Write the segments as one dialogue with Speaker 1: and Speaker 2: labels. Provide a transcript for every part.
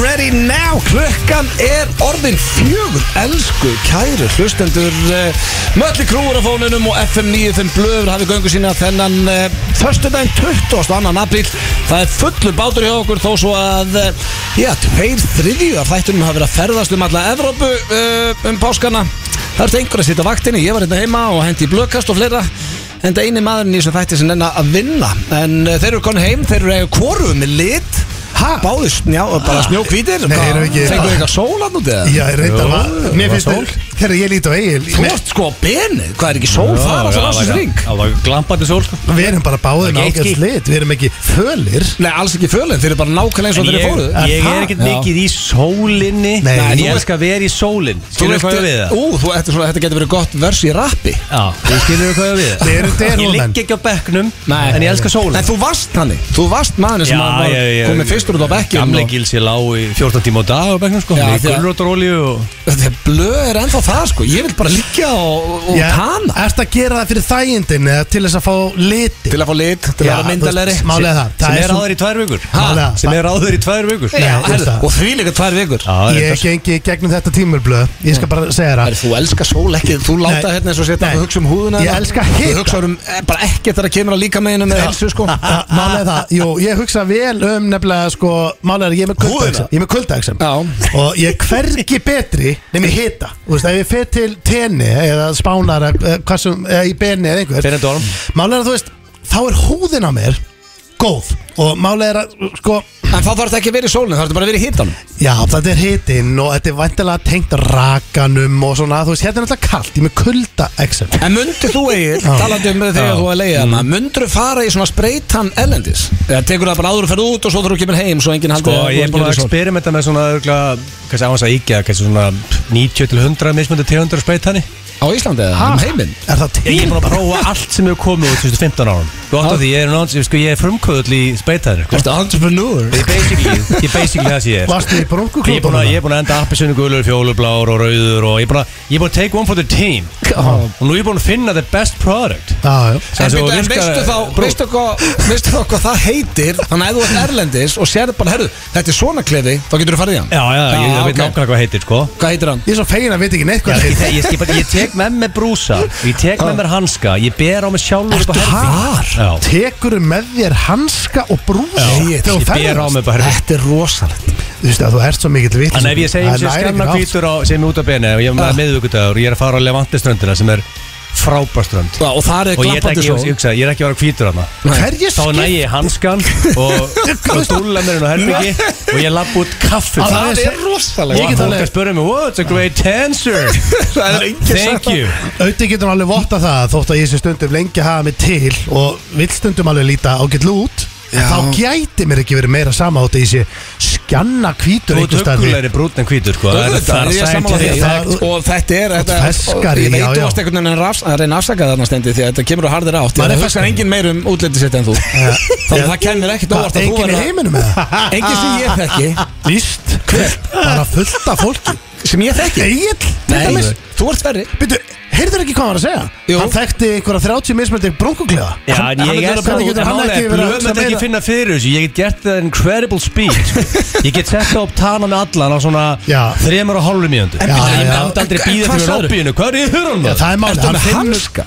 Speaker 1: now Klukkan er orðin fjögur Elsku kæru hlustendur eh, Mölli krúur á fónunum og FM 95 blöður hafi göngu sína þennan uh, Þörstundaginn 22. apríl Það er fullur bátur hjá okkur þó svo að uh, Já, tveir þriðju af þættunum hafa verið að ferðast um alla Evrópu uh, um páskana Það er einhver að sitja á vaktinni Ég var hérna heima og hendi í blöðkast og fleira En það eini maðurinn í þessum þætti sem nennar að vinna En uh, þeir eru konu heim, þeir eru eiga kvorum með lit Ha? Báðu snjá, bara snjókvítir
Speaker 2: Nei,
Speaker 1: Hvað,
Speaker 2: eru ekki-
Speaker 1: Fengu eitthvað sólan út eða?
Speaker 2: Já, ég reyndar
Speaker 3: Jú,
Speaker 2: að
Speaker 3: það
Speaker 2: Mér
Speaker 3: var
Speaker 2: finnst
Speaker 3: sól.
Speaker 2: það Þegar ég lít á eigil
Speaker 1: Þú ert sko á benið, hvað er ekki sól þar alltaf ásins ring?
Speaker 3: Það var glampandi sól sko
Speaker 2: Við erum bara báðin
Speaker 3: Það er ekki
Speaker 2: ágætt
Speaker 3: eitt
Speaker 2: lit Við erum ekki fölir
Speaker 1: Nei, alls ekki fölinn, þeir eru bara nákvæmlega eins
Speaker 3: En
Speaker 1: og þeir
Speaker 3: ég,
Speaker 1: fóruð
Speaker 3: ég er ekkert mikið í sólinni
Speaker 2: Nei,
Speaker 3: en
Speaker 2: þú
Speaker 3: ég
Speaker 2: ert-
Speaker 3: elskar að vera í sólinn
Speaker 1: Þú
Speaker 3: Skilur
Speaker 1: ert-
Speaker 3: hvað ég á við það?
Speaker 1: Ú, þú, þetta, er svona, þetta getur verið gott vers í rappi
Speaker 3: Já, þú skilur hvað ég á við það?
Speaker 2: Þið eru derhúðmenn.
Speaker 3: Ég ligg ekki á bekknum
Speaker 1: Nei.
Speaker 3: En ég elskar sólinn
Speaker 1: En þú varst þannig, þú varst maðurinn sem var komið fyrstur út á bekkjum
Speaker 3: Gamle
Speaker 1: og-
Speaker 3: gils ég lá í 14 tíma á dag á bekknum sko
Speaker 1: Já,
Speaker 3: Með
Speaker 1: því að-
Speaker 3: gulrótaróliu og
Speaker 1: Þetta blöð er ennþá það sko, ég vil bara liggja og, og tana
Speaker 2: Ertu að gera það fyrir þægindin Eða til þess að fá liti
Speaker 1: Til að fá lit, til að
Speaker 2: Já,
Speaker 1: vera
Speaker 2: þú
Speaker 1: myndalegri
Speaker 2: veist, Málega það
Speaker 3: Sem
Speaker 2: Það
Speaker 3: er
Speaker 2: er
Speaker 3: áður í tvær vikur
Speaker 2: Ha?
Speaker 3: Ha? Sem er áður í tvær vikur
Speaker 2: Nei, þú veist það.
Speaker 1: Og því líka tvær vikur
Speaker 3: Já, það er
Speaker 2: Ég gengi í gegnum þetta tímurblöð Ég skal bara segja
Speaker 1: Æri,
Speaker 2: það
Speaker 1: þú elskar sól ekki, þú láta
Speaker 2: Nei.
Speaker 1: hérna eins og setja
Speaker 2: Nei.
Speaker 1: að hugsa um húðuna
Speaker 2: Ég
Speaker 1: þína.
Speaker 2: elska
Speaker 1: Þú
Speaker 2: hita.
Speaker 1: hugsa um eh, bara ekkert þegar að kemur að líka meginu með helsu sko
Speaker 2: Já, Málega það Jú, ég hugsa vel um nefnilega sko Málega er ég er með kuldagsem Ég er með kuldagsem
Speaker 1: Já.
Speaker 2: Og ég er hvergi betri Nefnir hita Þú veist, ef ég fer til tenni Eða spánar eða hvað sem- eða Í benni eða einhver
Speaker 3: Fyrir dorm
Speaker 2: Málega er að þú veist Þá er húðin á mér Góð Og málega er að sko
Speaker 1: En þá þarf þetta ekki að vera í sólinu, það þarf þetta bara að vera í hitanum
Speaker 2: Já, þetta er hitinn og þetta er vantilega tengt rakanum og svona, þú veist, hérna er alltaf kallt, ég er með kulda exem.
Speaker 1: En myndir þú eigið,
Speaker 2: Já.
Speaker 1: talandi um þegar þú að leiða hana Myndir þú fara í svona spreytan ellendis? Eða tekur það bara áður og ferð út og svo þurfum þú kemur heim Svo enginn
Speaker 3: Sko,
Speaker 1: haldi
Speaker 3: ég er búin að experimenta með svona örgla, kannski áhans að íkja, kannski svona 90 til 100 mismunandi tegundur spreytani
Speaker 1: Á Íslandi eða, um heiminn
Speaker 2: Er það
Speaker 3: Ég er
Speaker 2: til?
Speaker 3: búin að prófa allt sem hefur komið út síðustu 15 árum Þú átt
Speaker 1: Já.
Speaker 3: að því, ég er, náns, sko, ég er frumkvöðull í spreytani sko.
Speaker 1: Ertu entrepreneur?
Speaker 3: Ég er basically, ég er basically það sem ég er sko.
Speaker 2: Varstu í
Speaker 3: Ég er búin
Speaker 2: bronkuklútunum?
Speaker 3: að, ég er búin að enda appisönu gulur, fjólublár og rauður og ég er búin að, ég er búin að take one for the team og nú er ég búin að finna the best product
Speaker 2: Já, já.
Speaker 1: En,
Speaker 3: Svo
Speaker 1: byrja, en
Speaker 3: virkar-
Speaker 1: veistu þá,
Speaker 3: Brú.
Speaker 1: veistu hvað, veistu þá hvað það heitir Þannig að ef þú ert erlendis og sér bara, herru, þetta er svona klefi Þá getur þú farið í hann Ah,
Speaker 3: Já, já, ég, ég veit
Speaker 1: ok.
Speaker 3: nákvæmlega hvað heitir sko
Speaker 1: Hvað heitir hann?
Speaker 2: Ég er svo fegin að veit ekki neitt
Speaker 3: Já,
Speaker 2: hvað
Speaker 3: ég,
Speaker 2: það er.
Speaker 3: ég, ég, ég, ég tek með mér brúsa Ég tek með mér hanska Ég ber á mig sjálfur upp á herbergi. Já.
Speaker 2: Tekuru Sko, með þér hanska og brúsa
Speaker 3: Shit,
Speaker 2: þegar þú
Speaker 3: ég ber á
Speaker 2: ferðast?
Speaker 3: mig bara herri.
Speaker 1: Þetta er rosalegt
Speaker 2: Þú veist að þú ert svo mikill vitt
Speaker 3: Þannig ef ég segi sem skanna hvítur á, sem er út af beni og ég er
Speaker 1: Ah.
Speaker 3: með miðvíkudagur og ég er að fara á Levanteströndina sem er frábær strönd
Speaker 1: Og það er
Speaker 3: og ég er
Speaker 1: glampandi
Speaker 3: ekki,
Speaker 1: svo
Speaker 3: ég, hugsa, ég er ekki að vera hvítur hana
Speaker 2: Hverju
Speaker 3: þá næ
Speaker 2: skil?
Speaker 3: ég hanskan og, og dúlla mér inn á herbyggi og ég lapp út kaffi
Speaker 2: Það
Speaker 1: Það
Speaker 2: er
Speaker 1: er rosalegt
Speaker 2: Ég
Speaker 3: og
Speaker 2: get
Speaker 3: fólk
Speaker 2: alveg-
Speaker 3: að spyrja mig what's a great dancer
Speaker 1: Það er enginn sagt
Speaker 3: thank
Speaker 1: það.
Speaker 3: you
Speaker 2: Auðvitað getur hann alveg votta það þótt að ég sé stundum lengi að hafa mig til og vill stundum alveg líta ágætt lút
Speaker 1: Já.
Speaker 2: þá gæti mér ekki verið meira sama þótt að ég sé skanna hvítur
Speaker 3: þú ert
Speaker 2: einhvers staðar.
Speaker 3: huggulegri brún en hvítur sko. það er-
Speaker 1: Auðvitað,
Speaker 3: það
Speaker 1: ég er
Speaker 3: er
Speaker 1: sammála því.
Speaker 3: scientific
Speaker 2: það-
Speaker 1: Fact. Og þetta er þetta-
Speaker 2: ferskari,
Speaker 1: Ég veit
Speaker 2: já,
Speaker 1: þú
Speaker 2: já.
Speaker 1: varst einhvern veginn að rafs- að reyna að afsaka þarna stendi Því að þetta kemur á harðir átt
Speaker 2: Maður
Speaker 1: Það
Speaker 2: er ferskari.
Speaker 1: hugsar enginn meir um útliti sitt en þú Þannig að það kemur ekkert
Speaker 2: Hvað,
Speaker 1: óvart að þú
Speaker 2: Enginn Ah. í
Speaker 1: verður að-
Speaker 2: heiminum með það
Speaker 1: Enginn sem ég þekki
Speaker 2: Víst Bara fullt af fólki
Speaker 1: Sem ég þekki
Speaker 2: Egil
Speaker 1: Nei, þú ert verri
Speaker 2: Býtu, heyrður ekki hvað hann var að segja?
Speaker 1: Jú.
Speaker 2: Hann þekkti einhverja 30 mismöldi brúnkukleða
Speaker 3: Já, en ég er
Speaker 2: Hvernig getur hann ekki verið að
Speaker 3: Blöð
Speaker 2: hugsa
Speaker 3: myndi ekki
Speaker 2: meira?
Speaker 3: finna fyrir þessu Ég get gert það incredible speed sko. Ég get sett það upp tana með allan á svona
Speaker 2: Já.
Speaker 3: þremur og hálfur mínúndu
Speaker 2: En
Speaker 3: Ég
Speaker 2: býttu, já.
Speaker 3: myndi aldrei
Speaker 1: En- en
Speaker 3: býða
Speaker 1: hvað
Speaker 3: fyrir
Speaker 1: sagðirðu?
Speaker 3: robbíinu Hvað er ég hör hann
Speaker 2: Já,
Speaker 3: með?
Speaker 2: það er málið,
Speaker 1: Ertu
Speaker 2: hann
Speaker 1: með
Speaker 2: finnur
Speaker 1: hanska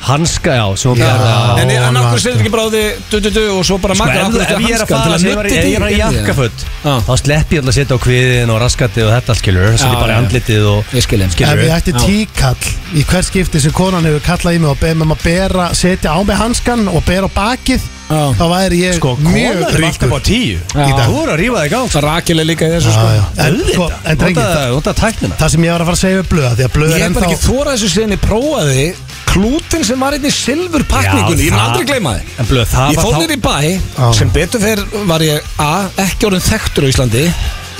Speaker 3: Hanska, já, sem hún gerði
Speaker 2: Já.
Speaker 3: á-
Speaker 1: En en
Speaker 2: hann
Speaker 1: af
Speaker 2: var
Speaker 1: hverju setur ekki bara á því du, du, du, Og svo bara
Speaker 3: Sko,
Speaker 1: makar
Speaker 3: ef
Speaker 1: af
Speaker 3: þú-
Speaker 1: hverju
Speaker 3: ef
Speaker 1: ertu
Speaker 3: ég er að
Speaker 1: hanskann
Speaker 3: fara sem ég var-
Speaker 1: nudda
Speaker 3: ef ég er að
Speaker 1: dýrin í þér?
Speaker 3: jakkaföld
Speaker 1: Já.
Speaker 3: þá slepp ég alltaf að setja á kviðin og raskatið og þetta skilur það
Speaker 1: Já,
Speaker 3: setja bara í
Speaker 1: já.
Speaker 3: andlitið og
Speaker 1: Ég sko, skil ég.
Speaker 2: Ef
Speaker 3: skilur
Speaker 2: ég ætti
Speaker 1: Já.
Speaker 2: tíkall í hver skipti sem konan hefur kallað í mig og beðið mig um að bera, setja á mig hanskan og bera á bakið
Speaker 1: Já.
Speaker 2: þá væri ég
Speaker 3: Sko,
Speaker 2: mjög
Speaker 3: konar er alltaf
Speaker 2: ríkur
Speaker 3: á tíu
Speaker 1: Já.
Speaker 3: Í dag. Þú er að rífa þig gang
Speaker 1: Það rakil er líka í þessu
Speaker 2: Já,
Speaker 1: sko
Speaker 2: já. En, sko, en drengi, það,
Speaker 3: Þú ert að tæknina
Speaker 2: það sem ég var að fara að segja við blöða því að
Speaker 1: Ég
Speaker 2: blöða er
Speaker 1: hef bara
Speaker 2: ennþá
Speaker 1: ekki þórað þessu síðan ég prófaði klútin sem var einnig silfur pakningunni,
Speaker 3: Já,
Speaker 1: ég mun
Speaker 3: það-
Speaker 1: aldrei gleyma þið
Speaker 3: En blöð, það
Speaker 1: Ég
Speaker 3: var
Speaker 1: fór
Speaker 3: þá-
Speaker 1: niður í bæ,
Speaker 2: Já.
Speaker 1: sem betur fyrr var ég A, ekki orðin þekktur á Íslandi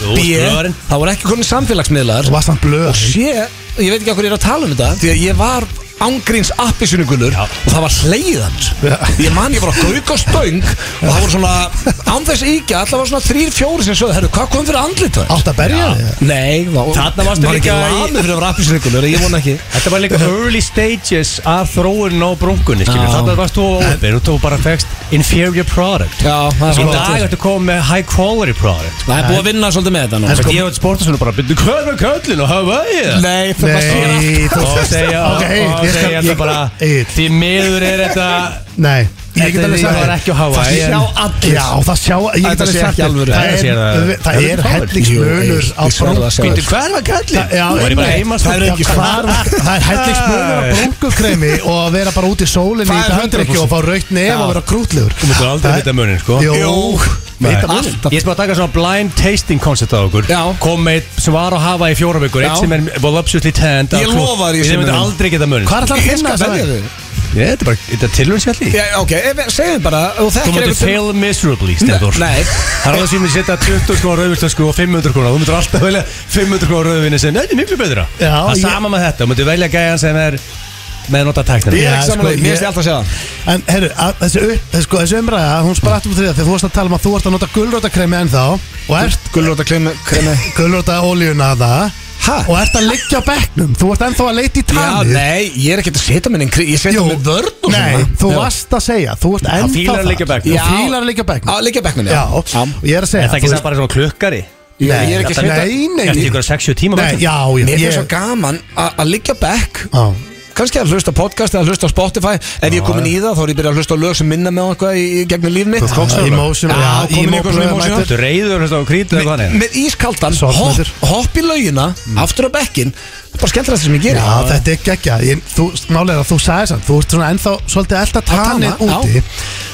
Speaker 3: Jú,
Speaker 1: B,
Speaker 3: blöðarinn.
Speaker 1: það voru ekki komin samfélagsmiðlar
Speaker 2: Þú varst hann blöða
Speaker 1: C, ég veit ekki hvað ég er að tala um þetta því að ég var ángríns appisynugulur
Speaker 3: Já.
Speaker 1: og það var hleiðans ég man ég var að gauka á stöng og það voru svona, án þess íkja alltaf var svona þrýr, fjóri sem sögðu, herru, hvað kom fyrir andlit það?
Speaker 2: Átt að berja þig
Speaker 1: Nei, það
Speaker 3: Þarna varstu
Speaker 1: var ekki
Speaker 3: líka í-
Speaker 1: lamið fyrir að vera appisynugulur, ég vona ekki
Speaker 3: Þetta var líka early stages að þróun á brunkunni, skilur,
Speaker 1: Já.
Speaker 3: þannig að varst þú á opið og þú bara fegst inferior product
Speaker 1: Já, það Sko, er
Speaker 3: Í
Speaker 1: svona-
Speaker 3: dag ertu komið með high quality product
Speaker 1: Það er búið að vinna svolítið með þetta nú
Speaker 2: En sko-
Speaker 3: Ég hef sportast hún bara, byrju, hvað er með köllin og hafa ég?
Speaker 1: Nei, það var svona
Speaker 2: Nei, þú
Speaker 3: Og segja,
Speaker 2: Ok, Egill,
Speaker 3: og
Speaker 2: ég skal-
Speaker 3: segja þetta
Speaker 2: ég-
Speaker 3: bara
Speaker 2: Egill.
Speaker 3: Því miður er þetta
Speaker 2: Nei, ég get
Speaker 3: Þetta
Speaker 2: alveg
Speaker 3: því
Speaker 2: sagt
Speaker 3: var
Speaker 2: þér.
Speaker 3: ekki á Hawaii,
Speaker 2: Það
Speaker 3: en-
Speaker 2: sjá allir Já, það sjá, ég
Speaker 1: Þetta
Speaker 2: get alveg
Speaker 1: sé
Speaker 2: sagt
Speaker 1: ekki
Speaker 2: þér.
Speaker 1: alvöru.
Speaker 2: Það
Speaker 3: Þetta sé
Speaker 2: er,
Speaker 3: það-
Speaker 2: það er
Speaker 1: Þetta er
Speaker 2: hellingsmunur
Speaker 1: fáránlegt.
Speaker 2: á
Speaker 1: Ég sverð að sjá
Speaker 2: brúnku
Speaker 1: Bíddu,
Speaker 3: hvað er með köllin?
Speaker 2: Já,
Speaker 3: Þú er bara
Speaker 2: nei,
Speaker 3: heima sko.
Speaker 2: það er ekki hvar Það er hellingsmunur á brúnkukremi og að vera bara út í sólinni
Speaker 1: Það
Speaker 2: í
Speaker 1: er
Speaker 2: dagdrykki
Speaker 1: 100%.
Speaker 2: og fá raukt nef og vera krútlegur
Speaker 3: Þú mútu aldrei vita munin, sko
Speaker 2: Jó,
Speaker 1: Jú.
Speaker 2: vita
Speaker 3: Nei.
Speaker 2: munin
Speaker 1: Alltaf.
Speaker 3: Ég er bara að taka svona blind tasting concept á okkur
Speaker 1: Já.
Speaker 3: Kom með eitt sem var á hafa í fjóra vikur
Speaker 1: Já.
Speaker 3: Eitt sem er voluptuously tanned
Speaker 1: Ég lofa þér, ég sé
Speaker 3: Ég myndi
Speaker 1: munin.
Speaker 3: aldrei geta munin
Speaker 2: Hvað er það að
Speaker 1: Ég
Speaker 2: finna
Speaker 1: skal
Speaker 2: þess
Speaker 1: velja
Speaker 2: að
Speaker 1: þig
Speaker 3: Ég, þetta er bara, þetta er tilhjómsfjalli
Speaker 1: Já, ok, ef- segðu bara Þú
Speaker 3: Þú
Speaker 1: þekkir
Speaker 3: mútu
Speaker 1: einhvern-
Speaker 3: fail miserably, Stendur
Speaker 1: Nei.
Speaker 3: Það er alveg sem ég setja 20 krónar rauðviltösku og 500 krónar Þú mútur alltaf velja 500 krónar rauðvinni sem Nei, þetta er miklu betra
Speaker 2: Já,
Speaker 3: Það er
Speaker 2: ég-
Speaker 3: sama með þetta Þú mútu velja gæjan sem er með nota
Speaker 1: Ég
Speaker 3: tæknir
Speaker 1: er
Speaker 2: Já,
Speaker 1: ekki
Speaker 2: sko,
Speaker 1: samanlega, mér
Speaker 2: ég-
Speaker 1: finnst ég alltaf að segja það
Speaker 2: En herru, að- þessi, upp, þessi, sko, þessi umræða, hún spratt um þriða Þegar þú varst að tala um að þú ert að nota gulrótakremi ennþá Og ert
Speaker 1: Gullróta kremi
Speaker 2: gulróta ólíuna það
Speaker 1: Ha?
Speaker 2: Og ert að liggja á bekknum Þú ert ennþá að leita í
Speaker 1: Já,
Speaker 2: tanið
Speaker 1: nei, ég er ekki að setja minn einhver Ég setja
Speaker 2: Jú.
Speaker 1: minn vörn og
Speaker 2: Nei,
Speaker 1: svona.
Speaker 2: þú
Speaker 1: Já.
Speaker 2: varst að segja Þú ert ennþá
Speaker 3: fílar að liggja á bekknum.
Speaker 2: Já, fílar að liggja á bekknum
Speaker 1: Á, liggja bekknum,
Speaker 2: Já, og ég er að segja
Speaker 3: Er það ekki
Speaker 2: þú
Speaker 3: það bara svona klukkari?
Speaker 1: Ég ég er ekki að
Speaker 2: Nei,
Speaker 1: setja
Speaker 2: nei,
Speaker 3: Eftir
Speaker 2: nei,
Speaker 3: ykkur 60 tíma
Speaker 2: nei,
Speaker 3: væntanlega?
Speaker 2: já, já
Speaker 1: Mér finnst svo
Speaker 2: ég-
Speaker 1: gaman að að liggja bekk
Speaker 2: Já,
Speaker 1: kannski að hlusta á podcast eða hlusta á Spotify ef ég er komin í það þá er ég byrjað að hlusta á lög sem minna með eitthvað í, í gegnum líf mitt
Speaker 2: Þú tókst það Emotional,
Speaker 1: Já,
Speaker 2: já,
Speaker 1: komin í
Speaker 2: emo
Speaker 1: eitthvað svona
Speaker 2: blöð
Speaker 1: emotional
Speaker 2: mættur.
Speaker 3: Ertu reyður hlusta á krítið eða
Speaker 1: með,
Speaker 3: þannig?
Speaker 1: með ískaldan, hopp,
Speaker 2: Sorgmættur.
Speaker 1: hopp í laugina aftur á bekkin, það er bara skemmtilegt sem ég gerir
Speaker 2: Mm. Já, þetta er geggja Ég- Þú, málega, þú sagði samt, þú ert svona ennþá svolítið elda
Speaker 1: tana,
Speaker 2: tanið úti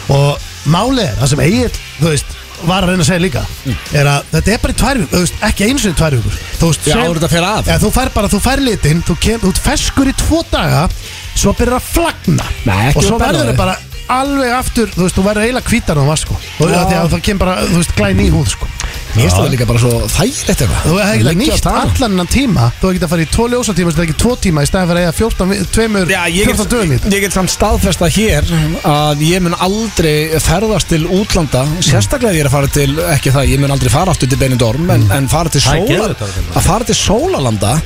Speaker 2: og málega, það sem Egil, þú veist var að reyna að segja líka
Speaker 1: Mm.
Speaker 2: er að þetta er bara í tvær vikur, þú veist, ekki eins og í tvær vikur þú veist,
Speaker 1: Já,
Speaker 2: sem-
Speaker 1: áður þetta fer af.
Speaker 2: Já, þú fær bara, þú fær litinn, þú kem, þú ert feskur í tvo daga svo byrjar að flagna
Speaker 1: Nei, ekki
Speaker 2: og svo
Speaker 1: að banna
Speaker 2: verður
Speaker 1: þig.
Speaker 2: það bara alveg aftur, þú veist, þú verður eiginlega hvítar en þú var sko, og
Speaker 1: Já.
Speaker 2: því að það kemur bara, þú veist, glæn í húð sko
Speaker 1: mér finnst það líka bara svo þægilegt eitthvað
Speaker 2: Þú hefði ekki
Speaker 1: Liggja á
Speaker 2: nýtt
Speaker 1: tana.
Speaker 2: allan hennan tíma Þú hefði ekki að fara í tvo ljósatíma sem er ekki tvo tíma í staðan fyrir að eiga 14, vi- tveimur,
Speaker 1: Já, ég
Speaker 2: 14
Speaker 1: get,
Speaker 2: dögum í þetta.
Speaker 1: ég get samt staðfesta hér að ég mun aldrei ferðast til útlanda sérstaklega ef ég er að fara til, ekki það, ég mun aldrei fara aftur til Benidorm en,
Speaker 2: Mm.
Speaker 1: en fara til
Speaker 3: Það er
Speaker 1: Sóla
Speaker 3: geðveikt að það finna.
Speaker 1: að fara til Sólalanda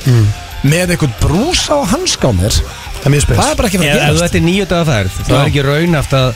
Speaker 1: með einhvern brúsa á hanskánir
Speaker 2: Það er mjög spes
Speaker 1: það er bara ekki
Speaker 3: Ef
Speaker 1: fyrir
Speaker 3: ef
Speaker 1: að gerast
Speaker 3: þetta er nýju dagar færð þá
Speaker 1: Já.
Speaker 3: er ekki raunhaft að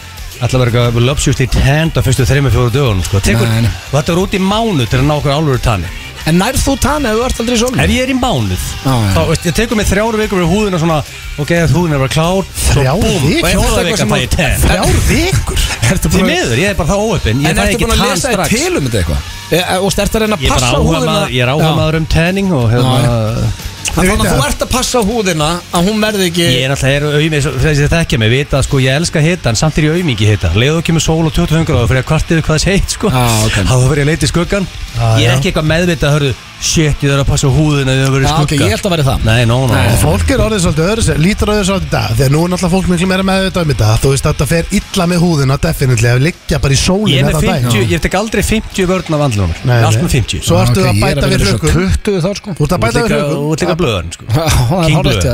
Speaker 3: alltaf vera eitthvað lopsjúst í tend á fyrstu þreymur fjóru dögun sko. Tekur,
Speaker 1: Nei, nei.
Speaker 3: og þetta er út í mánuð til að ná okkur álfur tanni
Speaker 1: en nær þú tann ef þú ert aldrei í
Speaker 3: ef
Speaker 1: Sólalanda?
Speaker 3: ég er í mánuð
Speaker 1: Já, já.
Speaker 3: þá veist, ég tekur mig þrjáru vikur fyrir húðina svona ok, að húðin er bara klár
Speaker 2: Þrjár vikur?
Speaker 3: og ég
Speaker 1: Þetta
Speaker 3: fjóra
Speaker 1: er eitthvað
Speaker 3: vika fæ ég
Speaker 1: sem
Speaker 3: tend
Speaker 2: Þrjár vikur
Speaker 1: Ertu
Speaker 3: því
Speaker 1: búin að-
Speaker 3: miður, ég er bara það óöppin ég
Speaker 1: en
Speaker 3: fæ
Speaker 1: ertu
Speaker 3: ekki
Speaker 1: búin að
Speaker 3: tann
Speaker 1: lesa þér
Speaker 3: strax
Speaker 1: til um þetta eitthvað? E, e, og ertu að reyna að
Speaker 3: ég er
Speaker 1: passa
Speaker 3: bara
Speaker 1: á
Speaker 3: áhuga
Speaker 1: húðina
Speaker 3: maður, ég er
Speaker 1: Já.
Speaker 3: áhuga maður um tanning og hérna
Speaker 1: En þannig
Speaker 2: Ég
Speaker 1: að
Speaker 2: veit
Speaker 1: þú ert að passa á húðina að hún verði ekki
Speaker 3: Ég er alltaf auðvitað, þessi þið þekkja mig, vita að sko ég elska hitan, samt er ég auðmingi hitan Leðu ekki með sól og 25 gráður fyrir að kvart yfir hvað þess heit sko
Speaker 1: Já, Ah, ok.
Speaker 3: Þá fyrir ég að leita í skuggan
Speaker 2: Já,
Speaker 3: Ég er
Speaker 2: já.
Speaker 3: ekki eitthvað meðvitað að hörðu Shit, ég þarf að passa á húðina þegar það verið
Speaker 1: Já, Ah, ok,
Speaker 3: skugga
Speaker 1: ég held að verði það
Speaker 3: Nei, no, no
Speaker 1: Nei.
Speaker 2: Og fólk er orðið svolítið öðru sér, lítur öðru svolítið í dag Þegar nú er náttúrulega fólk miklu meira með þetta um þetta Þú veist þetta fer illa með húðina definitlega Liggja bara í
Speaker 3: Ég
Speaker 2: sólinn
Speaker 3: er með
Speaker 2: allan daginn.
Speaker 3: 50, ég tek aldrei 50 vörn af andlunum
Speaker 2: Nei, nei.
Speaker 3: Allt með 50
Speaker 2: Svo
Speaker 1: Já,
Speaker 2: ertu
Speaker 1: ok,
Speaker 2: að
Speaker 1: ég er
Speaker 2: bæta
Speaker 1: að
Speaker 2: við
Speaker 1: vera svo 20
Speaker 2: hlökkum
Speaker 1: þá sko
Speaker 2: Þú ert að
Speaker 3: Þú ert
Speaker 2: bæta við
Speaker 3: líka-
Speaker 2: hlökkum
Speaker 3: Þú ert líka blöðan sko
Speaker 1: Já,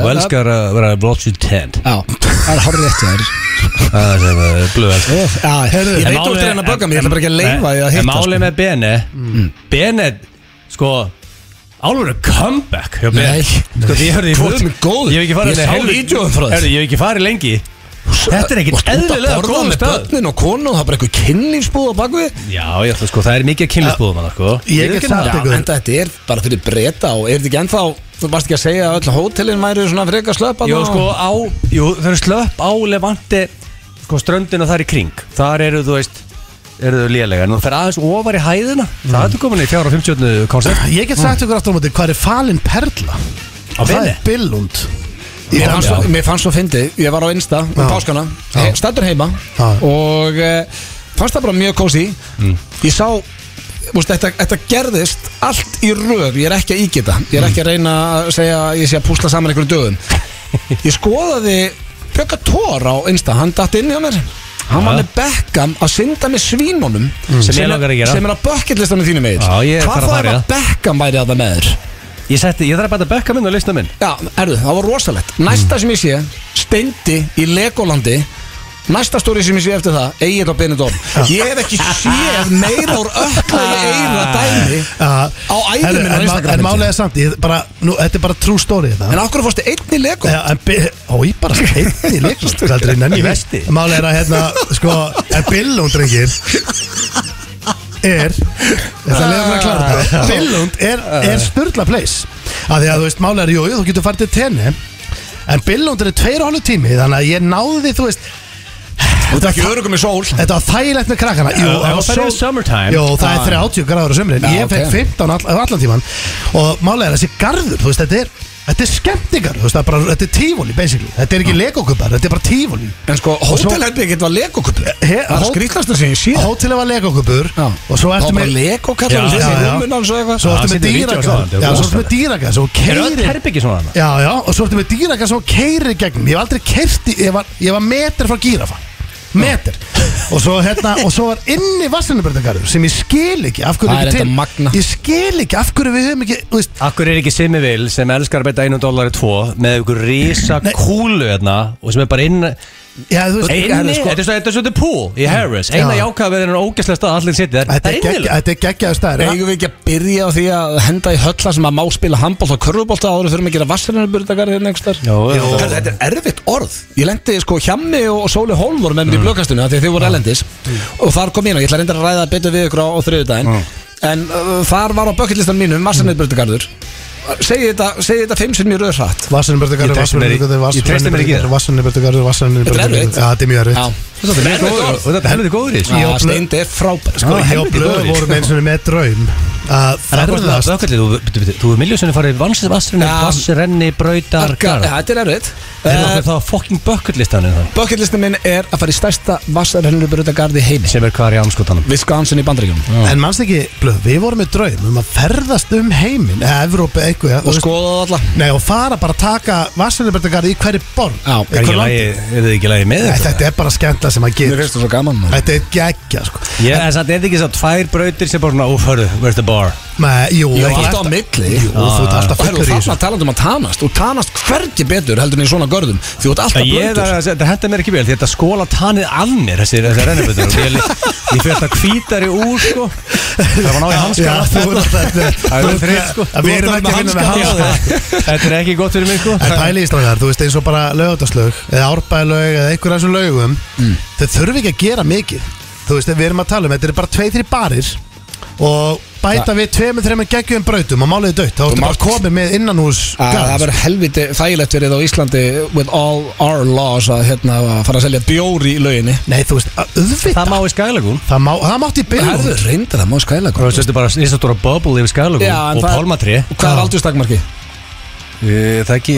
Speaker 1: Ah, það er hárrétt hjá
Speaker 3: King blöð, og
Speaker 1: þér.
Speaker 3: elskar að vera blotchy tent
Speaker 1: Já, það er horrið eftir þér
Speaker 3: Það er sem eh, blöð elskar
Speaker 1: Já, heyrðu, ég veit
Speaker 3: En
Speaker 1: þú ert
Speaker 3: málið-
Speaker 1: að reyna að bögga mig, ég
Speaker 3: en-
Speaker 1: ætla bara ekki að leifa
Speaker 3: nei,
Speaker 1: því að sko. Mm.
Speaker 3: En
Speaker 1: hitta
Speaker 3: málið með Bene Bene, sko Álfur comeback hjá Bene
Speaker 1: Nei.
Speaker 3: Sko því ég hörði í
Speaker 1: Þú ert með góður.
Speaker 3: Ég hef ekki
Speaker 1: Ég
Speaker 3: farið neitt
Speaker 1: sá
Speaker 3: helviti-
Speaker 1: vídeóin frá þér.
Speaker 3: Herðu, Ég hef ekki farið lengi Þetta er ekkert eðlilega
Speaker 1: góð
Speaker 3: góð
Speaker 1: með
Speaker 3: stöð
Speaker 1: börnin og konu og það er bara eitthvað kynlífsbúð á bakvið
Speaker 3: Já, ég ætla sko, það er mikið kynlisbúðum hann sko
Speaker 2: Ég get
Speaker 3: Viðurkenni
Speaker 2: sagt
Speaker 3: það.
Speaker 2: ykkur-
Speaker 1: En þetta er bara fyrir breyta og er þetta ekki ennþá Þú varst ekki að segja að öll hótelin væri svona frekar slöp
Speaker 3: Jú, sko, á, jú, það eru slöpp á Levante sko, ströndina þar í kring þar eru, þú veist, eru þau lélega en þú fer aðeins ofar í hæðina það ertu komin í 450
Speaker 1: Ah,
Speaker 3: koncept
Speaker 2: Ég get sagt ykkur aftur á móti hvað er falin perla
Speaker 3: á
Speaker 2: Það
Speaker 3: Bene
Speaker 2: er billund
Speaker 1: Mér fannst,
Speaker 3: Já.
Speaker 1: svo, mér fannst svo fyndið, ég var á Insta um
Speaker 2: Já.
Speaker 1: páskana,
Speaker 2: Já.
Speaker 1: he- stættur heima
Speaker 2: Já.
Speaker 1: og e, fannst það bara mjög kósi
Speaker 3: Mm.
Speaker 1: ég sá Úst, þetta, þetta gerðist allt í röð ég er ekki að ígita, ég
Speaker 3: Mm.
Speaker 1: er ekki að reyna að segja að ég sé að púsla saman einhverjum dögum ég skoðaði Bjögga Tór á Insta, hann datt inn hjá mér hann var
Speaker 3: Já. Mm.
Speaker 1: með Beckham að synda með svínunum
Speaker 3: Sem ég langar að gera.
Speaker 1: sem er á bucketlistanum þínum eigin
Speaker 3: Já, ég er að
Speaker 1: hvað
Speaker 3: fara
Speaker 1: þá ef
Speaker 3: að fara í
Speaker 1: að
Speaker 3: það.
Speaker 1: Beckham væri að það með þér
Speaker 3: Ég setti, ég þarf að bæta bekka minn og lista minn
Speaker 1: Já, erðu, það var rosalegt
Speaker 2: Mm.
Speaker 1: Næsta sem ég sé, Steindi í Legolandi Næsta stóri sem ég sé eftir það Egil og Benidorm Ég hef ekki séð meira úr ökla í eira dæmi
Speaker 2: Já.
Speaker 1: Á ævi
Speaker 2: En-
Speaker 1: minni á
Speaker 2: en ma-
Speaker 1: Instagram.
Speaker 2: En málega er samt, ég bara, nú, þetta er bara true story þetta
Speaker 1: En okkur fórstu einn í Lego
Speaker 2: Já, en Bi- Ó, ég bara heitni leikum Það er aldrei nenni
Speaker 3: Í vesti.
Speaker 2: Máli er að hérna, sko En Billund, drengir Er Það leiðum við að klara þetta Billund er, er styrla place Af því að þú veist, máli er, jú, jú, þú getur farið til tenni En Billund er tveir og hálf tími Þannig að ég náði því, þú veist
Speaker 1: Þú ert ekki örugum í sól
Speaker 2: Þetta var þægilegt með krakkana Jú,
Speaker 3: það var
Speaker 2: var
Speaker 3: bara í summertime.
Speaker 2: Jú, það er 30 gráður á sömurinn
Speaker 1: Ah. Já,
Speaker 2: Ég fekk
Speaker 1: ok.
Speaker 2: 15 all, allan tíman Og málega er þessi garður, þú veist, þetta er Þetta er skemmtingar, þú veist, það er bara, þetta er tífóli basically Þetta er ekki legokubar, þetta er bara tífóli
Speaker 1: En sko, hótelherbyggit var Lego-kupur
Speaker 2: He-
Speaker 1: Það er
Speaker 2: hó-
Speaker 1: skrýtlasta sem ég sé
Speaker 2: Hótelið var legokubur
Speaker 1: Já.
Speaker 2: Og svo
Speaker 1: Það
Speaker 2: ertu
Speaker 1: var bara
Speaker 2: með
Speaker 1: Lego
Speaker 2: Já,
Speaker 1: kallar
Speaker 2: já,
Speaker 1: Þessi
Speaker 2: já.
Speaker 1: rúmin hans og eitthvað
Speaker 2: Svo
Speaker 3: Já,
Speaker 2: ertu
Speaker 3: það
Speaker 2: með
Speaker 3: situr í vídeó
Speaker 2: dýragarð
Speaker 3: svona, þetta er
Speaker 2: Já, svo ertu
Speaker 3: rosalegt.
Speaker 2: með dýragarð Svo
Speaker 3: Eru öll
Speaker 2: keirir Já, já, og svo ertu með dýragarð Svo keirir
Speaker 3: herbyggi svona hana?
Speaker 2: gegnum Ég var aldrei kerti, ég var, ég var metr frá gírafa Metr Og svo hérna, og svo var inni vassinubörðingarður Sem ég skil ekki af hverju
Speaker 1: Það er
Speaker 2: ekki
Speaker 1: þetta magna.
Speaker 2: Ég skil ekki af hverju við höfum ekki Þú veist,
Speaker 3: Akkur er ekki Simmi Vil sem elskar að beita 1 dólar í 2 með ykkur risa
Speaker 2: Nei.
Speaker 3: kúlu hérna og sem er bara inn
Speaker 2: já, þú veist
Speaker 3: Inni,
Speaker 2: herri, sko,
Speaker 3: þetta er svo- þetta er svolítið pool í Harris Eina
Speaker 2: Já.
Speaker 3: jákað við hennar ógæslega stað allir sitt
Speaker 2: Þetta
Speaker 3: Það er
Speaker 2: er gegg-
Speaker 3: innilega
Speaker 2: þetta er geggjaður staður
Speaker 1: Eigum við ekki að byrja á því að henda í hölla sem að má spila handbólta og körfubólta áður fyrir að gera vassarinnarburðagar hérna einhvers þar?
Speaker 3: Jó,
Speaker 1: Jó.
Speaker 3: þetta-
Speaker 1: Herðu, Þetta er erfitt orð Ég lendi sko Hjammi og Sóli Hólm voru með
Speaker 2: Mm.
Speaker 1: mér í blökkastunni af því að þið voru elendis og þar kom ég inn og ég ætla að reynda að ræða betur við ykkur á, á þriðudaginn en uh, þar var á bökkillistan mínum vassarinnarburðagarður Segði þetta, segði þetta fimm sem ég röður hratt
Speaker 2: Vassinubörðingarður,
Speaker 3: Ég treysti mér í- ég treysti mér ekki í
Speaker 2: vassinubörðingarður
Speaker 3: það.
Speaker 2: Vassinubörðingarður, vassinubörðingarður
Speaker 1: erfitt.
Speaker 2: Já, þetta er mjög erfitt
Speaker 1: Já,
Speaker 3: Þetta er góður- og þetta er helviti góður í þessu.
Speaker 1: Já, sko,
Speaker 2: og blöð-
Speaker 1: steindi er frábær sko.
Speaker 3: Já,
Speaker 2: Ég og
Speaker 3: helviti
Speaker 2: Blöð
Speaker 3: góðir.
Speaker 2: vorum eins og með draum að
Speaker 3: Það er það
Speaker 2: ferðast
Speaker 3: bökallið, þú- bíddu, bíddu, þú er miljósunni farið vansið vassrinni,
Speaker 1: Já.
Speaker 3: vassrenni, brautar,
Speaker 1: Arga-
Speaker 3: garð
Speaker 1: Já, Þetta er erfitt
Speaker 3: Er það þá fokking bökkallistaninn þann
Speaker 1: Bökkillistan minn er að fara í stærsta vassarinnarburðagarði heimi
Speaker 3: sem er hvar í anskotanum
Speaker 1: Wisconsin í bandaríkjum
Speaker 2: En mannst ekki, Blöð, við vorum með draum um að ferðast um heiminn eða Evrópu eitthvað
Speaker 1: og skoða það alla
Speaker 2: Nei, og fara bara að taka vassinubörðingarður í hverju borg
Speaker 1: Já,
Speaker 2: Í
Speaker 3: Er
Speaker 2: hverju
Speaker 3: ekki
Speaker 2: landi.
Speaker 3: lagi, er þið ekki lagi með
Speaker 2: Nei,
Speaker 3: þetta?
Speaker 2: Þetta er bara skemmtla sem
Speaker 1: Mér
Speaker 2: að gera
Speaker 1: finnst það svo gaman maður.
Speaker 2: Þetta er geggja, sko
Speaker 3: Ég er satt eða ekki svo tvær brautir sem bara svona, óf, hörru, where's the bar?
Speaker 2: Nei, Jú,
Speaker 1: Jú,
Speaker 2: ekki
Speaker 1: alltaf
Speaker 2: alltaf-
Speaker 1: á milli.
Speaker 2: Jú, þú
Speaker 3: Ah.
Speaker 2: ert alltaf
Speaker 1: Og herru,
Speaker 2: fullur í
Speaker 1: þarna
Speaker 2: þessu
Speaker 1: talandum að tanast og tanast hvergi betur heldur en í svona görðum því þú ert alltaf
Speaker 3: Ég,
Speaker 1: blöndur
Speaker 3: það, þetta henda mér ekki vel, því þetta skóla tanið af mér, þessi, þessi rennibötur Ég, ég fyrir þetta hvítari úr, sko Það var náði hanska
Speaker 2: Já, þú ert alltaf
Speaker 3: Það er þrið, sko
Speaker 2: að Við erum ekki að vinna með hanska
Speaker 3: Þetta er ekki gott fyrir mig, sko
Speaker 2: En pæli í strákar, þú veist eins og bara lögutaslaug eða árbæðlaug eða einhverja þessum laugum þau þurfi ekki að gera mikið þú veist, við erum að tala um, þetta er bara tvei, þri barir og bæta við tveimur, þreimur geggjum brautum og máliði dött þá ertu bara
Speaker 1: mátt-
Speaker 2: komið með innanhús
Speaker 1: Að Ah, Það verður helviti þægilegt verið á Íslandi with all our laws að hérna að fara að selja bjóri í lauginni
Speaker 2: Nei, þú veist, að
Speaker 3: Það
Speaker 2: auðvitað
Speaker 3: má í skælagún
Speaker 2: það, má, það mátti í
Speaker 1: Herðu,
Speaker 2: byrjun
Speaker 1: reynda það má skæla
Speaker 3: Þú veist, þetta er bara ístatúra bubble yfir skælagún og pálmatri
Speaker 1: Hvað er aldurstakmarki?
Speaker 3: Það ekki,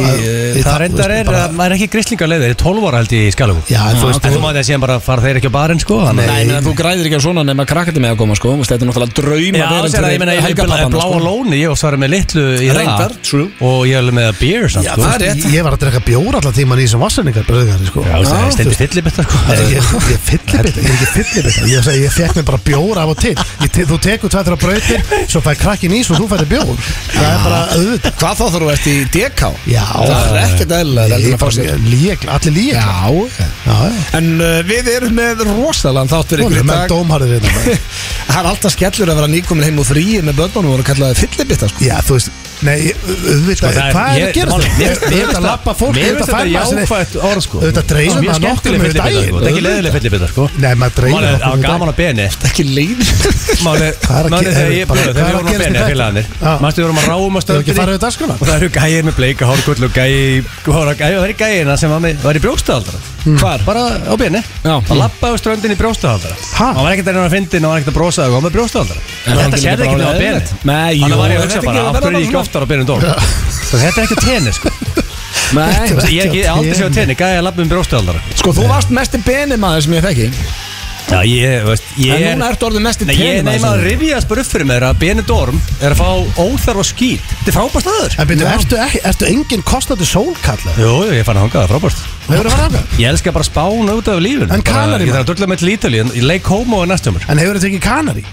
Speaker 3: það reyndar er, maður er ekki grislingarleið, það er 12 ára held ég í skælagún
Speaker 2: Já, þú
Speaker 3: En
Speaker 2: veist,
Speaker 3: þú maður þetta síðan bara fara þeir ekki á barinn, sko
Speaker 1: Nei, nei, þú græðir ekki á svona nema krakkandi með að koma sko Þú veist, Þetta er náttúrulega drauma
Speaker 3: Já, sér að ég meina, ég er bláa
Speaker 1: helgapappan
Speaker 3: bláa lóni, ég og svarði með litlu í það
Speaker 1: sko. Reyndar, true.
Speaker 3: Og ég er alveg með beer samt,
Speaker 1: Já,
Speaker 3: sko
Speaker 1: það er rétt
Speaker 2: ég, ég var að drekka bjór allan tíman í þessum vassaningar bröðgar, sko
Speaker 3: Já,
Speaker 1: Já,
Speaker 3: það
Speaker 1: þú
Speaker 3: stendur fyllibetta, sko
Speaker 2: Ég, ég, ég fyllibita, ég er ekki fyllibita Ég, segi, ég fekk mér bara bjór af og til ég, te- Þú tekur tvað þrjá brautir Svo fær krakkin ís og þú færi bjór Það er bara auðvitað
Speaker 1: Hvað þá þarf þú ert í DK?
Speaker 2: Já.
Speaker 1: Það er ekkert eðlilega heldur en að fá sér
Speaker 2: Lík, allir lík
Speaker 1: Já,
Speaker 2: Já, já.
Speaker 1: En uh, við erum með rosalega þáttur
Speaker 2: Hún
Speaker 1: ykkur
Speaker 2: er
Speaker 1: í
Speaker 2: með
Speaker 1: dag
Speaker 2: dómharðir hérna
Speaker 1: Það er alltaf skellur að vera nýkomin heim úr fríi með börnunum og voru kallaði fyllibitta sko.
Speaker 2: Já, þú veist, nei, auðvitað
Speaker 3: það er-
Speaker 2: Hvað er
Speaker 3: ég-
Speaker 2: að gera
Speaker 3: málið- mér-
Speaker 2: þetta?
Speaker 3: mér
Speaker 2: Auðvitað
Speaker 3: finnst
Speaker 2: lappa
Speaker 3: það-
Speaker 2: fólk,
Speaker 3: mér finnst
Speaker 2: auðvitað fær
Speaker 3: þetta
Speaker 2: maður sér
Speaker 3: jákvætt orð, sko.
Speaker 2: Auðvitað dreifir
Speaker 3: Mjög
Speaker 2: maður
Speaker 3: skemmtileg
Speaker 2: nokkur með
Speaker 3: fyllibita,
Speaker 2: daginn
Speaker 3: sko. Þetta er ekki leiðileg fyllibita, sko
Speaker 2: Nei, maður
Speaker 3: Málið
Speaker 2: dreifir
Speaker 3: er- það
Speaker 2: nokkur
Speaker 3: var
Speaker 2: með
Speaker 3: gaman
Speaker 2: daginn
Speaker 3: á beni
Speaker 1: Ekki leið
Speaker 3: Málið er
Speaker 2: Hvað er að
Speaker 3: málið er
Speaker 2: ge-
Speaker 3: þegar ég
Speaker 2: bara-
Speaker 3: byrjaði,
Speaker 2: hvað er
Speaker 3: þegar við
Speaker 2: að
Speaker 3: vorum á
Speaker 2: gerast í
Speaker 3: beni,
Speaker 2: þetta?
Speaker 3: félagarnir
Speaker 2: Já.
Speaker 3: Manstu, við vorum að ráum á
Speaker 2: Þau ekki farið
Speaker 3: stöndinni
Speaker 2: við dagskona
Speaker 3: Og það eru gæir með bleika hárkull og gæi og það eru gæina sem var, með, var í brjókstahaldara Hvar? Bara á beni
Speaker 1: Já.
Speaker 3: Það lappaði á ströndinni í brjókstahaldara
Speaker 2: Ha?
Speaker 3: Hann var ekkert að reyna að fyndin, hann var ekkert að brosa og hann var með brjóstahaldara Þetta sérði ekki með á beni
Speaker 1: Nei, jú
Speaker 3: Þannig var ég að
Speaker 1: þetta
Speaker 3: hugsa
Speaker 1: er
Speaker 3: bara,
Speaker 1: ekki-
Speaker 3: af
Speaker 1: verður
Speaker 3: hverju er ég ekki
Speaker 1: bara
Speaker 3: oftar á beinum dól Þetta er ekki á tenni, sko
Speaker 1: svona- Nei,
Speaker 3: Ég er ekki aldrei sér á tenni, gæði að labba um brjóstualdara
Speaker 1: sko þú varst mest í beni maður sem ég þekki
Speaker 3: Já, ég, veist, ég
Speaker 1: En núna ertu orðin mest í
Speaker 3: Nei, ég
Speaker 1: tenni
Speaker 3: nefn að
Speaker 1: maður sem-
Speaker 3: rifja þess bara upp fyrir mér að Benidorm er að fá óþarfa skýt Þetta er frábært aður
Speaker 2: En byrju, ertu, ekki- ertu engin kostandi sólkalla?
Speaker 3: Jú, jú, ég fann að hanga það, frábært
Speaker 2: Hefur það farið afgæð?
Speaker 3: Ég elska bara spán út af lífun
Speaker 2: En Kanarí,
Speaker 3: Ég
Speaker 2: maður?
Speaker 3: þarf að dörla með til Ítali, en ég leik homo er næstumur
Speaker 2: En hefur þetta ekki kanari?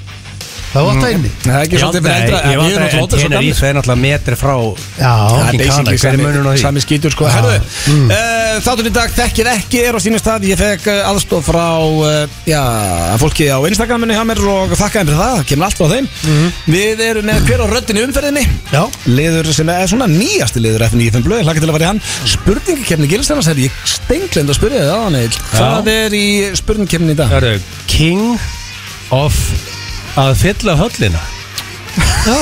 Speaker 2: Það var það inni
Speaker 1: Það er ekki svolítið fyrir eldra Við erum
Speaker 3: ég vant að
Speaker 1: náttúrulega
Speaker 3: tenna í
Speaker 1: gamlir.
Speaker 3: það er náttúrulega metri frá
Speaker 2: Já,
Speaker 1: Það er
Speaker 3: Fucking
Speaker 1: basically
Speaker 3: Kana, hver er
Speaker 1: sami,
Speaker 3: munurinn á því? Ah. Mm.
Speaker 1: sami skítur sko Herðu, uh, þáttur í dag þekkið ekki er á sínum stað Ég fekk uh, aðstof frá uh, já, fólki á Instagraminu hjá mér og þakkaði mér það, það kemur allt frá þeim
Speaker 3: Mhm.
Speaker 1: Við erum með hver á röddinni í umferðinni
Speaker 2: já
Speaker 1: Liður sem er svona nýjasti liður F95 blöð, hlaka til að fara í hann Spurningakefni gilstannars er ég stengleind að spyrja þið aðan eitt Hvað er í spurningakefni í dag?
Speaker 3: Hörru, King of að fylla höllina
Speaker 1: Já,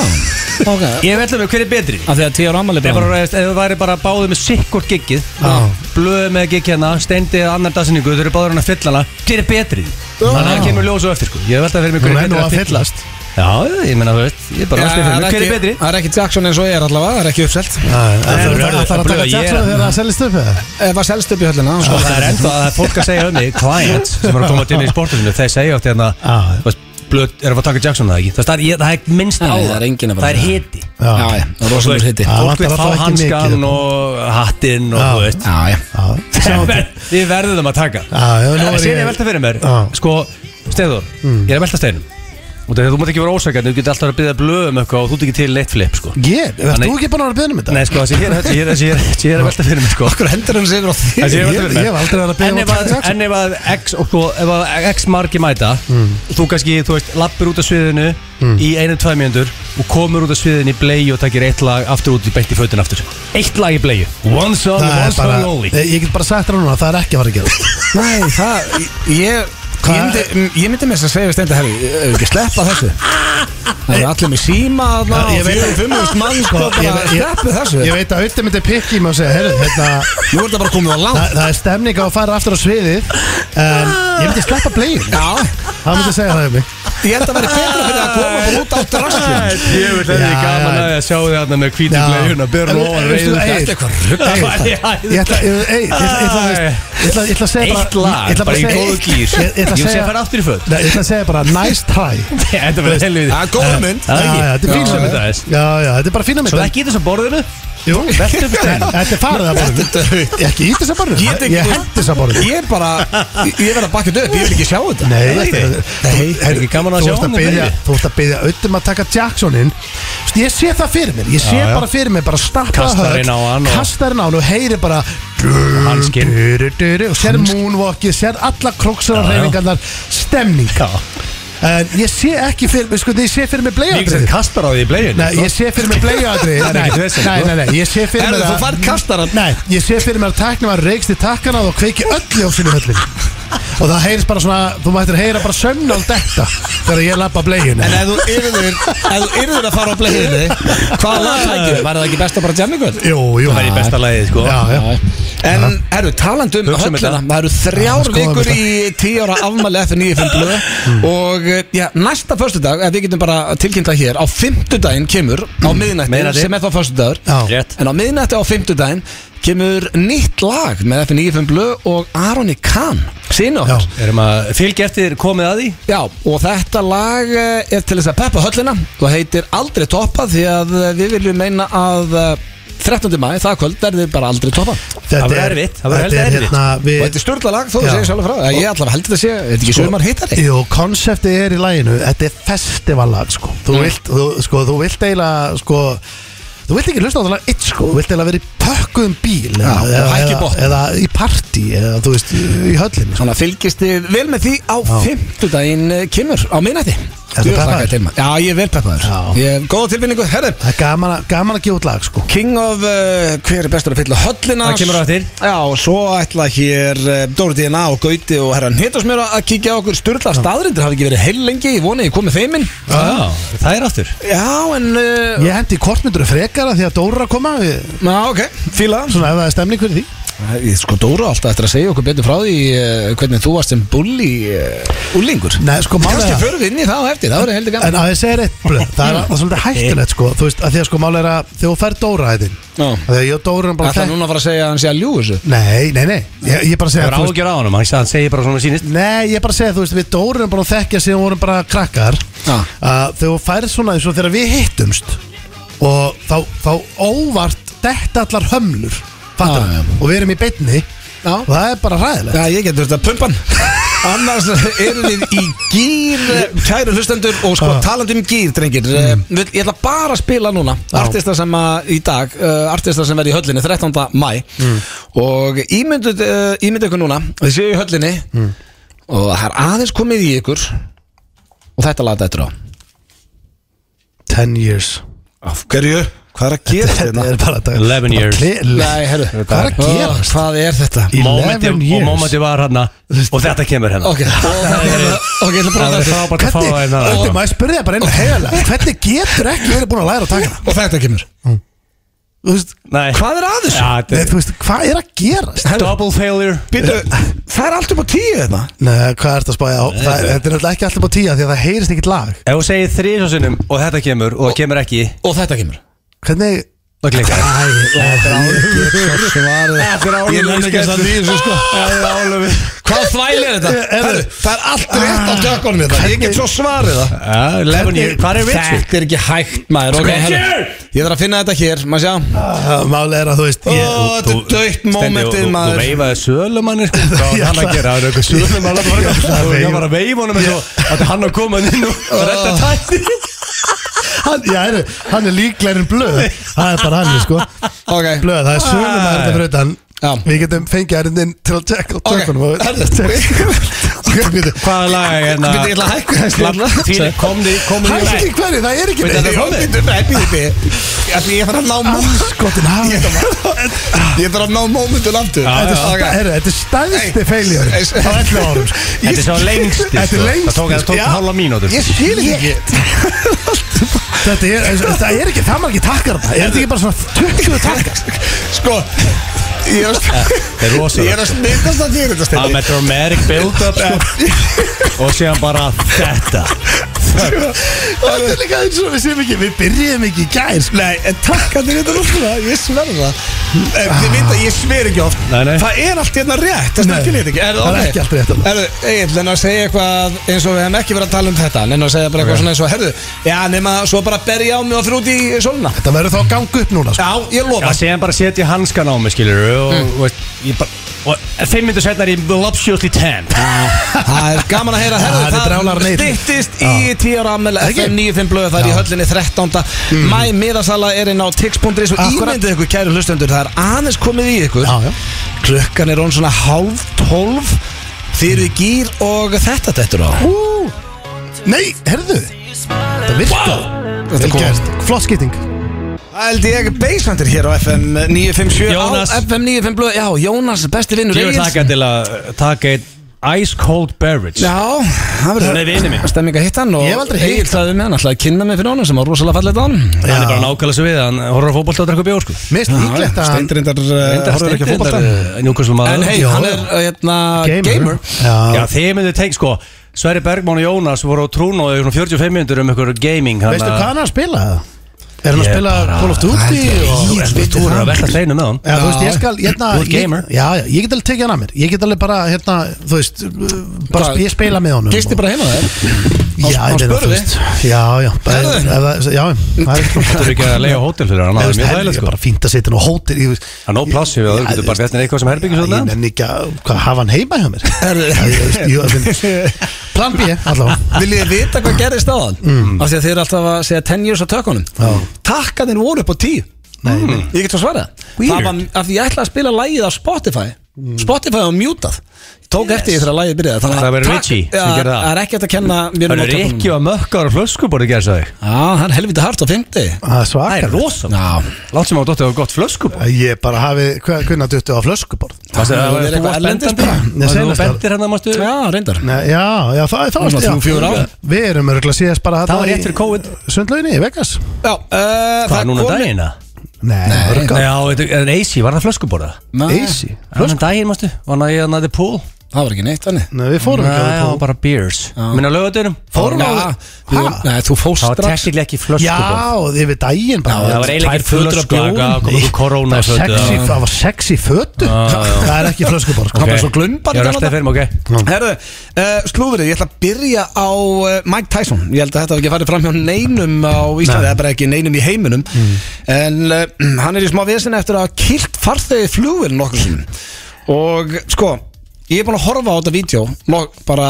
Speaker 1: ok
Speaker 3: Ég veit alveg hver er betri
Speaker 1: Af því að 10 ára ammali
Speaker 3: Ef bara- ef það væri bara báðið með sikkort giggið
Speaker 2: Já.
Speaker 3: Blöðið með gigg hérna Steindið að annar dagsinningu Þau eru báður hann að fylla hana Hver er betri? Þannig að það kemur ljós og eftir sko Ég veit að fyrir mig
Speaker 2: Hún
Speaker 3: hver
Speaker 2: er
Speaker 3: er
Speaker 2: nú
Speaker 3: betri
Speaker 2: að
Speaker 3: að fylla
Speaker 2: fyllast
Speaker 3: Já, ég meina þú veist Ég er bara að spila fyrir mig Hver er betri?
Speaker 1: Það er ekki Jackson eins og ég er allavega, það er ekki uppselt
Speaker 2: Það
Speaker 3: Það er-
Speaker 2: þarf að það þarf að
Speaker 3: Blöð,
Speaker 2: taka
Speaker 3: ég er-
Speaker 2: tjaksla þegar það selist upp eða?
Speaker 1: Eh, var selst upp í höllina
Speaker 3: Sko, það er ennþá að það er fólk að segja um mig Clients sem eru að koma til mig í sportinu Þeir segja oft hérna
Speaker 2: Já.
Speaker 3: þú veist, Blöð er að fara að taka Jackson það ekki Þú veist, Það er, ég- það er minnst á
Speaker 1: Nei,
Speaker 3: það
Speaker 1: það er enginn að fara
Speaker 3: Það er
Speaker 1: að-
Speaker 3: hiti
Speaker 2: Já.
Speaker 1: Já, já, það er rosalega hitti
Speaker 2: Já.
Speaker 3: Fólk
Speaker 2: vantar
Speaker 3: vil
Speaker 2: að
Speaker 3: fá
Speaker 2: fá ekki mikið.
Speaker 3: hanskan og hattinn og
Speaker 2: Já.
Speaker 3: þú veist
Speaker 1: Já, já
Speaker 2: Já, sjáum til.
Speaker 3: Við verðum að taka
Speaker 2: Já, já, nú er
Speaker 3: Það sé Ah. ég Mm. að
Speaker 2: ég
Speaker 3: velta fyrir mér
Speaker 2: Já.
Speaker 3: Sko, Steður, ég er að velta steinum Og þegar þú mátt ekki vera ósækjandi, þú getur alltaf að byrja blöð um eitthvað og þú ert ekki til leitt flip, sko
Speaker 2: Ég, verður
Speaker 3: Þannig-
Speaker 2: þú ekki búin að vera að beðna um þetta?
Speaker 3: Nei, sko, það sé ég er- það sé ég er- það sé ég er- það sé ég er að velta fyrir mér, sko
Speaker 1: Okkur hendur hann sigur á því
Speaker 3: Það sé ég að velta
Speaker 2: Ég-
Speaker 3: fyrir mér
Speaker 2: ég hef aldrei verið Mm. að biðja
Speaker 3: En
Speaker 2: um
Speaker 3: ef
Speaker 2: að
Speaker 3: að,
Speaker 2: taka Jackson.
Speaker 3: en ef að X, og sko, ef að X margi mæta og þú kannski, þú veist, lappir út af sviðinu
Speaker 2: Mm.
Speaker 3: í einu, tvær mjöndur og komur út af sviðinu í bleju og takir eitt lag aftur út í beitt í fötin aftur Eitt lag í bleju One song,
Speaker 2: Það
Speaker 3: one
Speaker 2: er
Speaker 3: song
Speaker 2: bara,
Speaker 3: only
Speaker 2: Ég- ég get bara sagt þér núna að það er ekki að fara að gera
Speaker 1: Nei, það, ég
Speaker 2: Hvað-
Speaker 1: Ég myndi, mm, ég myndi með þess að segja við steinda herri Ég hef ekki sleppa þessu Það er allir með síma þarna
Speaker 2: Já, ég
Speaker 1: og
Speaker 2: veit-
Speaker 1: 45.000 mann sko
Speaker 2: Sko, ég-
Speaker 1: bara
Speaker 2: ég-
Speaker 1: Sleppu þessu
Speaker 2: Ég veit að auðvitað myndi pikki í mig og segja Herru, hérna,
Speaker 1: Nú er þetta bara komið á langt
Speaker 2: það, það er stemning á að fara aftur á sviðið En ég myndi sleppa blegin
Speaker 1: Já,
Speaker 2: Það myndi segja það um mig
Speaker 1: ég held að vera betra fyrir að koma bara út á drastum
Speaker 3: Ég vil hefði
Speaker 2: Já.
Speaker 3: gaman að ég sjá þið hérna með hvítum bleiuna Börn og
Speaker 2: En- veistu,
Speaker 3: reyður
Speaker 1: Þetta er eitthvað rugl.
Speaker 2: Egill, Egill, Ég ætla ey, ég ætla- ég ætla- þú veist, ég ætla- ég ætla að segja bara
Speaker 3: Eitt lag,
Speaker 2: ég ætla
Speaker 3: bara í
Speaker 2: að segja-
Speaker 3: góðu gýr
Speaker 2: Ég ég ætla að
Speaker 3: Ég sé að fara
Speaker 2: segja
Speaker 3: aftur í föt
Speaker 2: Nei, Ég ætla að segja bara nice try
Speaker 3: Þetta verður helvið
Speaker 1: Það er góð mynd
Speaker 3: Það er
Speaker 2: Já,
Speaker 3: ekki
Speaker 2: já, þetta er fín
Speaker 3: Já,
Speaker 2: sem
Speaker 3: þetta er.
Speaker 2: Já, já, þetta er bara fína mynd
Speaker 3: Svo ekki í þessu borðinu
Speaker 2: Jú,
Speaker 3: veltu upp steinum.
Speaker 2: Þetta er farið að borðinu Ég Ekki ít þess að
Speaker 1: Ég get
Speaker 2: borðinu
Speaker 1: ekki-
Speaker 2: Ég hendi þess að borðinu
Speaker 1: Ég bara, ég ég verð að bakka þetta upp, ég vil ekki sjá þetta
Speaker 2: Nei,
Speaker 3: Nei,
Speaker 2: þetta er-
Speaker 3: nei,
Speaker 2: þú-
Speaker 3: er ekki gaman að
Speaker 2: þú
Speaker 3: sjá
Speaker 2: ert
Speaker 3: hann um
Speaker 2: biðja-
Speaker 3: leiðið?
Speaker 2: Þú ert að byggja auðvitað að taka Jacksonin Þú veist, Ég sé það fyrir mér Ég sé
Speaker 3: Já, já.
Speaker 2: bara fyrir mér bara stappa
Speaker 3: Kastar inn á hann og-
Speaker 2: Kastar inn á hann og heyri bara
Speaker 3: Hanskinn.
Speaker 2: du- du- du- du- Og sér moonwalkið, sér alla króksar og
Speaker 3: Já, já.
Speaker 2: reyfingarnar Stemning En ég sé ekki fyrir mér, sko, ég sé fyrir mér
Speaker 3: Líka sem
Speaker 2: bleiðatrið
Speaker 3: kastar á því í sko. bleinu
Speaker 2: Nei, ég sé fyrir mér bleiðatrið
Speaker 3: Það er ekkert vesen,
Speaker 2: Nei,
Speaker 3: sko.
Speaker 2: nei, nei, ég sé fyrir mér
Speaker 1: Erðu, þú
Speaker 2: að-
Speaker 1: færð kastarann
Speaker 2: Nei, ég sé fyrir mér að tæknum að reykst í takkana og kveiki öll ljósin í höllin og það heyrist bara svona, þú mættir að heyra bara sömnál detta þegar ég lappa bleginu
Speaker 1: En ef þú yrðir, ef þú yrðir að fara á bleiðinni Hvaða lag tækir? Var það ekki best að bara jamma ykkur?
Speaker 2: Jú, jú
Speaker 3: Það er í besta lagið, sko.
Speaker 2: Já, já
Speaker 1: En eru talandi um
Speaker 3: Hugsa um
Speaker 1: höllina
Speaker 3: þetta.
Speaker 1: Það eru
Speaker 2: Já,
Speaker 1: þrjár
Speaker 2: skoðum
Speaker 1: vikur
Speaker 2: þetta.
Speaker 1: í tíu ára afmæli F95 blöð Og eh, já, næsta föstudag, ef við getum bara tilkynnta hér Á fimmtudaginn kemur á miðnætti
Speaker 3: miðnætti.
Speaker 1: Sem er þá föstudagur
Speaker 2: Já.
Speaker 3: Rétt.
Speaker 1: En á miðnætti á fimmtudaginn kemur nýtt lag með F95 blöð Og Aroni Kahn, sinu okkar
Speaker 2: Já.
Speaker 3: Erum að fylgja eftir komið að því
Speaker 1: Já, og þetta lag eh, er til þess að peppa höllina og heitir Aldrei toppa því að eh, við viljum meina að eh, 13. maður, það kvöld, verður bara aldrei toppa og
Speaker 3: Það
Speaker 2: Þetta
Speaker 3: var
Speaker 2: er-
Speaker 3: erfitt, það var
Speaker 2: þetta
Speaker 3: heldur
Speaker 2: er
Speaker 3: erfitt.
Speaker 2: hérna, við-
Speaker 1: þetta er störla lag, þó þú
Speaker 2: Já.
Speaker 1: segir sjálf frá Eða ég allavega held að þetta sé, er þetta ekki sumar hittari
Speaker 2: Jú, konseptið er í laginu, þetta er festivallag sko. Þú, vilt, þú, sko, þú vilt eiginlega sko, þú vilt ekki hlusta á það lag eitt sko. þú vilt eiginlega vera í pökkuðum bíl Já,
Speaker 1: og hækka í
Speaker 2: eða,
Speaker 1: botn.
Speaker 2: eða í partí eða þú veist, í höllinni sko.
Speaker 1: Svona fylgist þið vel með því á fimmtudaginn eh, kemur á minnætti
Speaker 2: Ertu peppaður?
Speaker 1: Já, ég er vel peppaður
Speaker 2: Já.
Speaker 1: Ég hef góða tilfinningu, herðu
Speaker 2: það er gaman, að- gaman að gefa út lag sko.
Speaker 1: King of, uh, hver er bestur að fylla höllina
Speaker 3: Það kemur á eftir.
Speaker 1: Já, og svo ætla hér uh, Dóri DNA og Gauti og herran Hittasmjöra að kíkja á okkur Sturla staðrindir hafi ekki verið heil lengi, ég vona ég komið þeiminn
Speaker 3: Já, það er aftur
Speaker 1: Já, en, uh,
Speaker 2: Ég hendi kortmyndur frekara því að Dóra er að koma við,
Speaker 1: já, ok, fíla það.
Speaker 2: Svona ef það er stemning fyrir því
Speaker 1: Ég Sko Dóra alltaf eftir að segja okkur betur frá því uh, hvernig þú varst sem bulli uh, úlingur
Speaker 2: Nei, sko, málið
Speaker 1: Kannski
Speaker 2: er
Speaker 1: förum við inn í það á eftir, það verið heldur
Speaker 2: En
Speaker 1: gaman
Speaker 2: að ég segir eitt blöð, það er það er svolítið hættulegt sko Þú veist, að því að sko málega er að þegar þú fær Dóra hæðin
Speaker 1: Já.
Speaker 2: Þegar ég og Dóra erum bara
Speaker 1: Ætla
Speaker 2: þekkt
Speaker 1: núna að fara að segja að hann sé að ljú þessu
Speaker 2: Nei, nei, nei, ég, ég bara
Speaker 3: Það
Speaker 2: segja
Speaker 3: er
Speaker 2: þú veist,
Speaker 3: ágjör á honum, hann hann segir bara svona sínist
Speaker 2: Nei, ég bara segja, þú veist, við Dóra erum bara að þekkja síðan við vorum bara krakkar
Speaker 1: Já.
Speaker 2: að Þegar þú fær svona eins og þegar við hittumst Og þá, þá óvart detta allar hömlur Fattar
Speaker 1: Já, já.
Speaker 2: Og við erum í beinni
Speaker 1: Já.
Speaker 2: og það er bara ræðilegt
Speaker 1: Já, ég getur þetta pumpan Annars erum við í gýr Kæru hlustendur og sko
Speaker 2: Já.
Speaker 1: talandi um gýr drengir mm. Ég ætla bara að spila núna
Speaker 2: Já.
Speaker 1: Artista sem að, í dag uh, Artista sem verði í höllinni 13. mæ Og ímyndu uh, ímyndu ykkur núna Þið séu í höllinni Og það er aðeins komið í ykkur Og þetta laga þetta á
Speaker 2: 10 years
Speaker 1: Af hverju? Hvað er að hérna? gera
Speaker 2: Þetta er bara þetta
Speaker 3: 11 years.
Speaker 1: Nei, herru,
Speaker 2: Hvað er að gera?
Speaker 1: Hvað er þetta?
Speaker 3: Momenti,
Speaker 2: 11
Speaker 3: og
Speaker 2: years
Speaker 3: momenti var hérna og þetta kemur hérna
Speaker 1: Ok, og það er Ok, ég ætla bara
Speaker 3: það
Speaker 1: að
Speaker 3: er
Speaker 1: þetta
Speaker 3: frábært að fá
Speaker 2: Hvernig,
Speaker 3: það hérna
Speaker 2: Þetta er maður spurði það bara einu heiðalega Hvernig getur ekki verið búin að læra að taka það?
Speaker 1: Og þetta kemur
Speaker 2: Þú veist,
Speaker 3: Nei.
Speaker 1: Hvað er að þessu?
Speaker 3: Já, þetta
Speaker 2: nei,
Speaker 3: er-
Speaker 2: þú veist, hvað er að gerast?
Speaker 3: Double failure
Speaker 1: Býtu, það er allt upp á tíu hérna. þetta
Speaker 2: Nei, hvað er þetta að spája á? Það- Þetta er náttúrulega ekki alltaf á tíja því að það heyrist ekkit lag
Speaker 3: Ef þú segir þrísvarsinnum og þetta kemur og það kemur ekki
Speaker 1: Og þetta kemur
Speaker 2: Hvernig
Speaker 3: Það klikkar
Speaker 2: Æ, þetta er
Speaker 3: Þetta er
Speaker 1: Ég nenni ekki að standa í þessu, sko.
Speaker 3: álöfi
Speaker 1: Hvað þvæl er þetta?
Speaker 2: er-
Speaker 1: Herru, það er allt rétt á dökunum þetta Ég get svo svarið það
Speaker 3: álöfi Hvað er Richard?
Speaker 1: Þetta er ekki hægt maður okay, herru. Ég þarf að finna þetta hér, maður sjá
Speaker 2: álega Máli er að þú veist
Speaker 1: Ó,
Speaker 2: ég-
Speaker 1: þetta er dautt momentið
Speaker 3: Þú
Speaker 1: maður
Speaker 3: veifaði sölumannir sko. Hvað var hann að gera? Það er eitthvað sölumann að fara
Speaker 2: ætla að
Speaker 3: Þú
Speaker 2: veifa.
Speaker 3: var að veifa honum eins og Þetta er hann að koma inn og redda tætti
Speaker 2: hann, já, heru, hann er líklegri en blöð Það er bara hann, sko
Speaker 1: Ok,
Speaker 2: Blöð, það er sölum að þetta fyrir
Speaker 1: Já.
Speaker 2: utan Við getum fengið erindin til að tjekka á
Speaker 1: ok
Speaker 2: tökunum og-
Speaker 1: Herru,
Speaker 2: Hver- býtu,
Speaker 3: Hvað er laga hérna?
Speaker 1: Býtu, ég ætla að hækka hérna. þessu, ég ætla að-
Speaker 3: Tíli, komni, komni
Speaker 2: Hætti hverju, það er ekki
Speaker 1: Þetta er
Speaker 2: neitt.
Speaker 1: komið Býtu, nei, býtu, býtu Því Ég þarf að ná moment hérna,
Speaker 2: Skotin hafi
Speaker 1: Ég þarf að ná momentum aftur
Speaker 3: Já,
Speaker 2: Þetta er
Speaker 3: já,
Speaker 2: stað-
Speaker 1: Ok.
Speaker 2: heyrðu, þetta er stæðsti feiljur
Speaker 1: Ei,
Speaker 2: á 11 árum sko.
Speaker 3: Þetta er svo lengst
Speaker 2: Þetta er lengst,
Speaker 3: Það tók, það tók
Speaker 2: já.
Speaker 3: hálfa mínútur
Speaker 1: Ég skil þetta ekki
Speaker 2: Þetta er, þetta er ekki, það maður ekki takkar þetta Er þetta ekki bara svona 20 takkar
Speaker 1: Sko Ég er að-
Speaker 2: Eh,
Speaker 3: Þetta er
Speaker 1: ég er
Speaker 3: rosalega
Speaker 1: að snittast að þér þetta
Speaker 3: Það
Speaker 1: stendi
Speaker 3: með dramatic build-up sko. Og síðan bara þetta
Speaker 2: Þetta er líka eins og við séum ekki, við byrjum ekki í gær sko.
Speaker 1: Nei, en takk að þið veitir úrna, ég sverða það Þið veit að ég sver ekki oft
Speaker 3: Nei, nei.
Speaker 1: Það er allt hérna rétt, það
Speaker 2: Ah. Nei.
Speaker 1: stendur þetta ekki
Speaker 2: Það er ekki allt rétt þarna.
Speaker 1: Erðu, Egil, en að segja eitthvað eins og við hefum ekki verið að tala um þetta En að segja bara eitthvað svona eins og, herðu Já, nema svo bara berja á mig og fyrir út í solna
Speaker 2: Þetta verður þá að ganga upp núna sko.
Speaker 1: Já, ég
Speaker 3: Já,
Speaker 1: lofa
Speaker 3: síðan bara setja hanskan á mig, skilur Og, og, ég bara Og fimm minntur setna er ég voluptuously tan
Speaker 1: Það er gaman að heyra,
Speaker 2: Já, þetta er
Speaker 1: herðu,
Speaker 2: drálar
Speaker 1: það
Speaker 2: neyð.
Speaker 1: styttist í 10 ára ammel
Speaker 2: Ekki?
Speaker 1: FM 95 blöðu, það er í höllinni 13. Mæ, miðasala er inn á tix.is og
Speaker 2: Akkurat.
Speaker 1: ímyndið ykkur, kæru hlustendur, það er aðeins komið í ykkur
Speaker 2: Já, já.
Speaker 1: Klukkan er hún svona hálf tólf Þið eru í gýr og þetta dettur á
Speaker 2: Ú, Nei, herðu Þetta virka
Speaker 1: Þetta er
Speaker 2: Vel
Speaker 1: gott.
Speaker 2: gert, flott skipting
Speaker 1: Það held ég beisvandir hér á FM 957
Speaker 3: Jónas.
Speaker 1: á FM 95 blöð Já, Jónas, besti vinnur
Speaker 3: Ég vil
Speaker 1: Egils.
Speaker 3: taka til að taka einn Ice cold beverage
Speaker 1: Já, það
Speaker 3: Hann er vinur minn.
Speaker 1: verður stemming að hitta hann og
Speaker 2: Ég hef aldrei hitt
Speaker 1: Egill sagði við mig, hann ætlaði að kynna mig fyrir honum sem var rosalega fallið hann
Speaker 3: Hann er bara nákvæmlega svo við Hann horfður á fótbolta og drekka bjór sko
Speaker 2: Mist líklegt að hann
Speaker 1: Steindrindar horfður ekki að fótbolta
Speaker 3: Njúkvæmstum
Speaker 1: En hei,
Speaker 2: Já.
Speaker 1: hann er hérna gamer
Speaker 3: Já,
Speaker 2: Já,
Speaker 3: þið myndu teng, sko Sverri Bergman og Jónas voru á trúnóðu í svona 45 minntur um ykkur gaming hana-
Speaker 2: veistu hvað hann er að spila? Er hann að
Speaker 3: Ég
Speaker 2: spila
Speaker 3: bara-
Speaker 2: Call of Duty?
Speaker 3: Æ,
Speaker 2: og-
Speaker 3: Þú
Speaker 2: Ég
Speaker 3: ert-
Speaker 2: veit
Speaker 3: þú
Speaker 2: það.
Speaker 3: eru að velta steinu með hann
Speaker 2: Já, þú veist, ég skal, hérna
Speaker 3: Þú ert
Speaker 2: ég-
Speaker 3: gamer.
Speaker 2: Já, já, ég get alveg tekið hann að mér Ég get alveg bara, hérna, þú veist uh, Bara
Speaker 1: Hvað?
Speaker 2: sp ég spila með honum
Speaker 1: Gisti bara heima þér á- á
Speaker 2: Já, ég meina, þú
Speaker 1: spörði?
Speaker 2: veist, Já, já, bara,
Speaker 1: Herðu.
Speaker 2: ef, það- já, það er ekki
Speaker 3: Þú eru ekki að leiða hótel fyrir hann
Speaker 2: Nei,
Speaker 3: Það
Speaker 2: þú
Speaker 3: er
Speaker 2: veist,
Speaker 3: mjög
Speaker 2: herri,
Speaker 3: þægilegt
Speaker 2: ég
Speaker 3: sko
Speaker 2: er bara fínt að setja hann á hótel Ég veist,
Speaker 3: Það er nóg pláss yfir það, þú
Speaker 2: Já,
Speaker 3: getur
Speaker 2: þú
Speaker 3: bara
Speaker 2: veist,
Speaker 3: þetta er eitthvað sem herbyggjum
Speaker 2: Ég
Speaker 3: svolítið
Speaker 2: nenni ekki að hvað, hafa hann heima hjá mér
Speaker 1: Herðu.
Speaker 2: Já, ég veist, jú, það finn- Plan B, allavega
Speaker 1: Viljið þið vita hvað gerðist á þann? Af því að þið eru alltaf að segja 10 years á tökunum Takkanir voru upp á 10 mm. Ég get svo svarað Það var af því ég ætlaði að spila lægið á Spotify Spotify var mjútað Ég Tók eftir því þegar lægið byrjaði Þannig
Speaker 3: Það var
Speaker 1: takk-
Speaker 3: Richie sem
Speaker 1: Já,
Speaker 3: gerði það.
Speaker 1: Það er ekki hægt að kenna mér um
Speaker 3: Það eru ekki að mökka ára flöskuborði gerðs að þig
Speaker 1: Já, það er helviti hart á 50
Speaker 2: Það er svakar
Speaker 3: rosalega
Speaker 1: Já,
Speaker 3: Látt sem á dóttið á gott flöskuborð
Speaker 2: Ég bara hafi, hvernig duttu á flöskuborð
Speaker 3: Það
Speaker 1: það er
Speaker 3: er
Speaker 1: eitthvað
Speaker 3: eitthvað
Speaker 1: erlendis
Speaker 3: elendist
Speaker 1: bara.
Speaker 2: Nei,
Speaker 3: Það
Speaker 2: seinast
Speaker 3: er
Speaker 2: var-
Speaker 3: bendir hérna mástu
Speaker 1: já, reyndar
Speaker 2: Nei, Já, já, það er það
Speaker 1: Svona
Speaker 2: já.
Speaker 1: þrjú, fjögur ár.
Speaker 2: Við erum örgulega síðast bara
Speaker 3: Það var
Speaker 2: þarna
Speaker 3: rétt
Speaker 2: í
Speaker 3: fyrir COVID
Speaker 2: Sundlauginni í Vegas
Speaker 1: Já, uh, það
Speaker 3: Hvað núna
Speaker 1: komi-
Speaker 3: daginn að?
Speaker 2: Nei,
Speaker 3: Nei,
Speaker 2: örgulega
Speaker 3: já, veitu, en AC, var það flöskuborða?
Speaker 1: Nei,
Speaker 2: Easy
Speaker 3: Núna daginn mástu, var hann að ég næði pool
Speaker 1: það var ekki neitt þannig
Speaker 2: Nei, við fórum ekki á
Speaker 3: Nei,
Speaker 2: það
Speaker 3: já,
Speaker 2: pól.
Speaker 3: bara beers Minna lögutunum
Speaker 1: Fórum á
Speaker 2: Já. Ha?
Speaker 1: Nei, þú fóst
Speaker 3: Það var
Speaker 1: strax
Speaker 3: teknilega ekki
Speaker 2: Já,
Speaker 3: flöskuborð
Speaker 2: þið við daginn bara
Speaker 3: Það var
Speaker 1: Tvær
Speaker 3: eiginlega ekki flösku
Speaker 1: fötur af
Speaker 3: Það kom ykkur korona
Speaker 2: Það var sexy, það var sexy fötu Það er ekki flöskuborð sko.
Speaker 1: Það var svo glumbar í
Speaker 3: Ég er
Speaker 1: gamla daga.
Speaker 3: alltaf fyrir mig,
Speaker 1: Herðu, uh, slúðrið, ég ætla að byrja á uh, Mike Tyson Ég held að þetta hafi ekki farið fram hjá neinum á Íslandi
Speaker 2: Nei.
Speaker 1: Það er bara ekki neinum í heiminum eh, En uh, hann er í smá vesin eftir að hafa kilt farþegi flugvél nokkur sinni Og sko, ég er búin að horfa á þetta vídeo log- Bara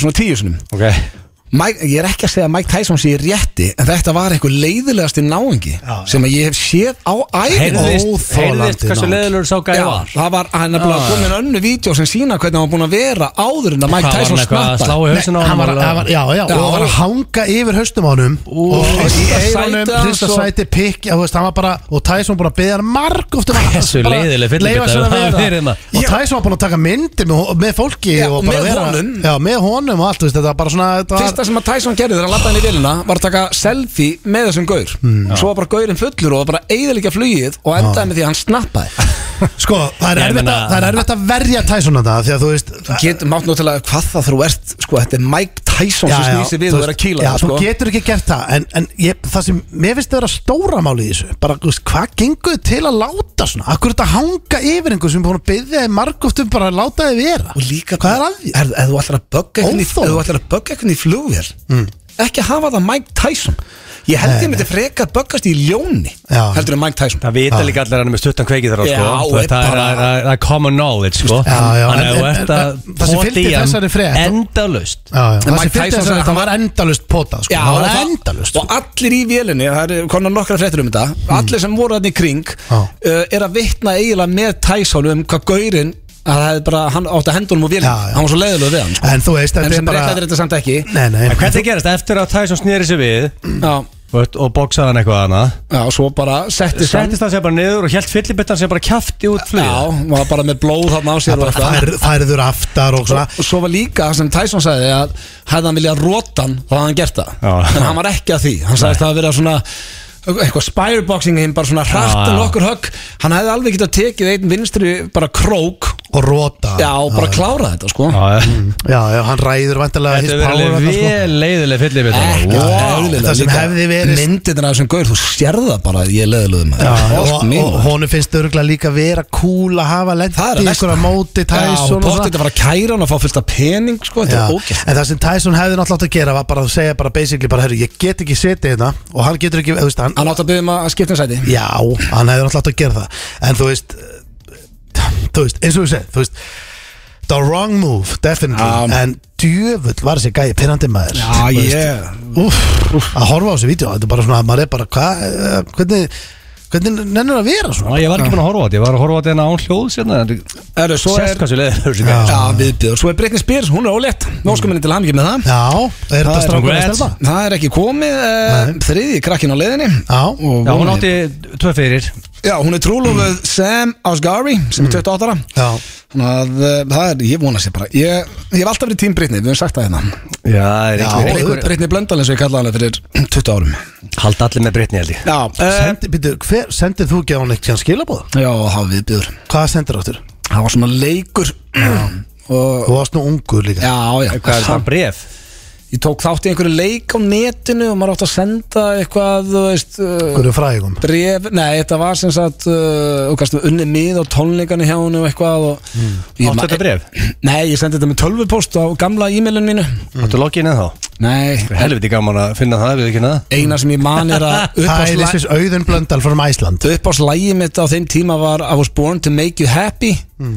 Speaker 1: svona tíu sinum
Speaker 3: Ok
Speaker 1: Mike, Ég er ekki að segja að Mike Tyson sé í rétti En þetta var eitthvað leiðilegasti náungi
Speaker 2: Já, já.
Speaker 1: Sem að ég hef séð á æfum
Speaker 3: Heyrðist,
Speaker 2: Óþolandi
Speaker 3: heyrðist hversu
Speaker 2: nánd.
Speaker 3: leðilur sá gæði
Speaker 1: Já,
Speaker 3: var
Speaker 1: það var, hann er bara
Speaker 2: Ah.
Speaker 3: Já.
Speaker 1: komin önnu vídeo sem sína hvernig hann var búin að vera áður en að Mike
Speaker 3: Hvað var
Speaker 1: Tyson
Speaker 3: hann eitthvað að
Speaker 1: snappa
Speaker 3: slá í
Speaker 2: Nei,
Speaker 3: hausinu á
Speaker 2: hann var,
Speaker 3: honum,
Speaker 2: hann var, já, já,
Speaker 1: Já,
Speaker 2: og hann var að hanga yfir haustum á honum og hrista
Speaker 1: í
Speaker 2: sæti
Speaker 1: sæti
Speaker 2: hrista
Speaker 1: hans og-
Speaker 2: sæti, pikk já, þú veist, hann var bara, og Tyson búin að beða hann um marg ofta
Speaker 3: Hversu leiðileg fyllibita hefur hann verið hérna.
Speaker 2: og Tyson var búin að taka myndi með, með fólki
Speaker 1: Já,
Speaker 2: og bara
Speaker 1: með
Speaker 2: vera,
Speaker 1: honum.
Speaker 2: já, með honum og allt, þú veist, þetta var bara svona þetta var,
Speaker 1: Fyrsta sem að Tyson gerði þegar hann lappaði hann í vilina var að taka selfie með þessum gaur
Speaker 2: Hmm,
Speaker 1: Svo var bara gaurinn fullur og var bara eigðalega flugið
Speaker 2: Ah.
Speaker 1: og endaði með því að hann snappaði
Speaker 2: sko, það er,
Speaker 3: Ég
Speaker 2: erfitt að,
Speaker 3: meina-
Speaker 2: það er erfitt að verja Tyson þetta, því að þú veist
Speaker 1: Þú getur mátt náttúrulega hvað það þú ert sko, þetta er Mike Tyson sem snýsi við
Speaker 2: þú
Speaker 1: og er að
Speaker 2: veist,
Speaker 1: kýla
Speaker 2: já,
Speaker 1: það, sko.
Speaker 2: þú getur ekki gert það en, en ég, það sem, mér finnst það vera stóra máli í þessu bara, þú veist, hvað gengur þið til að láta svona akkur þetta hanga yfir einhver sem er búin að byggja þið margóftum um bara að láta þið vera
Speaker 1: og líka
Speaker 2: hvað er að því?
Speaker 1: er, ef þú ætlar að bögga einhvern í-
Speaker 2: Óþolandi. Hmm.
Speaker 1: ef þú ætlar að bögga einhvern í flugvél ekki að hafa það Mike Tyson ég held ég myndi frekar böggast í ljóni
Speaker 2: Já.
Speaker 1: heldur en Mike Tyson
Speaker 3: Það vita líka allir að hann er með stuttan kveikið þar á,
Speaker 1: Já,
Speaker 3: sko. Þú veist, það, er,
Speaker 1: bara-
Speaker 3: það, er, það er common knowledge sko.
Speaker 2: Já, já, en-
Speaker 3: Þannig að þú
Speaker 2: en-
Speaker 3: ert
Speaker 2: en-
Speaker 3: að
Speaker 2: en- það sem fylgdi þessari frétt-
Speaker 3: Endalust
Speaker 2: Já, já,
Speaker 1: En
Speaker 2: það
Speaker 1: Mike
Speaker 2: sem fylgdi
Speaker 1: Tyson
Speaker 2: þess að
Speaker 1: sagði-
Speaker 2: þetta var endalust potað sko. það
Speaker 1: og
Speaker 2: var
Speaker 1: það-
Speaker 2: endalust
Speaker 1: Og allir í vélinni, það er konar nokkra fréttir um þetta Allir sem voru hann í kring
Speaker 2: Mm. Já.
Speaker 1: uh, Er að vitna eiginlega með Tyson Um hvað gaurinn að það hefði bara, Hann átti að hendunum úr vélinni,
Speaker 2: Já, já.
Speaker 1: hann var svo leiðilega við hann sko.
Speaker 2: en þú veist,
Speaker 1: En
Speaker 2: þetta
Speaker 1: sem
Speaker 2: er bara
Speaker 1: réttlætir þetta samt ekki
Speaker 2: nei, nei,
Speaker 3: En hvernig gerast eftir að Tyson snýri sér við
Speaker 1: Já,
Speaker 3: veit, og boksaði hann eitthvað hana
Speaker 1: já og svo bara settist hann
Speaker 3: Settist hann sér bara niður og held fyllibittan sér bara kjafti út
Speaker 1: Já,
Speaker 3: flýð
Speaker 1: hann var bara með blóð þarna á sér og
Speaker 2: það bara
Speaker 1: eitthvað.
Speaker 2: fær- færður aftar og svona
Speaker 1: Og svo var líka sem Tyson sagði að hefði hann viljað róta hann þá hefði hann gert það
Speaker 3: Já.
Speaker 1: en hann var ekki að því, hann sagðist það að vera svona eitthvað spireboxing hinn bara svona hrætt
Speaker 3: Já,
Speaker 1: en
Speaker 3: já.
Speaker 1: okkur högg hann hefði alveg getað tekið einn vinstri bara krók
Speaker 2: og róta
Speaker 1: já og bara klára þetta sko
Speaker 3: Þetta
Speaker 2: já, já, hann ræður vantilega
Speaker 3: er verið
Speaker 2: sko.
Speaker 3: vel leiðileg fyllibittan
Speaker 1: ekki
Speaker 2: Wow.
Speaker 1: eðlilega
Speaker 2: Það sem
Speaker 1: líka.
Speaker 2: hefði verið-
Speaker 1: myndirnar af þessum gaur, þú sérð það bara að ég leðilegði
Speaker 2: Já,
Speaker 1: maður
Speaker 2: og,
Speaker 1: Oft mín,
Speaker 2: og
Speaker 1: maður.
Speaker 2: honum finnst örgulega líka vera cool að hafa lendi
Speaker 1: Það er að
Speaker 2: í
Speaker 1: versta.
Speaker 2: einhverja
Speaker 1: Já,
Speaker 2: móti
Speaker 1: og
Speaker 2: Tyson og
Speaker 1: bóttið
Speaker 2: svona
Speaker 1: að fara að kæra hann og fá fullt af pening sko, þetta
Speaker 2: Já,
Speaker 1: er ógæst
Speaker 2: en það sem Tyson hefði náttúrulega átt að gera var bara að segja bara basically bara, herru, ég get ekki setið hérna og hann getur ekki, þú veist, hann
Speaker 1: hann átt að byggja um að skipta um sæti
Speaker 2: já, hann hefði náttúrulega átt að gera það en þú veist eh, þú veist, eins og þú segir, þú veist the wrong move, definitely
Speaker 1: Já.
Speaker 2: en djöfull var þessi gæi pinnandi maður
Speaker 1: já
Speaker 2: Þú veist,
Speaker 1: ég
Speaker 2: úff, að horfa á þessi vídeo, þetta er bara svona maður er bara, hvað, eh, hvernig hvernig nennur að vera svona
Speaker 3: Ég var ekki búin að horfa á þetta, ég var að horfa á þetta en án hljóð sérna
Speaker 1: Erðu, svo er
Speaker 3: Sest hversu leiðilegur sér
Speaker 2: Já.
Speaker 1: Já, viðbjöður. Svo er Britney Spears, hún er ólétt. Óskuminni til hamingið með það.
Speaker 2: Já, er þetta
Speaker 3: er
Speaker 2: strákur að
Speaker 3: congrats.
Speaker 2: stelpa?
Speaker 1: Það er ekki komið, uh, þriði krakkin á leiðinni.
Speaker 2: Já.
Speaker 1: Og
Speaker 3: Já, hún átti tvö fyrir
Speaker 1: Já, hún er trúlofuð Sam Asghari, sem
Speaker 3: Mm.
Speaker 1: er 28 ára.
Speaker 2: Já,
Speaker 1: Þannig að uh, það er, ég vona sér bara. Ég, ég hef alltaf verið tím Britney, við höfum sagt það hérna.
Speaker 3: Já, er
Speaker 2: Já.
Speaker 3: ekki
Speaker 1: Britney, Britney Blöndal eins og ég kallaði hana fyrir 20 árum.
Speaker 3: Hald allir með Britni held ég
Speaker 1: Já, uh,
Speaker 2: sendi, byrju, hver, sendir þú ekki á hann eitthvað skilabóð?
Speaker 1: já, það viðbjöður.
Speaker 2: Hvað sendir áttur?
Speaker 1: Það var svona leikur. og,
Speaker 2: Þú varst nú ungur líka
Speaker 1: já, já.
Speaker 3: Hvað er það bref?
Speaker 1: Ég tók þátt í einhverju leik á netinu og maður átt að senda eitthvað, þú veist... Uh,
Speaker 2: Hverju frægum?
Speaker 1: bref, nei þetta var sem sagt uh, og kannski unni mið á tónleikanu hjá hún og eitthvað og
Speaker 2: Hmm.
Speaker 1: Ég
Speaker 3: Áttu
Speaker 1: ma- eh,
Speaker 3: þetta bréf?
Speaker 1: Nei, ég sendi þetta með tölvupost á gamla e-mailun mínu
Speaker 3: Áttu loggin eða þá?
Speaker 1: Nei,
Speaker 3: Mm. Helviti gaman að finna það, við ekki hana
Speaker 1: eina sem ég man er að
Speaker 2: Hi, this
Speaker 1: uppáslægi
Speaker 2: is Auðun Blöndal from Iceland
Speaker 1: uppáslægi mitt á þeim tíma var I was born to make you happy
Speaker 2: Hmm.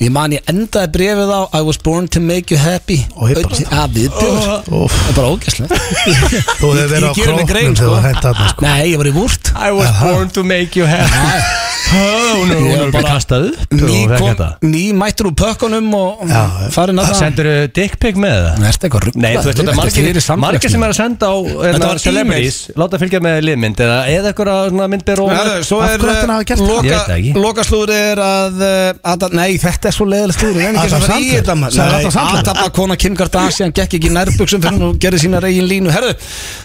Speaker 1: ég man ég endaði brefið á I was born to make you happy
Speaker 2: Og ég bara-
Speaker 1: að viðbjör
Speaker 2: Úff,
Speaker 1: Það er bara ógæslegt
Speaker 2: Þú hefur verið á
Speaker 1: ég geri mér
Speaker 2: króknum
Speaker 1: grein,
Speaker 2: þegar
Speaker 1: sko.
Speaker 2: þú hætti þarna sko.
Speaker 1: Nei, ég var í vúrt
Speaker 3: I was born to make you happy Oh, no,
Speaker 1: Ég
Speaker 3: no,
Speaker 1: var bara-
Speaker 3: bara kastað upp og
Speaker 1: Ný,
Speaker 3: fekk
Speaker 1: kom,
Speaker 3: þetta.
Speaker 1: ný mættur úr pökkunum og
Speaker 2: Já,
Speaker 1: farin að það
Speaker 3: Sendirðu dick pic með það?
Speaker 1: Það er eitthvað ruggla
Speaker 3: Nei, þú veist þetta er margir, margir sem er að senda á
Speaker 1: Þetta
Speaker 3: hérna,
Speaker 1: var
Speaker 3: celebrities, láta fylgja með liðmynd eða eða eitthvað myndbyr og
Speaker 1: Herðu, svo er
Speaker 2: Af
Speaker 1: eh,
Speaker 2: hverju ætti hann að hafa gert það?
Speaker 3: Ég veit það ekki.
Speaker 1: loka slúður er að, eh, að að- Nei, þetta er svo leiðileg slúður Ég er ekki að fara í
Speaker 2: Adam Sandler?
Speaker 1: þetta maður.
Speaker 2: Sagði Adam
Speaker 1: Nei,
Speaker 2: Sandler?
Speaker 1: Atabla kona Kim Kardashian gekk ekki í nærbuksum fyrir hún gerði sína regin línu Herðu,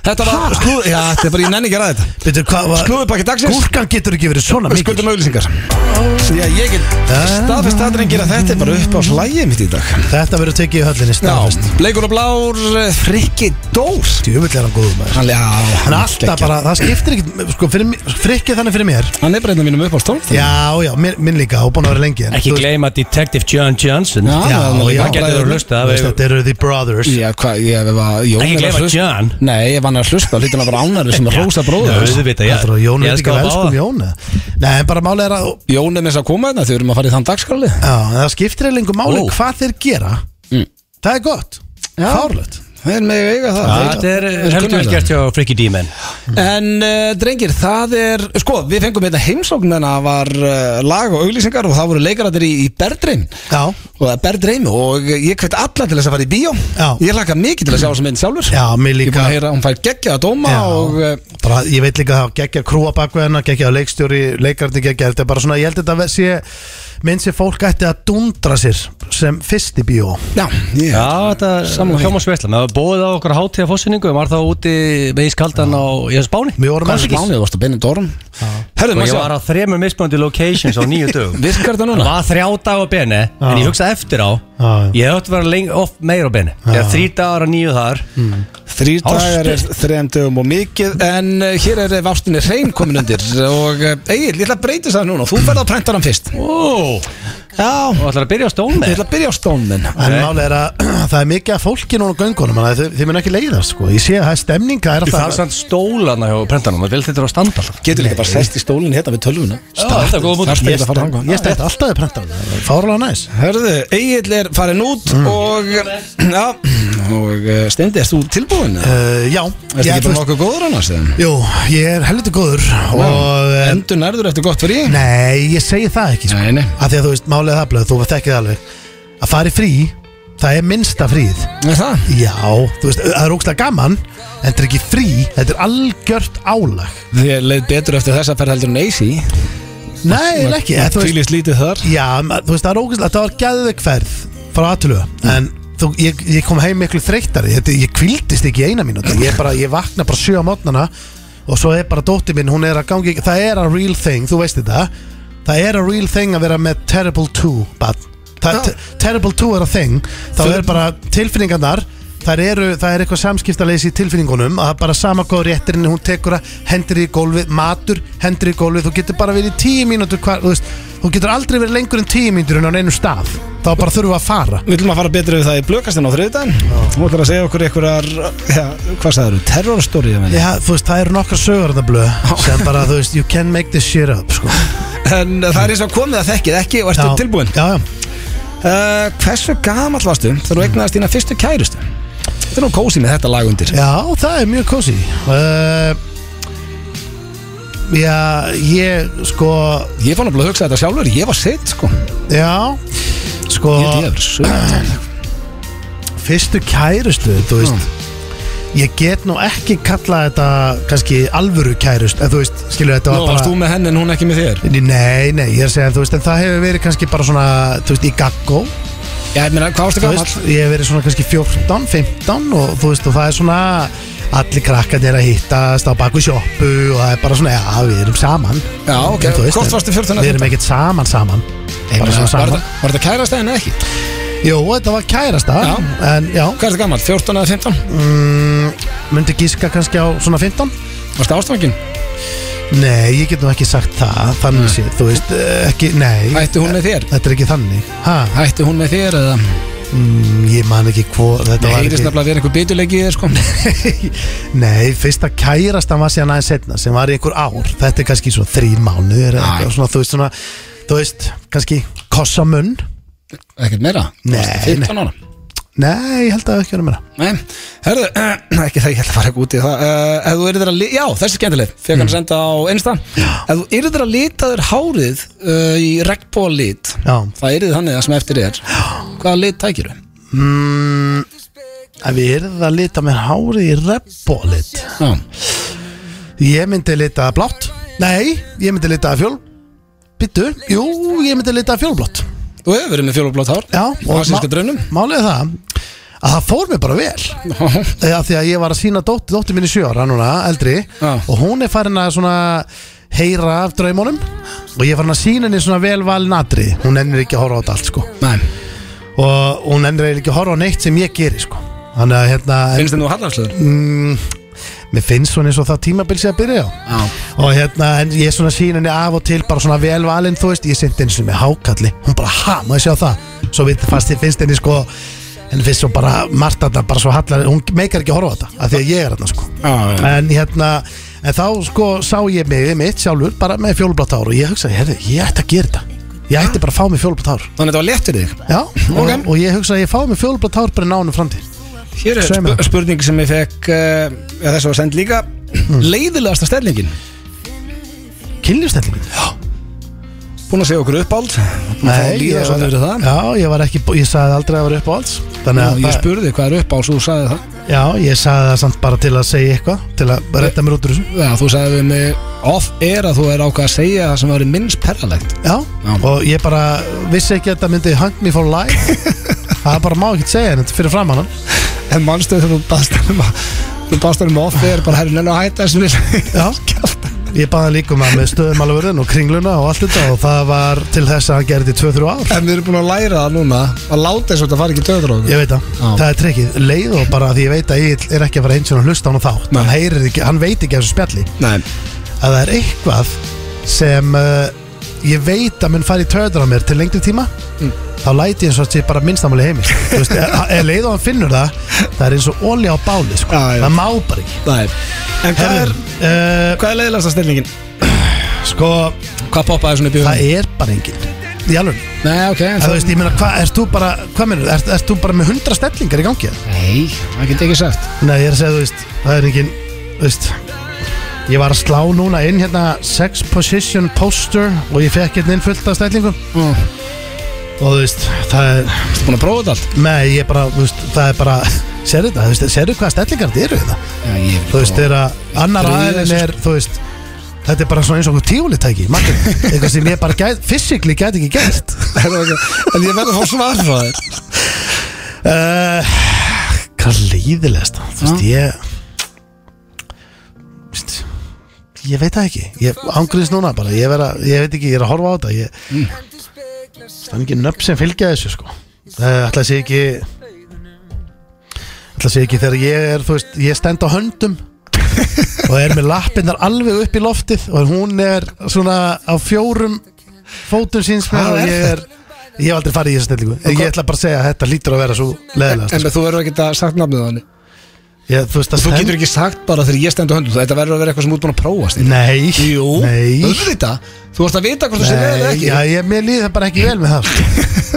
Speaker 1: þetta var slúður Já, þetta er bara, ég nenni ekki að ræða þetta
Speaker 2: Byrju, hvað var?
Speaker 1: Slúðurbakki dagsins
Speaker 2: Gúrkan getur ekki verið svona
Speaker 1: Við
Speaker 2: mikil
Speaker 1: skuldum auðlýsingar Já, ég get staðfest aðrengir að þetta er bara upp á slægi mitt í dag
Speaker 2: Þetta verður tekið í höllinni
Speaker 1: sko. Já,
Speaker 2: staðfest
Speaker 1: bleikur og blár, eh, frikki dór
Speaker 2: Djöfull er hann góður maður
Speaker 1: Hann, já,
Speaker 2: En
Speaker 1: hann,
Speaker 2: alltaf
Speaker 1: geggjaður.
Speaker 2: bara, það skiptir ekki sko, fyrir mér- Frikkið þannig fyrir mér
Speaker 1: hann er bara einn af mínum upp á stólf
Speaker 2: Já, já, minn, minn líka, og búin að vera lengi en
Speaker 3: ekki
Speaker 2: þú-
Speaker 3: gleyma Detective John Johnson
Speaker 1: Já,
Speaker 2: Já, já,
Speaker 3: Það getur þú að hlusta
Speaker 2: Þú veist, Þetta eru the brothers
Speaker 1: Já, hvað, ég hef að Jón er
Speaker 3: Ekki
Speaker 1: að
Speaker 3: gleyma
Speaker 1: hlusta
Speaker 3: John.
Speaker 1: Nei, ef hann er að hlusta, hlutin að vera ánæri sem að rosa bróður
Speaker 3: Já, auðvitað,
Speaker 2: Þetta er að Jón er
Speaker 3: Ég
Speaker 2: ekki
Speaker 3: elska þá
Speaker 2: velskum
Speaker 3: báða.
Speaker 2: Jón eða? Nei, en bara málið er að
Speaker 1: Jón er með þess að koma þetta, þau erum að fara í þann dagskrali
Speaker 2: já, það skiptir eða lengur máli
Speaker 1: Ó.
Speaker 2: hvað þeir gera
Speaker 1: Mm.
Speaker 2: það er gott, fárlögt
Speaker 1: Það er með eiga það
Speaker 3: Þetta er
Speaker 1: Þeir
Speaker 3: heldur
Speaker 1: kunna
Speaker 3: vel
Speaker 1: þetta.
Speaker 3: gert hjá Freaky D-Man
Speaker 1: En uh, drengir, það er Sko, við fengum hérna heimsókn En það var uh, lag og auglýsingar Og það voru leikarættir í, í Berdrein
Speaker 2: já,
Speaker 1: Og það er Berdrein og ég hvet alla til þess að fara í bíó
Speaker 2: Já.
Speaker 1: Ég laka mikið til að sjá þess að mynd sjálfur
Speaker 2: já, mér
Speaker 1: Ég er búin
Speaker 2: líka
Speaker 1: að heyra, að hún fær geggjaða dóma
Speaker 2: Já.
Speaker 1: og uh,
Speaker 2: bara, ég veit líka að það geggja krúa bakveðina geggja leikstjóri, leikarni geggja þetta er bara svona, ég held þetta sé minn sem fólk ætti að dundra sér sem fyrst í bíó
Speaker 1: Já, ég
Speaker 3: Já, þetta er Hjómas Veslan Það var bóðið á okkur hátíða fósinningu Var þá úti með ískaldan á Jens Báni
Speaker 2: Við vorum
Speaker 1: Kanski
Speaker 2: aðeins-
Speaker 1: mánuðið, þú varst að benni dórum Herðu,
Speaker 3: Og ég
Speaker 1: maður
Speaker 3: var
Speaker 1: um sjá,
Speaker 3: á þremur mismöndi locations á nýju dögum
Speaker 1: virkar þetta
Speaker 3: Það
Speaker 1: núna?
Speaker 3: var þrjá dag á beni En ég hugsaði eftir á
Speaker 2: Já.
Speaker 3: Ég höfði að vera lengi, oft meira á beni Ég þrý dagar á nýju þar
Speaker 1: Þrýr dagar er
Speaker 3: Ástu.
Speaker 1: þrejum dögum og mikið En uh, hér er vástinni hrein komin undir Og uh, Egil, ég ætla að breyta það núna og Þú ferð að prenta hann fyrst
Speaker 3: Ó,
Speaker 1: Já,
Speaker 3: og ætlar að byrja á stónu
Speaker 1: ég ætla að byrja á stónin
Speaker 2: En málið er að það er mikið af fólki núna á göngunum, þannig að þið, þið mun ekki leiðast sko. Ég sé að það er stemning, það er
Speaker 3: Þú þarf
Speaker 2: alltaf
Speaker 3: samt stólana hjá prentanum Það vil þetta vera að standa alltaf
Speaker 1: Getur líka bara sest í stólinn hérna við tölvuna
Speaker 3: þetta er góð mútur.
Speaker 1: Þarf ekki
Speaker 2: Ég
Speaker 1: að fara
Speaker 2: stend-
Speaker 1: þangað.
Speaker 2: Ég stætt alltaf að prenta á það Fárlega næs
Speaker 1: Hörðu, Egil er farin út
Speaker 2: Mm.
Speaker 1: og eh, Já, og uh, Steindi, erst þú tilbúin? Uh,
Speaker 2: uh, Já
Speaker 1: Erst
Speaker 2: ég,
Speaker 1: ekki bara nokkuð góður annars? eða?
Speaker 2: Jú, ég er helviti góður Og eh,
Speaker 1: Endur nærður eftir gott frí?
Speaker 2: Nei, ég segi það ekki sko.
Speaker 1: Nei, nei
Speaker 2: Af því að þú veist, málið er það blöð, þú þekkið það alveg Að fara í frí, það er minnsta fríð
Speaker 1: Er það?
Speaker 2: Já, þú veist, það er ógstlega gaman En þetta er ekki frí, þetta er algjört álag
Speaker 1: Þið leið betur eftir þessa ferð heldur en AC
Speaker 2: Nei, eiginlega ekki eh, þú veist-
Speaker 1: Fylgist lítið þar
Speaker 2: Já, ma- þú veist, það er ógæslega, það var gæðvegferð frá aðtölu, en þú, ég, ég kom heim miklu þreyttari, þetta, ég kvildist ekki í eina mínúti, ég bara, ég vakna bara sjö á mótnana og svo er bara dóttir minn, hún er að gangi, það er a real thing, þú veist þetta, það er a real thing að vera með terrible two, bad,
Speaker 1: Já.
Speaker 2: terrible two er a thing, þá er bara tilfinningarnar, Það eru, það er eitthvað samskiptaleysi í tilfinningunum að það er bara sama hvað réttirinn hún tekur að hendur í gólfið, matur hendur í gólfið, þú getur bara verið í tíu mínútur hvar, þú, veist, þú getur aldrei verið lengur en tíu mínútur en á neinum stað, þá bara þurfum við að fara
Speaker 1: Við viljum að fara betur yfir það í blökastinn á þriðdæn Þú ætlar að segja okkur einhverjar ja, Hvað sagður þú? Terrorstóri
Speaker 2: Já, þú veist, það eru nokkra sögur þarna blöð sem bara, þú veist, you can make this shit up sko.
Speaker 1: En það er eins og komið að þekkið ekki og ertu
Speaker 2: Já.
Speaker 1: tilbúin
Speaker 2: Já, já,
Speaker 1: uh, Hversu gamall varstu þegar þú egnaðast þína fyrstu kærustu? Þetta er nú kósið með þetta lag undir
Speaker 2: já, það er mjög kósi uh, Já, ég, sko
Speaker 1: Ég fann að hugsa þetta sjálfur, ég var sitt sko
Speaker 2: Já, sko
Speaker 1: Ég held ég hefur sögð
Speaker 2: fyrstu kærustu þú veist ég get nú ekki kalla þetta kannski alvöru kærust en þú veist, skilur þetta
Speaker 1: Nú
Speaker 2: var
Speaker 1: varst þú
Speaker 2: bara
Speaker 1: með henni en hún ekki með þér
Speaker 2: Nei, nei, ég er að segja, þú veist, en það hefur verið kannski bara svona, þú veist, í gaggó
Speaker 1: Já, ég meina, hvað varstu
Speaker 2: Þú
Speaker 1: gamall?
Speaker 2: veist, ég hef verið svona kannski 14, 15 og þú veist, og það er svona allir krakkarnir að hittast á baku sjoppu og það er bara svona, já, við erum saman
Speaker 1: Já, ok,
Speaker 2: Þú veist,
Speaker 1: hvort varstu 14
Speaker 2: Við erum ekkert saman saman
Speaker 1: Ég
Speaker 2: Bara
Speaker 1: meina,
Speaker 2: svona
Speaker 1: Var
Speaker 2: saman
Speaker 1: þetta- var þetta kærasta en ekki?
Speaker 2: Jú, þetta var kærasta,
Speaker 1: Já.
Speaker 2: en já,
Speaker 1: Hvað er þetta gammal? 14 eða 15?
Speaker 2: myndi Mm, gíska kannski á svona 15
Speaker 1: Varstu ástfangin?
Speaker 2: Nei, ég get nú ekki sagt það Þannig sé, þú veist, eh, ekki, nei
Speaker 1: Hætti hún með þér?
Speaker 2: Þetta er ekki þannig ha,
Speaker 1: Hætti hún með þér eða?
Speaker 2: mm, Ég man ekki hvað
Speaker 1: Það
Speaker 2: Þetta
Speaker 1: heyrist
Speaker 2: var
Speaker 1: nefnilega að vera einhver bitulegi í þér sko
Speaker 2: ekki Nei, fyrsta kærastan var síðan aðeins setna sem var í einhver ár, þetta er kannski svona þrín mánuður eða
Speaker 1: Æ.
Speaker 2: eitthvað svona, þú veist svona þú veist, kannski kossamunn
Speaker 1: Ekkert meira?
Speaker 2: Nei,
Speaker 1: Varstu 15 ára?
Speaker 2: Nei, ég held að það hafi ekki verið meira
Speaker 1: Nei, herðu, ekki það ég ætla að fara ekki út í það uh, Ef þú yrðir að, li- já þessi er skemmtileg Fekk hann senda á Insta Ef þú yrðir að lita þér hárið uh, í regnbóa lit
Speaker 2: Já,
Speaker 1: Það yrðir þannig það sem eftir er Hvaða lit tækiru?
Speaker 2: mm, ef ég er að lita mér hárið í reppbólit
Speaker 1: Já,
Speaker 2: Ég myndi lita blátt Nei, ég myndi lita fjól Bittu, jú, ég myndi lita fjólblótt
Speaker 1: þú hefur verið með fjólublátt hár
Speaker 2: Já,
Speaker 1: og rasíska draunum
Speaker 2: Málið er það að það fór mér bara vel
Speaker 1: Já,
Speaker 2: Þegar því að ég var að sína dóttir, dóttir minni sjö ára núna, eldri
Speaker 1: Já.
Speaker 2: Og hún er farin að svona heyra af draumunum Og ég er farin að sína henni svona vel valin natri Hún ennir ekki að horfa á þetta allt sko
Speaker 1: Nei,
Speaker 2: Og hún ennir ekki að horfa á neitt sem ég geri sko Þannig að hérna,
Speaker 1: finnst þið nú hallarslegur?
Speaker 2: mm, mér finnst svona eins og það tímabil sé að byrja á
Speaker 1: Já,
Speaker 2: og hérna, en ég svona sín henni af og til bara svona velvalinn, þú veist, ég sendi henni svona með hákalli, hún bara, ha, má ég sjá það svo við, fast ég finnst henni sko henni finnst svo bara margt að það, bara svo hallar hún meikar ekki að horfa á þetta, af því að ég er hérna sko
Speaker 1: já, já
Speaker 2: en hérna, en þá sko sá ég mig mitt sjálfur bara með fjólublátt hár og ég hugsaði, herði, ég ætti að gera þetta ég ætti bara að fá mig fjólublátt hár
Speaker 1: Þannig að þetta var létt fyrir þig
Speaker 2: Já, og, og ég hugsaði, ég fá mig fjólublátt hár bara í nánum framtíð
Speaker 1: Hér er
Speaker 2: Segðu mér
Speaker 1: sp
Speaker 2: það.
Speaker 1: spurning sem ég fekk uh, já, Þess var send líka Mm. Leiðilegasta stellingin
Speaker 2: Kynlýfstellingin?
Speaker 1: Búin að segja okkur uppáld líða svo fyrir það
Speaker 2: Já, ég var ekki, bú- ég sagði aldrei að það var upp á alls Þannig
Speaker 1: Nú,
Speaker 2: að
Speaker 1: Ég
Speaker 2: það-
Speaker 1: spurði hvað er uppáld, svo þú sagði það
Speaker 2: Já, ég sagði það samt bara til að segja eitthvað Til að redda mér út úr þessu
Speaker 1: Já, þú sagði við mig off-air að þú er ákvað að segja það sem var minnst perralegt
Speaker 2: Já,
Speaker 1: Já.
Speaker 2: og ég bara vissi ekki að þetta myndi Hunt me for life Það bara má ekki segja en þetta fyrir fram hann
Speaker 1: En mannstu þegar þú baðst hann um að Þú baðst hann um off-air, bara herri nenni að hætta þessum við
Speaker 2: Já, ég baði líka um að með stöðum alveg og kringluna og allt þetta og það var til þess að hann gerði í 2-3 ár
Speaker 1: En við erum búin að læra það núna Að láta þess að þetta fari ekki döður á okkur
Speaker 2: Ég veit það,
Speaker 1: Já.
Speaker 2: það er trekkið leið og bara því ég veit að ég er ekki að fara eins og hann hlusta á hann þá
Speaker 1: Nei.
Speaker 2: hann, heyrir ekki, hann veit ekki af þessu spjalli
Speaker 1: Nei,
Speaker 2: að það er eitthvað sem uh, ég veit að mun fara í töður á mér til lengri tíma þá læti ég eins og að ég bara minnstamáli heimi Þú veist, eða leið og hann finnur það það er eins og olja á báli sko.
Speaker 1: Já, já.
Speaker 2: það má bara ekki
Speaker 1: nei En hvað er,
Speaker 2: Herðu, uh,
Speaker 1: hvað er leiðilegasta stellingin?
Speaker 2: sko,
Speaker 1: Hvað poppaði svona í
Speaker 2: það
Speaker 1: bíóinu?
Speaker 2: er bara engin í alveg,
Speaker 1: Nei, ok en
Speaker 2: þú veist, ég meina, hvað, ert þú bara hvað minnur, ert, ert þú bara með hundra stellingar í gangi eða?
Speaker 1: Nei, það get ég ekki sagt
Speaker 2: nei, ég er að segja, þú veist, það er engin þú veist Ég var að slá núna inn hérna sex position poster og ég fekk hérna inn fullt af stællingum
Speaker 1: mm.
Speaker 2: og þú veist, það er
Speaker 1: Ertu búin að prófa þetta allt?
Speaker 2: Nei, ég bara, þú veist, það er bara Serðu þetta, þú veist, serðu hvaða stellingar þetta eru þetta
Speaker 1: Já, ég vil
Speaker 2: Þú veist,
Speaker 1: prófa.
Speaker 2: þegar að annar
Speaker 1: Drífa
Speaker 2: aðeins
Speaker 1: þessu,
Speaker 2: er, þú veist Þetta er bara svona eins og okkur tífulitæki magnum. Eitthvað sem ég bara gæt, fysikli gæti ekki gæst
Speaker 1: Herra, ok. En ég verði að fá svar frá þér
Speaker 2: uh, Hvað líðilegast Þú veist, ég Þú veist, Ég veit það ekki Ég ángriðist núna bara ég, vera, ég veit ekki, ég er að horfa á þetta Ég mm. Það er ekki nöfn sem fylgja þessu sko Það ætla að sé ekki ætla að sé ekki þegar ég er þú veist, ég stend á höndum og er með lappinnar alveg upp í loftið og hún er svona á fjórum fótum síns með
Speaker 1: Hvað
Speaker 2: og
Speaker 1: er
Speaker 2: ég er ég hef aldrei farið í þessa stellingu ég ætla bara að segja að þetta lítur að vera svo leðilegast
Speaker 1: En þú verður ekki að sagt nafnið á henni
Speaker 2: ég, þú veist að
Speaker 1: Þú getur ekki sagt bara þegar ég stendur höndum Þetta verður að vera eitthvað sem út búin að prófa Steini.
Speaker 2: nei,
Speaker 1: Jú,
Speaker 2: nei,
Speaker 1: auðvitað Þú vorst að vita hvort þú sé leið eða
Speaker 2: nei
Speaker 1: ekki
Speaker 2: já, ég, mér líður það bara ekki vel með það sko.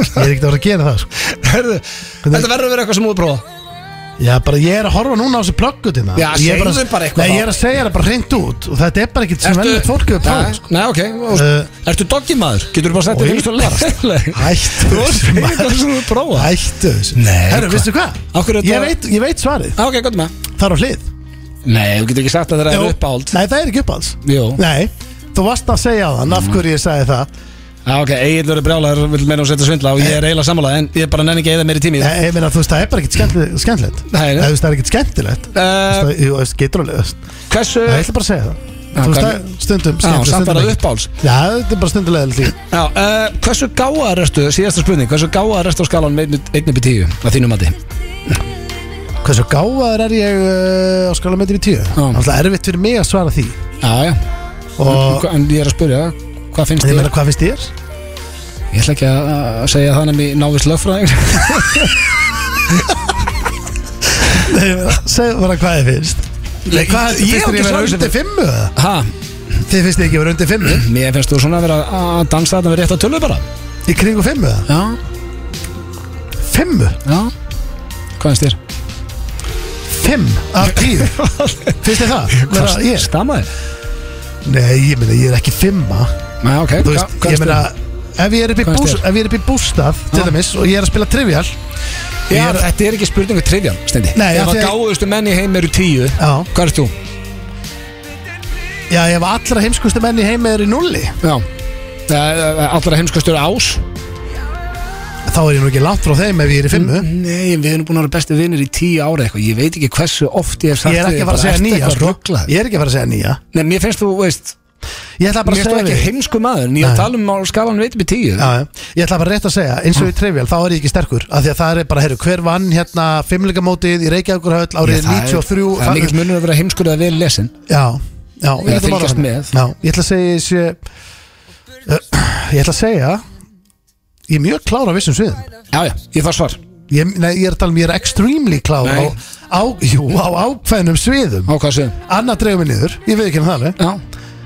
Speaker 2: ég er ekkert að vera að gera það sko.
Speaker 1: Herðu, Þetta verður að vera eitthvað sem út að prófa
Speaker 2: Já, bara ég er að horfa núna á þessu plöggutina
Speaker 1: Já,
Speaker 2: Ég er
Speaker 1: segðu bara eitthvað
Speaker 2: Nei,
Speaker 1: þá.
Speaker 2: ég er að segja það bara hreint út Og þetta er bara ekkert sem vennilegt fólk hefur
Speaker 1: Nei,
Speaker 2: prófað sko.
Speaker 1: Nei, ok
Speaker 2: Eh,
Speaker 1: og- Ertu doggimaður? Getur þú bara sett
Speaker 2: Oi.
Speaker 1: þetta finnst þú leðast
Speaker 2: Hættu
Speaker 1: Þú vorst að segja
Speaker 2: þessu
Speaker 1: eitthvað sem út að prófa
Speaker 2: Hættu þessu
Speaker 1: Nei,
Speaker 2: Herru,
Speaker 1: hvað?
Speaker 2: veistu hvað?
Speaker 1: Af hverju
Speaker 2: Ég
Speaker 1: þetta-
Speaker 2: veit, ég veit svarið
Speaker 1: Á, Ah, Ok, gott með
Speaker 2: Það er á hlið
Speaker 1: Nei, þú getur ekki sagt að það
Speaker 2: Jú.
Speaker 1: er uppáld
Speaker 2: Nei, það er ekki uppáhalds
Speaker 1: Jú,
Speaker 2: Nei, þú varst að segja á þann Af hverju ég sagði það
Speaker 1: Já, Ah, ok, Egil verður brjálæður vil meina hún setja svindla og ég er eiginlega sammála en ég bara nenni ekki eða meiri tími í það.
Speaker 2: Nei, ég meina, þú veist, það er bara ekkert skemmtilegt skemmtilegt.
Speaker 1: Nei, nei.
Speaker 2: Nei, þú veist, Það er ekkert skemmtilegt Þú
Speaker 1: Uh,
Speaker 2: veist, það- jú, þú veist, Getur alveg þú veist.
Speaker 1: hversu
Speaker 2: Nei, Ég ætla bara að segja það
Speaker 1: Ehm, Já,
Speaker 2: Þú veist,
Speaker 1: hvað-
Speaker 2: það er stundum
Speaker 1: Já,
Speaker 2: skemmtilegt,
Speaker 1: samt var
Speaker 2: stundum
Speaker 1: það
Speaker 2: ekki.
Speaker 1: uppáls
Speaker 2: Já, þetta er bara stundulega líka
Speaker 1: Já, uh, hversu gáðar ertu, síðasta spurning Hversu gáðar ertu á skalan með 1-10 að þínu mati?
Speaker 2: Hversu gáfaður er ég uh, á skálamentir í tíu? Það er alltaf erfitt fyrir mig að svara því
Speaker 1: Já, já,
Speaker 2: Og
Speaker 1: en ég er að spyrja Hvað finnst
Speaker 2: ég
Speaker 1: þér?
Speaker 2: meina hvað finnst þér?
Speaker 1: Ég ætla ekki að að segja þannig að mér návist lögfræðing
Speaker 2: Nei, ég meina, Segðu bara hvað þið finnst Nei, hvað
Speaker 1: ég- ég á
Speaker 2: finnst þér
Speaker 1: ekki
Speaker 2: ég vera
Speaker 1: svarið
Speaker 2: undir fimmu? eða?
Speaker 1: Ha,
Speaker 2: Þið finnst þér ekki vera undir fimmu?
Speaker 1: mér finnst þú svona að vera að dansa þetta með rétt að tölu bara
Speaker 2: Í kringu fimmu? eða?
Speaker 1: Já,
Speaker 2: Fimmu?
Speaker 1: já Hvað finnst þér?
Speaker 2: Fimm af tíu? Finnst þér það? Vera, ég?
Speaker 1: Stamaði?
Speaker 2: Nei, ég meina ég er ekki fimma
Speaker 1: Já, Ah, ok,
Speaker 2: Þú
Speaker 1: hva-
Speaker 2: veist,
Speaker 1: hvað
Speaker 2: ég
Speaker 1: finnst
Speaker 2: meina
Speaker 1: þér?
Speaker 2: Ef ég er upp í
Speaker 1: Hvað finnst
Speaker 2: bús-
Speaker 1: þér?
Speaker 2: ef ég er upp í bústað til
Speaker 1: Já.
Speaker 2: dæmis og ég er að spila trivial
Speaker 1: Já,
Speaker 2: ég er-
Speaker 1: þetta er ekki spurningu trivjan, Steindi
Speaker 2: Nei,
Speaker 1: Ef
Speaker 2: af
Speaker 1: að
Speaker 2: því að-
Speaker 1: gáðustu menn í heim eru tíu
Speaker 2: Já,
Speaker 1: Hvað ert þú?
Speaker 2: já ef allra heimskustu menn í heimi er í nulli
Speaker 1: Já Eh, Allra heimskastur ás
Speaker 2: þá er ég nú ekki langt frá þeim ef ég er í fimmu
Speaker 1: Mm, Nei, við erum búin að vera besti vinnir í tíu ára eitthvað Ég veit ekki hversu oft ég hef sagt
Speaker 2: Ég er ekki að fara að segja nýja sko. Ég er ekki að fara að segja nýja
Speaker 1: Nei, mér finnst þú, veist
Speaker 2: Ég ætla bara
Speaker 1: Mér finnst
Speaker 2: að
Speaker 1: þú
Speaker 2: segja
Speaker 1: ekki
Speaker 2: við
Speaker 1: heimsku maður En ég er að tala um á skalan veitum í tíu
Speaker 2: Já, já. Ég ætla bara rétt að segja, eins og
Speaker 1: Mm.
Speaker 2: í trivial þá er ég ekki sterkur af því að það er bara, heyrðu, hver vann hérna fimmleikamótið í Reykjavíkurhöll
Speaker 1: Ég, það
Speaker 2: árið
Speaker 1: er-
Speaker 2: 93
Speaker 1: Það er mikill munur að vera heimskur eða vel lesin
Speaker 2: Já, já,
Speaker 1: Eða
Speaker 2: ég ætla bara
Speaker 1: fylgjast
Speaker 2: að-
Speaker 1: með.
Speaker 2: Já, ég ætla að segja sé, uh, ég ætla að segja ég er mjög klár á vissum sviðum
Speaker 1: Já, já, ég þarf svar
Speaker 2: ég, nei, ég er að tala um ég er extremely klár á,
Speaker 1: Nei.
Speaker 2: á, jú, á ákveðnum sviðum
Speaker 1: Á hvað sem?
Speaker 2: Annað dregur mig niður, ég veit ekki hann það alveg.
Speaker 1: Já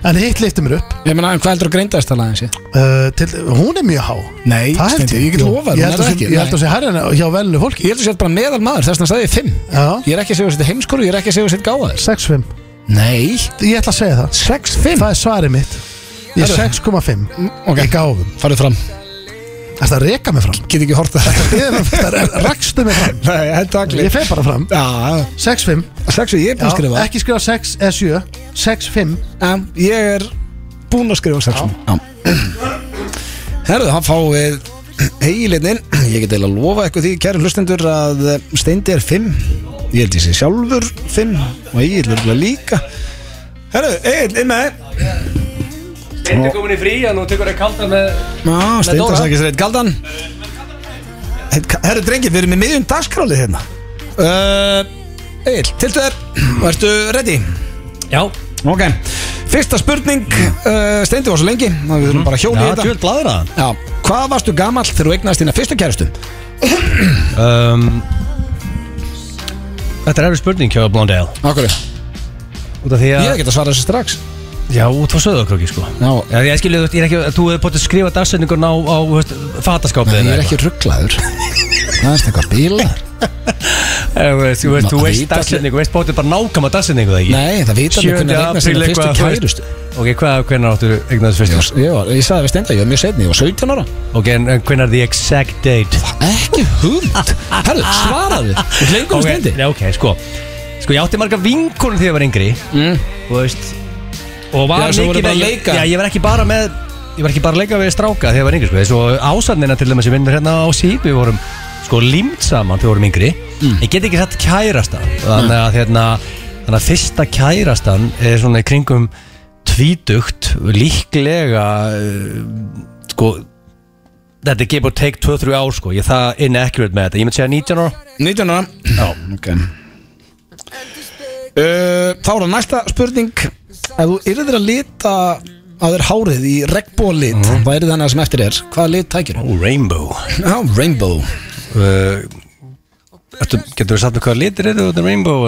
Speaker 2: En hitt liftir mér upp
Speaker 1: Ég meina, en hvað heldur að greindast það lagin sér?
Speaker 2: uh, til, Hún er mjög há
Speaker 1: Nei,
Speaker 2: Það held
Speaker 1: Steindi, ég get
Speaker 2: Jú,
Speaker 1: lofað, hún
Speaker 2: Ég held
Speaker 1: er
Speaker 2: að
Speaker 1: það
Speaker 2: sé-
Speaker 1: ekki.
Speaker 2: ég held að sé hærri en hjá velnu fólki
Speaker 1: Ég heldur sér bara meðal maður, þess vegna sagði ég 5
Speaker 2: Já.
Speaker 1: Ég er ekki að segja að þetta heimskoru, ég er ekki að segja að þetta gáðaðis
Speaker 2: 6-5
Speaker 1: Nei
Speaker 2: Ég ætla að segja það
Speaker 1: 6-5
Speaker 2: Það er svarið mitt Ég er
Speaker 1: Herru.
Speaker 2: 6,5
Speaker 1: ok.
Speaker 2: Ég gáðum
Speaker 1: Farðu fram
Speaker 2: Það er að reka mig fram
Speaker 1: Get ekki horta það
Speaker 2: Það er rakstu mig fram
Speaker 1: Nei, þetta
Speaker 2: Ég fer bara fram
Speaker 1: Já,
Speaker 2: 6-5
Speaker 1: sexu, ég er búinn að
Speaker 2: Já,
Speaker 1: skrifa
Speaker 2: Ekki skrifa 6 eða 7 6-5
Speaker 1: En ég er búinn að skrifa sexu Herðu, hann fá við eigilinn Ég get eiginlega að lofa eitthvað því, kæri hlustendur að eh, Steindi er 5 Ég held ég sé sjálfur 5 og Egil er líka Herðu, Egil, inn með þér.
Speaker 3: Þetta er komin í frí að nú tekur það kaldan með
Speaker 1: Já,
Speaker 3: Dóra.
Speaker 1: steindarsækis reitt galdan Herru drengir, við erum í miðjum dagskrálið hérna uh, Egil, tiltu þér og ertu ready?
Speaker 3: Já
Speaker 1: Ok Fyrsta spurning, uh, Steindi var svo lengi þannig að við
Speaker 3: Mhm.
Speaker 1: þurfum bara að hjóla í þetta
Speaker 3: tjöld bladur að
Speaker 1: Já, hvað varstu gamall þegar þú eignaðist þína fyrstu kærustu?
Speaker 3: um, Þetta er erfið spurning hjá Blondale
Speaker 1: Akkur,
Speaker 3: Út af því að
Speaker 1: ég hef ekki að svara þessu strax
Speaker 3: Já, út frá söðakröki sko
Speaker 1: Já,
Speaker 3: Já, ég skilja, þú- ég er ekki, þú hefur bótt að skrifa dagsetningun á, á þú veist, fataskápið
Speaker 1: ég
Speaker 3: eða
Speaker 1: er ekki rugglaður Það er eitthvað bíla
Speaker 3: eitthvað. Þú veist, þú veist, þú
Speaker 1: Ma-
Speaker 3: veist
Speaker 1: vita
Speaker 3: dagsetningu, veist bóttið bara nákvæma dagsetningu það ekki
Speaker 1: Nei, það vita mér hvernig að eignast þína fyrstu kærustu
Speaker 3: Ok, hvað, hvernig áttu eignaðis fyrstu kærustu?
Speaker 1: Ég, var, ég sagði við Steindi, ég var mjög setni, ég var 17 ára
Speaker 3: Ok, en hvernig er the exact date?
Speaker 1: Ekki hugmynd Herru, svaraðu Þú lengur um
Speaker 3: Ok,
Speaker 1: stendi
Speaker 3: Nei, ok, sko Sko, ég átti marga vinkonur þegar ég var yngri
Speaker 1: Mm.
Speaker 3: Þú veist Og var
Speaker 1: Já, sem voru
Speaker 3: mikið
Speaker 1: bara að
Speaker 3: ég-
Speaker 1: leika.
Speaker 3: Já, ég var ekki bara með Ég var ekki bara að leika við stráka þegar ég var yngri sko. Svo ásarnina til þeim sem vinnur hérna á síp Við vorum sko límt saman þegar við vorum yngri
Speaker 1: Mm.
Speaker 3: Ég get ekki satt kærasta Þannig að hérna Þannig að fyrsta kærastan er svona í kringum tvítugt líklega uh, sko þetta er give or take 2-3 ár sko ég er það inaccurate með þetta ég myndi segja 19 ára
Speaker 1: 19 ára Já, ok Uh, Þá er það næsta spurning Ef þú yrðir að lita að þér hárið í regnbólit mm. hvað er það annað sem eftir er? Hvaða lit tækir?
Speaker 3: Ó, Rainbow
Speaker 1: Já, rainbow
Speaker 3: uh, ertu, Getur við sagt með hvaða litir eru þetta Rainbow?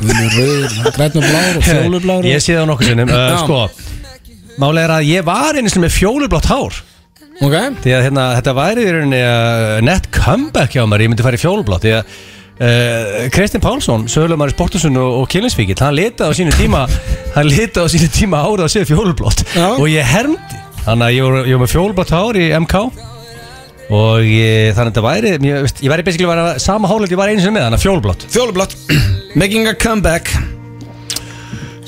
Speaker 1: Guðnur rauður, grænur blár og fjólubláru
Speaker 3: Ég sé það nokkuð sinnum uh,
Speaker 1: Já.
Speaker 3: Sko, málega er að ég var einu sinni með fjólublátt hár
Speaker 1: Ok,
Speaker 3: Því að hérna, þetta væri í rauninni uh, net comeback hjá mér Ég myndi fara í fjólublátt Því að Uh, Kristinn Pálsson, sögulegumar í Sportusun og, og Kilinsvíkil, hann litaði á sínu tíma hann litaði á sínu tíma árið að séu fjólublátt
Speaker 1: Já.
Speaker 3: og ég hermdi þannig að ég var, ég var með fjólublátt hár í MK og ég, þannig að þetta væri ég, veist, ég væri basically bara sama hálöld ég var einu sinni með þannig að fjólublátt
Speaker 1: fjólublátt Making a comeback uh,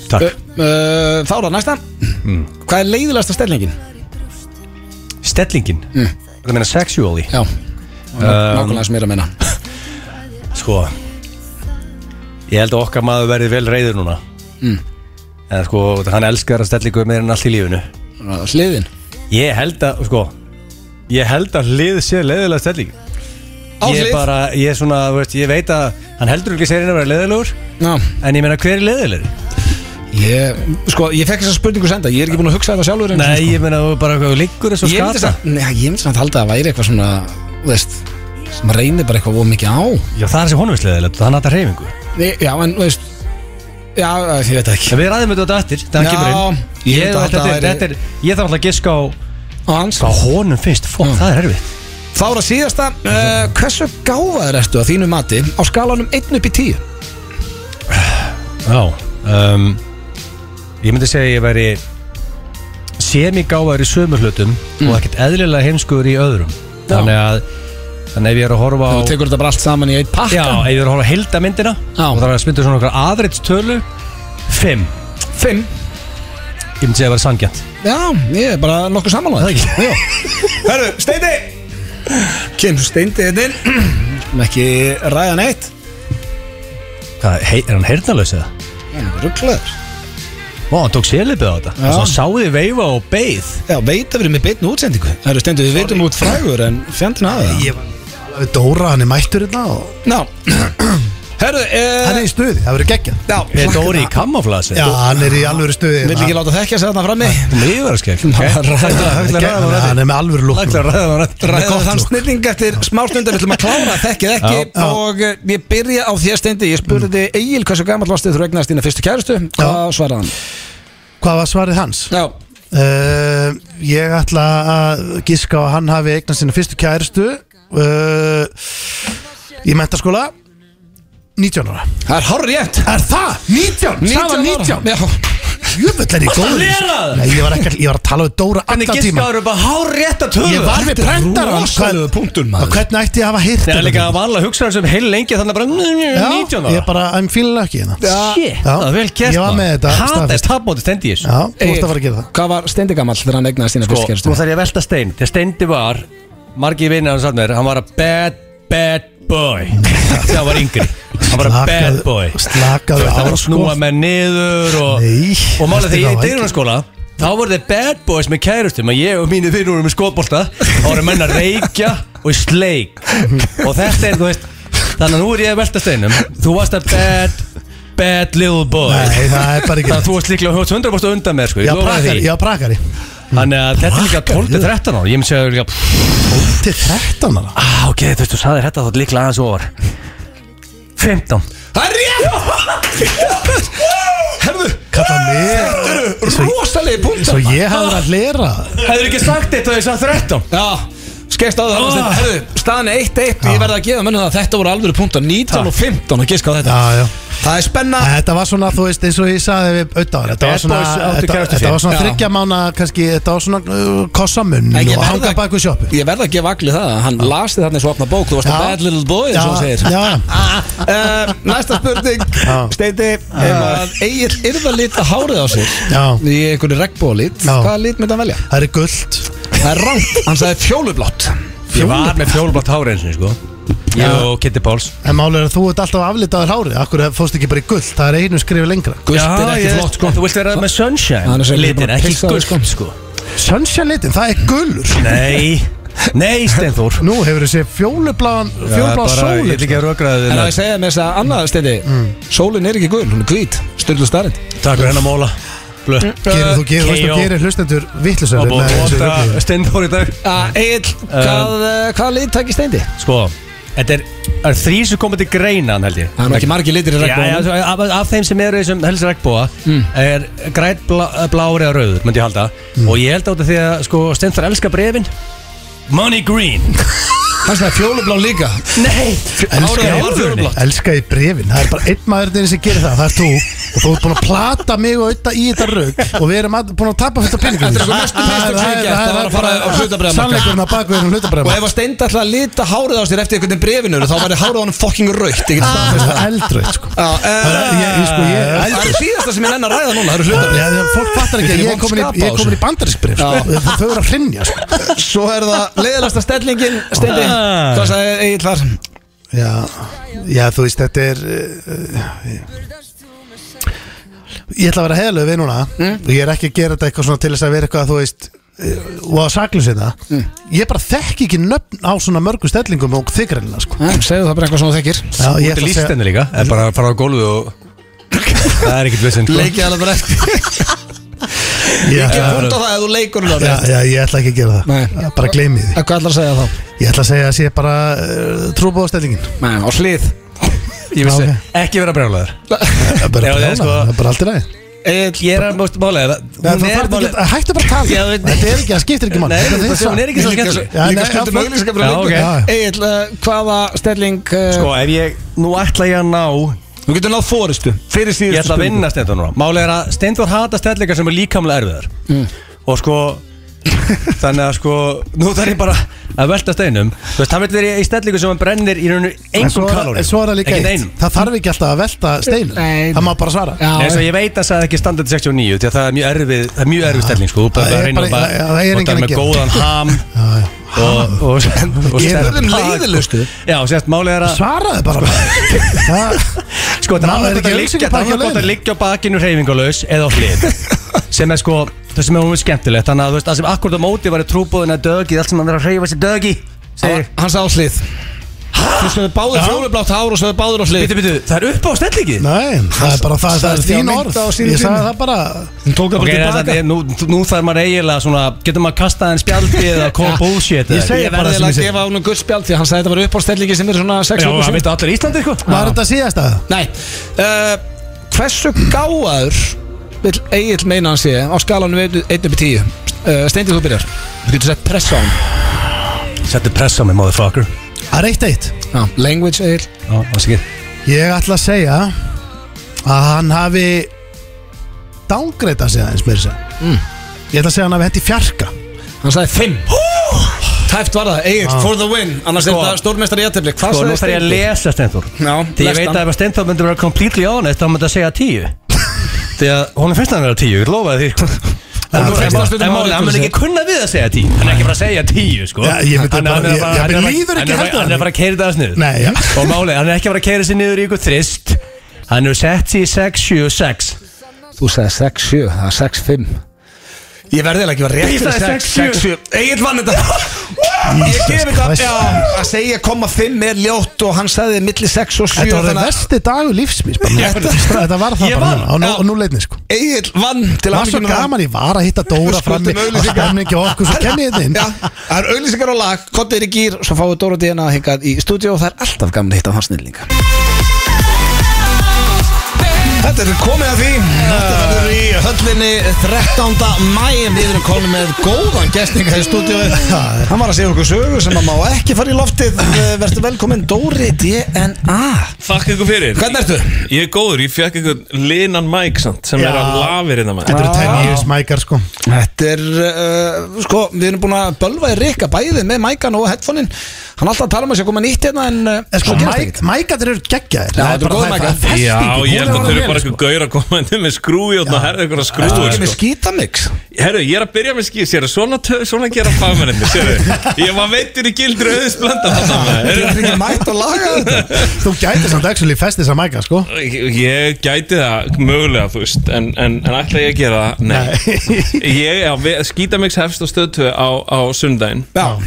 Speaker 3: Takk. Mm.
Speaker 1: uh, Þá er það næsta Hvað er leiðilegasta stellingin?
Speaker 3: Stellingin.
Speaker 1: Mm.
Speaker 3: Það meina sexually.
Speaker 1: Já,
Speaker 3: Um,
Speaker 1: nákvæmlega sem ég er að menna
Speaker 3: Sko, ég held að okkar maður verði vel reyður núna.
Speaker 1: Mm.
Speaker 3: En sko, hann elskar að stellingu meira en allt í lífinu.
Speaker 1: Svona, Hliðin
Speaker 3: Ég held að, sko, ég held að hlið sé leiðilega stelling.
Speaker 1: Á
Speaker 3: Ég
Speaker 1: hlið.
Speaker 3: bara, ég er svona, þú veist, ég veit að hann heldur ekki sér inn að vera leiðilegur,
Speaker 1: Já
Speaker 3: en ég meina hver er leiðilegur?
Speaker 1: Mm. Ég, sko, ég fekk þessa spurningu senda Ég er ekki búin að hugsa þetta sjálfur einu sinni,
Speaker 3: Nei, ég meina þú bara eitthvað þú liggur þessu
Speaker 1: sko. ég myndi
Speaker 3: skata.
Speaker 1: samt- Nei, ég myndi samt halda að það væri eitthvað svona þú veist, sem maður reynir bara eitthvað of mikið á
Speaker 3: Já, það er sem honum veist leiðilegt, þannig að það er reyfingu.
Speaker 1: Nei, Já, en, þú veist Já, ég veit það ekki
Speaker 3: En við ræðum þetta eftir, þegar hann
Speaker 1: Já,
Speaker 3: kemur inn.
Speaker 1: ég
Speaker 3: Ég,
Speaker 1: held að
Speaker 3: þetta,
Speaker 1: þetta
Speaker 3: er-
Speaker 1: væri-
Speaker 3: þetta er, ég þarf alltaf að giska á
Speaker 1: Og hans
Speaker 3: Hvað honum finnst, fokk, það er erfitt
Speaker 1: Þá er að síðasta uh, Hversu gáfaður ertu að þínu mati á skalanum 1 upp í 10?
Speaker 3: Já um, Ég myndi segja að ég væri semigáðar í sömur hlutum og ekkert eðlilega heimskuður í öðrum
Speaker 1: Já.
Speaker 3: þannig að þannig að ef ég er að horfa á
Speaker 1: Þú tekur þetta bara allt saman í eitt pakka
Speaker 3: Já, ef ég er að horfa á heildamyndina
Speaker 1: Já.
Speaker 3: og það er að spynda svona okkar aðreidstölu 5
Speaker 1: Fimm
Speaker 3: Ég myndi segja að vera sangjant
Speaker 1: Já, ég er bara nokkuð samanlega Hörru, Steindi Kemur Steindi hérna inn Sem Ekki ræða neitt
Speaker 3: Hvað, hei, er hann heyrnalaus eða?
Speaker 1: Rugglaður
Speaker 3: Ó, hann tók sérlipið á þetta
Speaker 1: Já.
Speaker 3: og svo sáði veifa og beið
Speaker 1: Já, veit að við erum með beitn útsendingu Það eru stendur, við veitum út frægur en fjandina að það
Speaker 2: Ég var að tala við Dóra, hann er mættur hérna og
Speaker 1: Ná, Herru,
Speaker 2: Hann
Speaker 1: eh,
Speaker 2: er í stuði, það verður geggjað
Speaker 1: já,
Speaker 3: Er Dóri í kamaflasi?
Speaker 2: Já, hann er í alvöru stuði
Speaker 1: Vil ekki láta þekkja sig þarna frammi
Speaker 3: Þú með yfirarskegg
Speaker 2: Hann er- hann er með alvöru lúk
Speaker 3: Lækla ræðan á rætt
Speaker 1: Ræða
Speaker 2: gott
Speaker 1: þann
Speaker 2: look.
Speaker 1: snilling eftir smástundar Við ætlum að klára þekkið ekki
Speaker 3: Já.
Speaker 2: Já.
Speaker 1: Og eh, ég byrja á því að steindi Ég spurði þig Egil hversu gammal varstu þegar þú eignast þína fyrstu kærustu
Speaker 2: Já.
Speaker 1: Og svaraði hann
Speaker 2: Hvað var svarið hans?
Speaker 1: Já,
Speaker 2: Uh, ég ætla að giska á að hann hafi eignast sinna fyrstu kæristu uh, Í mentaskóla 19 ára
Speaker 1: það er hár rétt
Speaker 2: Er það? 19? Það var 19?
Speaker 1: Já,
Speaker 2: Jöfull er ég
Speaker 3: Varstu að
Speaker 2: góður í
Speaker 3: lera
Speaker 2: þessu.
Speaker 3: það?
Speaker 2: Nei, ég var, ekki, ég var að tala við Dóra
Speaker 3: Þannig
Speaker 2: allan tíma
Speaker 3: giskaður upp að hár rétt að tölu
Speaker 2: Ég var við prentaran
Speaker 1: rosalegu punktur, maður.
Speaker 2: Og hvernig ætti ég að hafa hýrt
Speaker 3: Það er líka að vanlega hugsa þessum heil lengi Þannig að bara
Speaker 2: Ég
Speaker 3: 19 ára
Speaker 2: bara, I'm feeling lucky hérna
Speaker 3: Shit,
Speaker 2: Já.
Speaker 3: það er vel gert
Speaker 2: Ég var með þetta staðfest.
Speaker 3: Hattast hafmóti stendi ég
Speaker 2: Já, þú ert að fara að gera það
Speaker 1: Hvað var steindi gammal þegar hann eignast þína
Speaker 3: Sko,
Speaker 1: fyrstu kærustu?
Speaker 3: nú þarf ég að velta stein Þegar steindi var, margi vinnar hann satt með þér Hann var að bad, bad boy Þegar hann var yngri Hann var að bad
Speaker 2: Slakaðu-
Speaker 3: boy
Speaker 2: slakaðu
Speaker 3: Það var
Speaker 2: á, sko.
Speaker 3: að snúa með niður Og,
Speaker 2: Nei,
Speaker 3: og
Speaker 2: ertu
Speaker 3: málega
Speaker 2: eitthvað
Speaker 3: þegar ég í
Speaker 2: að
Speaker 3: dyrunarskóla Þá voru þið bad boys með kærustum Að ég og mínir vinnur voru með skotbolta Þá voru menn að reykja og í sleik Og þetta er, þú veist Þannig að nú er ég að velta steinum Þú varst að bad, bad little boy
Speaker 2: Nei, það er bara ekki
Speaker 3: Þannig að þú varst líklega 100% undan með sko,
Speaker 2: Já,
Speaker 3: lofa þér
Speaker 2: prakari,
Speaker 3: því.
Speaker 2: já, prakari
Speaker 3: Þannig að þetta er líka
Speaker 2: Rakkar,
Speaker 3: 12 til 13 ára Ég myndi segja líka
Speaker 2: Til 13 ára
Speaker 3: Á, Ah, ok, þú veist, þú saðir þetta þá líklega aðeins ofar 15
Speaker 1: Það er rétt! Herðu,
Speaker 2: Kalla mig
Speaker 1: rosalegi punktur
Speaker 2: Svo ég hafði verið að hlera
Speaker 3: Hefur ekki sagt þetta þegar ég sagði 13
Speaker 1: Já, skeist á það
Speaker 3: Ah.
Speaker 1: oh. Herðu, staðan er 1-1 Ég verði að gefa mönnum það að þetta voru alvöru punktar 19 og 15 og giska á þetta
Speaker 2: Já, já
Speaker 1: Ah. Það er spenna
Speaker 2: Þetta var svona, þú veist, eins og ég sagði við auðvitað Þetta
Speaker 3: Bad
Speaker 2: var svona,
Speaker 3: boys áttu
Speaker 2: þetta,
Speaker 3: kærustu
Speaker 2: þetta var svona
Speaker 1: sín. Já.
Speaker 2: þryggja mána kannski Þetta var svona uh, kossamun
Speaker 1: En ég
Speaker 2: og
Speaker 1: verð
Speaker 2: hanga
Speaker 1: að-
Speaker 2: baku sjoppu
Speaker 1: Ég verði að gefa allir það að Hann lasti þarna eins og opna bók Þú varst
Speaker 2: Já.
Speaker 1: a bad little boy eins og hann segir
Speaker 2: já,
Speaker 1: Uh, næsta spurning
Speaker 2: Já.
Speaker 1: Steindi ef að Egil yrða lit að hárið á sér
Speaker 2: Já.
Speaker 1: Í einhverju regnbólit
Speaker 2: Já.
Speaker 1: Hvaða lit myndi hann velja?
Speaker 2: það er gullt
Speaker 1: Það er rangt, hann sagði fjólublátt
Speaker 3: Ég var með fjólblátt hári eins og sko Ég og Kitty Páls
Speaker 2: En málega þú ert alltaf aflitaður hárið Akkur fóst ekki bara í gullt, það er einu skrifi lengra
Speaker 1: Gult er ekki flott sko
Speaker 3: Þú vilt vera með
Speaker 1: Hann er
Speaker 3: sunshine
Speaker 1: sem ekki
Speaker 3: Litin,
Speaker 1: bara
Speaker 3: ekki
Speaker 1: pissaður, sko.
Speaker 3: gult sko
Speaker 2: Sunshine litin, það er gullur
Speaker 3: Nei, nei Steinþór
Speaker 2: Nú hefur þessi fjólubláðan Fjólubláðan
Speaker 3: Ég
Speaker 2: sólir
Speaker 3: vil ekki að rökraði
Speaker 1: En að
Speaker 3: þið
Speaker 1: ég segja með þess að annað Steindi
Speaker 2: Mm.
Speaker 1: Sólin er ekki gul, hún er hvít Styrlu starrend
Speaker 3: Takk fyrir hennar móla Blöð
Speaker 2: Gerir þú gerir, þú veist, þú gerir hlustendur
Speaker 3: Og
Speaker 2: vittlisöður
Speaker 3: búið að vota Steinþór í dag
Speaker 1: Egil, Ah,
Speaker 2: Um.
Speaker 1: hvað, uh, hvað lit takk í Steindi?
Speaker 3: Sko, þetta er- það er þrý sem komið til greinan held ég
Speaker 1: Það er nú ekki margir litir í
Speaker 3: Já, já,
Speaker 1: regnbólit
Speaker 3: þú- af, af þeim sem eru í þessum helst regnbúa er græt blá, blári eða rauður myndi ég halda og ég held á þetta því að sko, Stenþar elskar brefin Money Green
Speaker 1: Hann sagði fjólublá líka
Speaker 3: Nei,
Speaker 1: Hárið
Speaker 3: elskar
Speaker 1: á var fjólublátt.
Speaker 3: fjólublátt
Speaker 2: Elska í brefin, það er bara einn maður þeirri sem gerir það, það er þú og þú ert búin að plata mig og auðvitað í þetta rögg og við erum að, búin að tapa fyrir þetta peningum
Speaker 1: Þetta er sko mestu mistök sem ég hef gert, það var að fara á hlutabréfamarkað.
Speaker 2: Sannleikurinn á bakvegurinn
Speaker 1: Og
Speaker 2: hlutabræðum
Speaker 1: ef að Steindi ætlaði að lita hárið á sér eftir einhvern brefinur þá væri hárið á hann fucking raukt Ég get staðfest
Speaker 2: Það
Speaker 1: það Já,
Speaker 2: er eldraut sko Það er-
Speaker 1: eh,
Speaker 2: ég- ég- sko, ég-
Speaker 1: Það er síðasta sem ég nenni að ræða núna, það eru
Speaker 2: Já,
Speaker 1: hlutabréf
Speaker 2: þegar Fólk fattar ekki að ég er komin í, ég er komin í bandarískbref
Speaker 1: Já.
Speaker 2: sko. Þau eru að hrinja sko.
Speaker 1: Svo er það leiðalasta stellingin Steindi, Eh?
Speaker 3: Ah.
Speaker 1: hvað sagði Egil þar?
Speaker 2: Já, já, þú veist, þetta er uh, Ég ætla að vera heiðalög við núna og ég er ekki að gera þetta eitthvað svona til þess að vera eitthvað þú veist uh, og að saklu sér það Ég bara þekki ekki nöfn á svona mörgu stellingum og þykrenina sko.
Speaker 1: Segðu það bara eitthvað sem Mm. þú þekkir
Speaker 2: Já,
Speaker 3: Þú
Speaker 2: ég ætla
Speaker 3: ert
Speaker 2: að segja
Speaker 3: lífstenni líka er bara að fara á gólfu og það er ekkert vissinn sko.
Speaker 1: Leikið alveg Eh, bara eftir
Speaker 2: ég
Speaker 1: Ekki
Speaker 2: ætla-
Speaker 1: punkt á það að þú leikur hún
Speaker 2: Já,
Speaker 1: alveg
Speaker 2: já, ég ætla ekki að gera það
Speaker 1: Nei.
Speaker 2: Ég Bara gleymi því
Speaker 1: Eh, Hvað ætlar að segja þá?
Speaker 2: Ég ætla að segja að sé bara uh, trúbóða stellingin
Speaker 1: Nei, á slið Ég
Speaker 2: Já,
Speaker 1: vissi
Speaker 2: ok.
Speaker 3: ekki vera brjálæður
Speaker 1: Ah,
Speaker 2: Það er bara að
Speaker 3: Já, það er
Speaker 2: prjóna,
Speaker 3: sko-
Speaker 2: það er bara allt í ræði
Speaker 3: ég er að mást málega hún er málega
Speaker 2: Hættu bara að tala
Speaker 3: Já, veit-
Speaker 2: Þetta er ekki, það skiptir ekki
Speaker 3: Nei,
Speaker 2: mann
Speaker 3: þetta er bara- hún er ekki svo skemmtileg
Speaker 2: Já,
Speaker 1: Líka
Speaker 2: nei,
Speaker 1: skemmtum
Speaker 2: já,
Speaker 1: auðlýsingar
Speaker 3: Já,
Speaker 1: fyrir
Speaker 3: ok.
Speaker 1: leikur Egil, eh, hvaða stelling eh,
Speaker 3: sko ef ég nú ætla ég að ná
Speaker 1: Þú getur náð fóristu Fyrir síðustu
Speaker 3: Ég ætla að
Speaker 1: spurningu.
Speaker 3: vinna Steindor núna Málega er að Steindor hata stellingar sem er líkamlega erfiðar
Speaker 2: Mm.
Speaker 3: Og sko Þannig að sko Nú þarf ég bara að velta steinum Þú veist, hann vil verið í stellingu sem hann brennir í rauninu
Speaker 2: En
Speaker 3: engum
Speaker 2: svo,
Speaker 3: kalóri
Speaker 2: en svo er það líka eitt Það þarf ekki alltaf að velta steinu
Speaker 1: Nei.
Speaker 2: Það má bara svara
Speaker 1: Já,
Speaker 3: Nei, svo ég veit að það er ekki standard 69 Því að það er mjög erfið, það er mjög erfið stelling sko Þú
Speaker 2: Það
Speaker 3: bara
Speaker 2: er
Speaker 3: reynir
Speaker 2: bara-
Speaker 3: bara
Speaker 2: já, það er
Speaker 3: og
Speaker 2: enginn
Speaker 3: er
Speaker 2: að
Speaker 3: með
Speaker 2: gera.
Speaker 3: góðan ham
Speaker 2: Já, já.
Speaker 3: Og, og, og, og
Speaker 2: Ég er
Speaker 3: sterkt
Speaker 1: orðin
Speaker 3: bak.
Speaker 1: leiðilegustu.
Speaker 3: Já, sérst, málega er að
Speaker 2: Svaraðu bara Það-
Speaker 3: Sko, þetta
Speaker 2: Maður er ekki
Speaker 3: er annað gott að liggja-
Speaker 2: auglýsingapakki á
Speaker 3: annað gott að
Speaker 2: leiðinni.
Speaker 3: liggja á bakinu reyfingalaus eða á hlið sem er sko, það sem er mjög skemmtilegt þannig að þú veist, það sem akkurat á móti var trúbúðin að dögi allt sem hann er að reyfa sér dögi
Speaker 1: Hann
Speaker 3: segir,
Speaker 1: hann sagði á slið Þú sögðu báðir
Speaker 2: Já.
Speaker 1: fjólublátt hár og sögðu báðir á hlið
Speaker 3: Býtu, býtu, það er upp á stellingið
Speaker 2: Nei, það er bara það, það er
Speaker 1: Sagðist ég á
Speaker 2: þín
Speaker 1: mynd
Speaker 2: orð
Speaker 1: á sínum
Speaker 2: Ég sagði
Speaker 1: tíma.
Speaker 2: það bara
Speaker 1: Hún tók það
Speaker 3: Ok,
Speaker 1: bara
Speaker 3: þetta
Speaker 1: tilbaka
Speaker 3: er, nú, nú þarf maður eiginlega svona Getur maður kastað en spjaldið eða koma bullshit
Speaker 2: Ég
Speaker 3: eða-
Speaker 2: segi-
Speaker 1: Ég
Speaker 2: bara
Speaker 1: verði eiginlega
Speaker 2: sem ég
Speaker 1: að
Speaker 2: segi.
Speaker 1: gefa hún um guðspjald Því hann sagði þetta var uppástellingi sem er svona 6
Speaker 3: Já,
Speaker 1: vikur
Speaker 3: það
Speaker 1: síðan.
Speaker 3: veistu allir í Íslandi, sko
Speaker 2: Var þetta síðasta?
Speaker 1: Nei uh, Hversu gáður vil Egil meina hann sé á skalanum 1 upp í 10 uh, Steindi þú byrjar Þú getur sett pressa á hann
Speaker 3: Settu press á mig, motherfucker
Speaker 2: Það er eitt eitt
Speaker 1: Já, Language Egil
Speaker 3: Já, það sé ekki
Speaker 2: Ég ætla að segja að hann hafi dángreita sig aðeins mér sér mm. Ég ætla að segja að hann hafi hent í fjarka
Speaker 1: Hann sagði 5 Tæft var það Egil for the win Annars er
Speaker 3: Sko.
Speaker 1: þetta stórmestari í aðtefli Hvað
Speaker 3: Sko, nú
Speaker 1: sagði
Speaker 3: þarf ég að
Speaker 1: Steindi?
Speaker 3: lesa Stenþór
Speaker 1: Já,
Speaker 3: Því ég
Speaker 1: lest
Speaker 3: veit
Speaker 1: hann.
Speaker 3: að ef að Stenþór myndi vera completely honest Þá myndi að segja tíu Því að honum finnst hann vera tíu, ég lofa því sko.
Speaker 1: það
Speaker 3: En
Speaker 1: er bara
Speaker 3: málið-
Speaker 1: stundum
Speaker 3: en málið,
Speaker 1: árið
Speaker 3: hann mun
Speaker 1: til
Speaker 3: ekki kunna við að segja tíu Hann er ekki bara að segja tíu, sko
Speaker 2: Já, ég myndi
Speaker 3: Hann-
Speaker 2: bara-
Speaker 3: hann er
Speaker 2: ég-
Speaker 3: bara-
Speaker 2: ég-
Speaker 3: hann er
Speaker 2: mér
Speaker 3: bara-
Speaker 2: líður ekki
Speaker 3: hann er bara-
Speaker 2: heldur
Speaker 3: Hann
Speaker 2: þannig.
Speaker 3: er bara að keira það sniður
Speaker 2: Nei, já
Speaker 3: Og málið, hann er ekki að fara að keira sér niður í ykkur þrist Hann hefur sett sér í 6, 7 og 6
Speaker 1: Þú sagði 6-7, það er 6-5 Ég verði eiginlega ekki að vera
Speaker 3: Ég
Speaker 1: rétt
Speaker 3: sagði
Speaker 1: 6-7 Egil vann þetta Ég gef þetta
Speaker 2: Christ.
Speaker 1: já, Að segja koma 5 er ljótt og hann sagði milli 6 og 7
Speaker 2: Þetta var það
Speaker 1: þannig að
Speaker 2: vesti dagur lífsmís Þetta þetta var það bara
Speaker 3: Ég vann.
Speaker 2: núna, á nú-
Speaker 1: Já.
Speaker 2: á núleitni sko
Speaker 1: Egil vann til
Speaker 2: Það var svo
Speaker 1: hamingjunnar.
Speaker 2: gaman, ég var að hitta Dóra
Speaker 1: Skuldum
Speaker 2: frammi og
Speaker 1: auglýsingar.
Speaker 2: stemningi og okkur svo kenni ég þetta inn
Speaker 1: Já, það er auðlýsingar á lag, kottið er í gýr Svo fáið Dóra Díana hingað í stúdíu Og það er alltaf gaman að hitta hans snillinga Þetta er komið að því Þetta verður í höllinni 13. mæum Við erum komin með góðan gestninga í stúdíu Hann var að segja okkur sögu sem að má ekki fara í loftið Eh, Vertu velkomin Dóri DNA
Speaker 4: Þakk ykkur fyrir
Speaker 1: Hvernig ertu?
Speaker 4: Ég er góður, ég fekk ykkur linan mæk samt sem
Speaker 2: Já.
Speaker 4: er að lafir innan
Speaker 2: Þetta
Speaker 4: maður
Speaker 2: eru 10 years mækar sko
Speaker 1: Þetta er, uh, sko, við erum búin að bölva í Rikka bæðið með mækan og headphonein Hann er alltaf að tala um að sé að koma nýtt hérna en uh,
Speaker 2: En sko,
Speaker 1: svo gerist
Speaker 2: mæk- mækarnir eru geggjaðir
Speaker 1: Já, þetta eru góðir mækar.
Speaker 4: Já, ég held að þau eru bara
Speaker 2: sko
Speaker 4: ykkur gaur að koma inn með skrúi og herðu ykkur
Speaker 1: Þú
Speaker 4: að skrúi
Speaker 1: ekki með
Speaker 4: sko.
Speaker 1: skítamix
Speaker 4: Herru, ég er að byrja með skýr, sérðu, svona, tö- svona gera fagmenninni, sérðu Ég var veitur í gildri auðisblanda
Speaker 1: Þú
Speaker 4: þarna
Speaker 1: er ekki mætt að laga þetta
Speaker 2: Þú gætir samt actually festið þess að mæka sko
Speaker 4: Ég ég gæti það mögulega, þú veist, en, en, en ætla ég að gera það? Nei. Ég, já, við- skítamix hefst á stöð 2 á, á sundaginn.
Speaker 1: Já,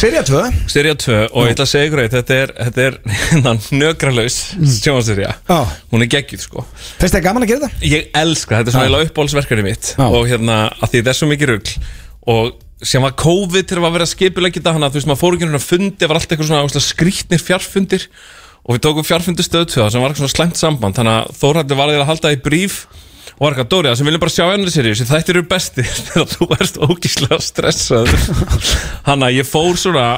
Speaker 1: Sirja 2
Speaker 4: Serja 2 og ég ætla að segja ykkur eitt Þetta er, þetta er hérna, nökralaus sjónserja,
Speaker 1: Já.
Speaker 4: hún er geggjuð sko
Speaker 1: Fyrst það gaman að gera þetta?
Speaker 4: Ég elska, þetta er svona eiginlega uppbólsverkefni mitt
Speaker 1: Já.
Speaker 4: og hérna, að því þetta er svo mikið rugl og sem var COVID þegar var verið að skipulegja þetta hana, þú veist, maður fór ekki hérna að fundi var allt eitthvað svona ógeðslega skrýtnir fjarfundir og við tókum fjarfundi stöð 2 sem var eitthvað svona slæmt samband, þannig að Þórhaldur var eiginlega að halda það í bríf og var eitthvað Dóri, það sem viljum bara sjá ennur sér þessi þættir eru besti þegar þú ert ógíslega stressaður hann að ég fór svona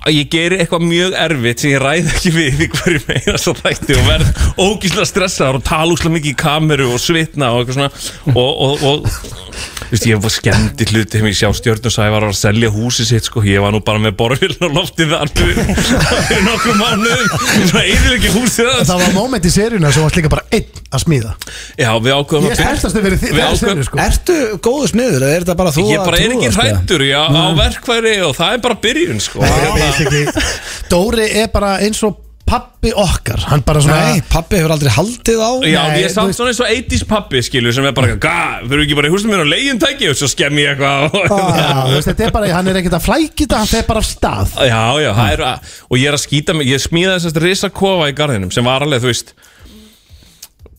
Speaker 4: að ég geri eitthvað mjög erfitt sem ég ræð ekki við í hverju meina svo þætti og verð ógíslega stressaður og tala úslega mikið í kameru og svitna og eitthvað svona og, og, og þú veist, ég var skemmt í hluti sem ég sjá stjörnum sævar að selja húsi sitt sko, ég var nú bara með borféln og loftið þar fyrir nokkuð mánuðum svona eðileggi húsið
Speaker 2: En
Speaker 4: hans
Speaker 2: Það var moment í seríuna sem varst líka bara einn að smíða
Speaker 4: já, við ákveðum
Speaker 2: Ég er hérstastu fyrir
Speaker 4: Við
Speaker 2: þeirra
Speaker 4: ákveðum-
Speaker 2: seríu sko
Speaker 1: Ertu góðu smiður eða er þetta bara þú sko?
Speaker 4: ég bara er ekki
Speaker 1: trúðast, eða?
Speaker 4: hrættur já, á
Speaker 2: Mm.
Speaker 4: verkværi og það er bara byrjun sko
Speaker 2: Ég veit ekki. Dóri er bara eins og pappi okkar Hann bara svona
Speaker 1: Nei, pappi hefur aldrei haldið á
Speaker 4: Já,
Speaker 2: Nei,
Speaker 4: ég er
Speaker 2: þú
Speaker 4: samt
Speaker 2: veist-
Speaker 4: svona eins og 80s pappi skilur sem er bara, gá, þurfum við ekki bara í húsinu mér og leiðin um tæki og svo skemm ég eitthvað og-
Speaker 2: Já, þú veist, þetta er bara, hann er ekkert að flækja þetta, hann fer bara af stað
Speaker 4: Já, já, það er að og ég er að skýta mig, ég smíðaði þessast risakofa í garðinum sem var alveg, þú veist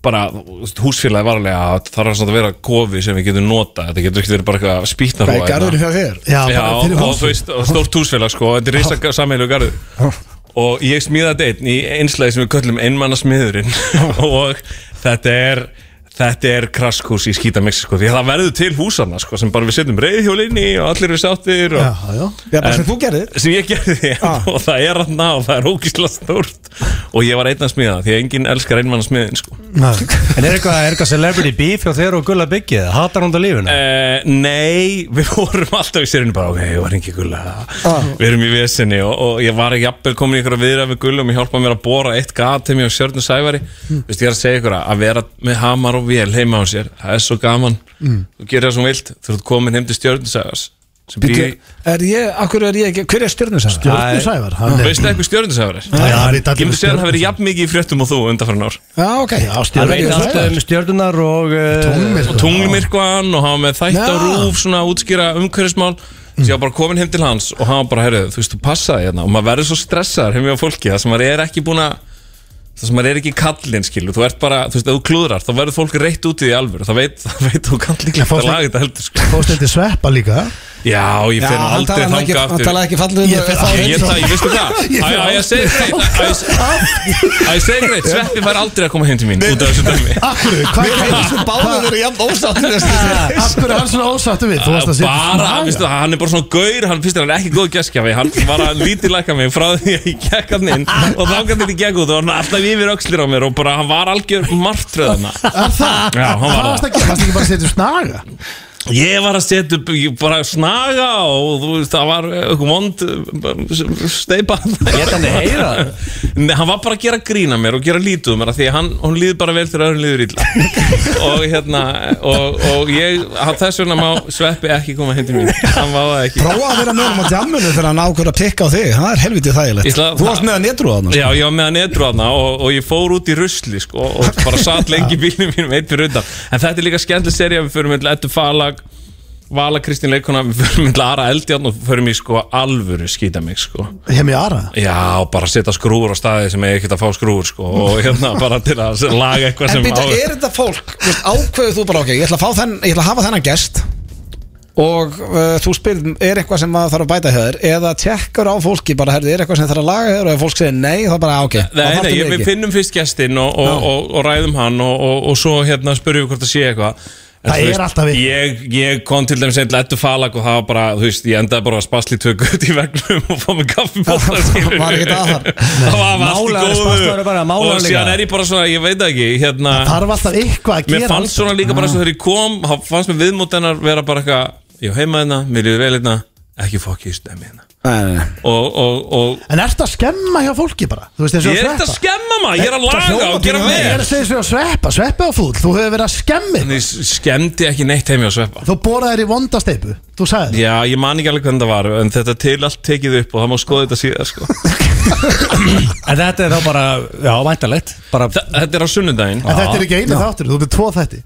Speaker 4: bara, þú veist, húsfélagi var alveg að það þarf samt að vera kofi sem við getum nota þetta getur ekki verið bara eitthvað spýtnar
Speaker 1: Hvað er garðurinn hjá þér?
Speaker 2: Já,
Speaker 4: Já,
Speaker 2: bara fyrir
Speaker 4: og
Speaker 2: hús
Speaker 4: þú veist, og stórt húsfélag sko, og þetta er reysa samheilu garður og ég smíða þetta einn í einslæði sem við köllum einmannasmiðurinn og þetta er þetta er kraskús í skítamixi sko, því að það verður til húsana sko, sem bara við setjum reyðhjólinni og allir eru sáttir og
Speaker 2: Já, já
Speaker 1: Já, bara sem þú gerðir
Speaker 4: sem ég gerði
Speaker 1: Ah.
Speaker 4: og það er hann og það er ógísla stórt og ég var einn að smíða það, því að enginn elskar einmannasmiðin sko.
Speaker 2: Nei.
Speaker 3: En er eitthvað, er eitthvað celebrity beef hjá þér og Gulla Byggið? Hatar hún það lífinu?
Speaker 4: Uh, nei, við vorum alltaf í sérinu bara, ok, ég var ekki gulla
Speaker 2: Ah.
Speaker 4: Við erum í vesinni og, og ég var jafnvel komin í ykkur að viðra við gulla og mér hjálpaði mér að bóra eitt gat til mér á Sjörnu Sævari
Speaker 2: Hmm.
Speaker 4: mm. Vist, ég er að segja ykkur að- að vera með hamar og vél heima á sér, það er svo gaman
Speaker 2: Hmm.
Speaker 4: Þú gerir það svo vilt, þú ert komin heim til Sjörnu Sævars sem býr í,
Speaker 1: Er ég, akkur er ég ekki, hver er stjörnum sæðan?
Speaker 2: Stjórnum sævar hann er-
Speaker 4: veistu eitthvað Sjörnu Sævari?
Speaker 2: Já, hann veit
Speaker 4: Ég
Speaker 2: allir um
Speaker 4: myndi segja að það hafi
Speaker 2: stjörnur.
Speaker 4: verið jafn mikið í fréttum og þú undanfarn ár
Speaker 1: Já, ok
Speaker 2: Já,
Speaker 3: Hann
Speaker 2: stjórnum
Speaker 3: veit allt um stjörnunar og uh,
Speaker 4: eh,
Speaker 2: Tónlist.
Speaker 4: og tunglmyrkvan og hafa með þætt á
Speaker 1: Já.
Speaker 4: rúf svona að útskýra umhverfismál Svo ég var bara komin heim til hans og hann var bara, herru, þú veist, þú passaði hérna og maður verður svo stressaður heim hjá fólki það sem maður er ekki búin að það sem maður er ekki kallinn skilur þú ert bara, þú veist, ef þú klúðrar þá verður fólk reitt út í því alvöru það veit, það veit þú kann líklega
Speaker 2: fólk-
Speaker 4: að laga þetta heldur sko.
Speaker 2: Fórst þetta sveppa líka
Speaker 4: já, ég fyrir
Speaker 1: hann
Speaker 4: aldrei
Speaker 1: talaði ekki,
Speaker 4: þanga
Speaker 1: hann
Speaker 4: aftur
Speaker 1: talaði ekki fallið um
Speaker 2: Ég fer
Speaker 1: þá-
Speaker 2: aldrei-
Speaker 4: Ég, ég, það, ég veistu það
Speaker 2: Ég fer
Speaker 4: Æ, æ, ég segi Það ég segi greitt Sveppi fær aldrei að koma heim til mín Út af þessu dæmi
Speaker 2: Akkur, hvað
Speaker 1: Mér finnst þú báðir verið jafn ósáttir
Speaker 2: Akkur er hann svona ósattu við Þú varst að setja
Speaker 4: Bara, veistu það, hann er bara svona gaur Hann finnst hann er ekki góð geskjafi Hann var að lítilækka mig frá því að ég gekk hann inn Og þá gæti þetta gekk út Og hann var alltaf yfir öxlir á mér Og bara, hann var algjör martröðana
Speaker 2: Er það?
Speaker 4: Já, hann var
Speaker 2: Hvað varst að gera? Varst ekki bara að setja upp snaga?
Speaker 4: Ég var að setja upp ég bara snaga og þú veist, það var eitthvað vond uh, steipa
Speaker 3: Lét hann þig heyra það?
Speaker 4: Nei, hann var bara að gera grína mér og gera lítið um mér af því að hann, hún líður bara vel þegar öðrum líður illa og hérna og, og ég, hann- þess vegna má Sveppi ekki koma heim til mín hann má það ekki
Speaker 1: Prófa að vera með um á djamminu þegar hann ákveður að pikka á þig Það er helviti þægilegt
Speaker 4: Ísla-
Speaker 1: Þú varst með að sko. netrúða hann
Speaker 4: Já, ég var með hann edru aðna og, og ég fór út í rusli sko, og, og bara satt lengi í bílnum mínum eitt fyrir undan En þetta er líka skemmtileg serið Við förum með Lettu Falag Vala Kristín Leikona Við förum með Lara Eldjarn og förum í sko alvöru skýta mig sko
Speaker 2: Hemi Ara
Speaker 4: Já, og bara setja skrúur á staði sem ég ekkert að fá skrúur sko og hérna bara til að laga
Speaker 1: En
Speaker 4: eitthvað sem
Speaker 1: býta,
Speaker 4: á-
Speaker 1: er þetta fólk þú veist, Ákveður þú bara ok, ég ætla að, fá þenn, ég ætla að hafa þennan gest Og uh, þú spyrir, er eitthvað sem maður þarf að bæta hjá þér Eða tekkar á fólki bara, herði, er eitthvað sem þarf að laga hjá þér Og ef fólk segir nei, þá bara "Ah, ok þá
Speaker 4: Nei,
Speaker 1: þarftu
Speaker 4: nei,
Speaker 1: mig
Speaker 4: ég, við
Speaker 1: ekki.
Speaker 4: finnum fyrst gestinn og, og, og, og, ræðum hann og, og, og svo hérna spurjum við hvort það sé eitthvað En
Speaker 2: Það
Speaker 4: þú
Speaker 2: er alltaf eitthvað.
Speaker 4: ég, ég kom til dæmis einn lettu falag og það var bara, þú veist, ég endaði bara að spasli tvö gutt í vegnum og fá mig kaffibóta
Speaker 1: Var ekkert að þar.
Speaker 4: Það var allt í
Speaker 3: Málaður spaslaður er bara,
Speaker 4: góðu
Speaker 3: málaður
Speaker 4: Og
Speaker 3: líka.
Speaker 4: síðan er ég bara svona, ég veit það ekki hérna,
Speaker 2: Þarf alltaf eitthvað að
Speaker 4: Mér
Speaker 2: gera
Speaker 4: fannst svona líka bara svo þegar ég kom þá fannst mér viðmót hennar vera bara eitthvað Ég á heima hérna, mér líður vel hérna Ekki fokki í stemmi hérna
Speaker 1: Nei, nei, nei.
Speaker 4: Og, og, og
Speaker 2: En ertu að skemma hjá fólki bara? Þú veist eins og
Speaker 4: ég er ekkert að
Speaker 2: sveppa
Speaker 4: skemma maður, ég er að
Speaker 1: Það
Speaker 4: laga
Speaker 1: hljómar
Speaker 4: og gera
Speaker 1: bara
Speaker 2: Ég
Speaker 4: vel
Speaker 2: er að segja eins og sveppa Sveppa á fúl Þú hefur verið að skemmi
Speaker 4: Ég skemmdi ekki neitt heimi á sveppa
Speaker 2: Þú borðað þér í vondasteipu Þú sagði það
Speaker 4: Já, ég man ekki alveg hvernig það var En þetta til allt tekið upp og það má skoða þetta síðar sko.
Speaker 3: En þetta er þá bara, já, væntalegt Bara,
Speaker 4: Þa- Þetta er á sunnudaginn
Speaker 2: En þetta er ekki einu þáttur, þú byrð tvo þætti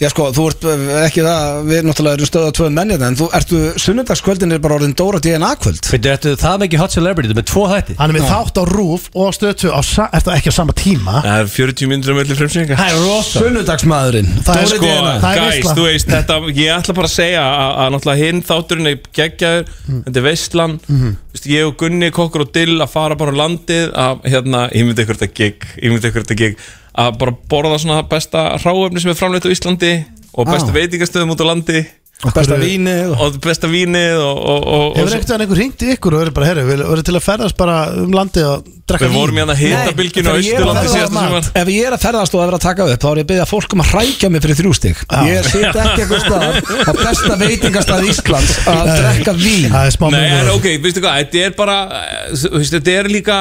Speaker 1: Já sko, þú ert eh, ekki það Við náttúrulega erum stöðað tvö mennið En þú ertu, sunnudagskvöldin er bara orðin Dóra DNA kvöld
Speaker 3: veitu, þetta er það mikið hot celebrity Með tvo þætti
Speaker 2: Hann er með þátt á rúf og stötu á sa- Er það ekki á sama tíma?
Speaker 4: Það er 40 minnur um öllu fremsýninga
Speaker 3: Það er rosa
Speaker 1: Sunnudagsmaðurinn
Speaker 2: Það er
Speaker 1: Dóri
Speaker 2: sko-
Speaker 1: DNA
Speaker 2: það er
Speaker 4: Guys,
Speaker 2: veisla.
Speaker 4: þú veist, þetta, ég ætla bara að segja að, að náttúrulega hinn þátturinn er geggjaður
Speaker 2: Mm.
Speaker 4: Þetta er veistlan
Speaker 2: Mhm.
Speaker 4: Vist, Ég og Gunni, Kokkur og Dill að fara bara á landið að, hérna, ég myndi ykkur þetta gig ég myndi ykkur þetta gig að bara borða svona besta ráöfni sem er framleitt á Íslandi og
Speaker 2: Ah.
Speaker 4: bestu
Speaker 1: Á.
Speaker 4: veitingastöðum út á landi
Speaker 1: Og besta vínið og-
Speaker 4: og besta vínið og, og, og,
Speaker 2: Hefur
Speaker 4: og,
Speaker 2: ekkert einhver hringt í ykkur og verið bara, herru, við verið til að ferðast bara um landið og drekka
Speaker 4: Við vorum hérna hitabilginu á
Speaker 1: Nei, þegar ég er að
Speaker 4: Austurlandi
Speaker 1: ferðast-
Speaker 4: síðasta sumar
Speaker 1: Ef ég er að ferðast og er að taka upp Þá er ég að byggja fólk um að hrækja mig fyrir þrjú stig Ég sit ekki eitthvað stað Á besta veitingastað Íslands Að drekka vín
Speaker 2: Það er smá
Speaker 4: Nei,
Speaker 2: munur.
Speaker 4: en ok, veistu hvað, þetta er bara eh, þú veist, Þetta er líka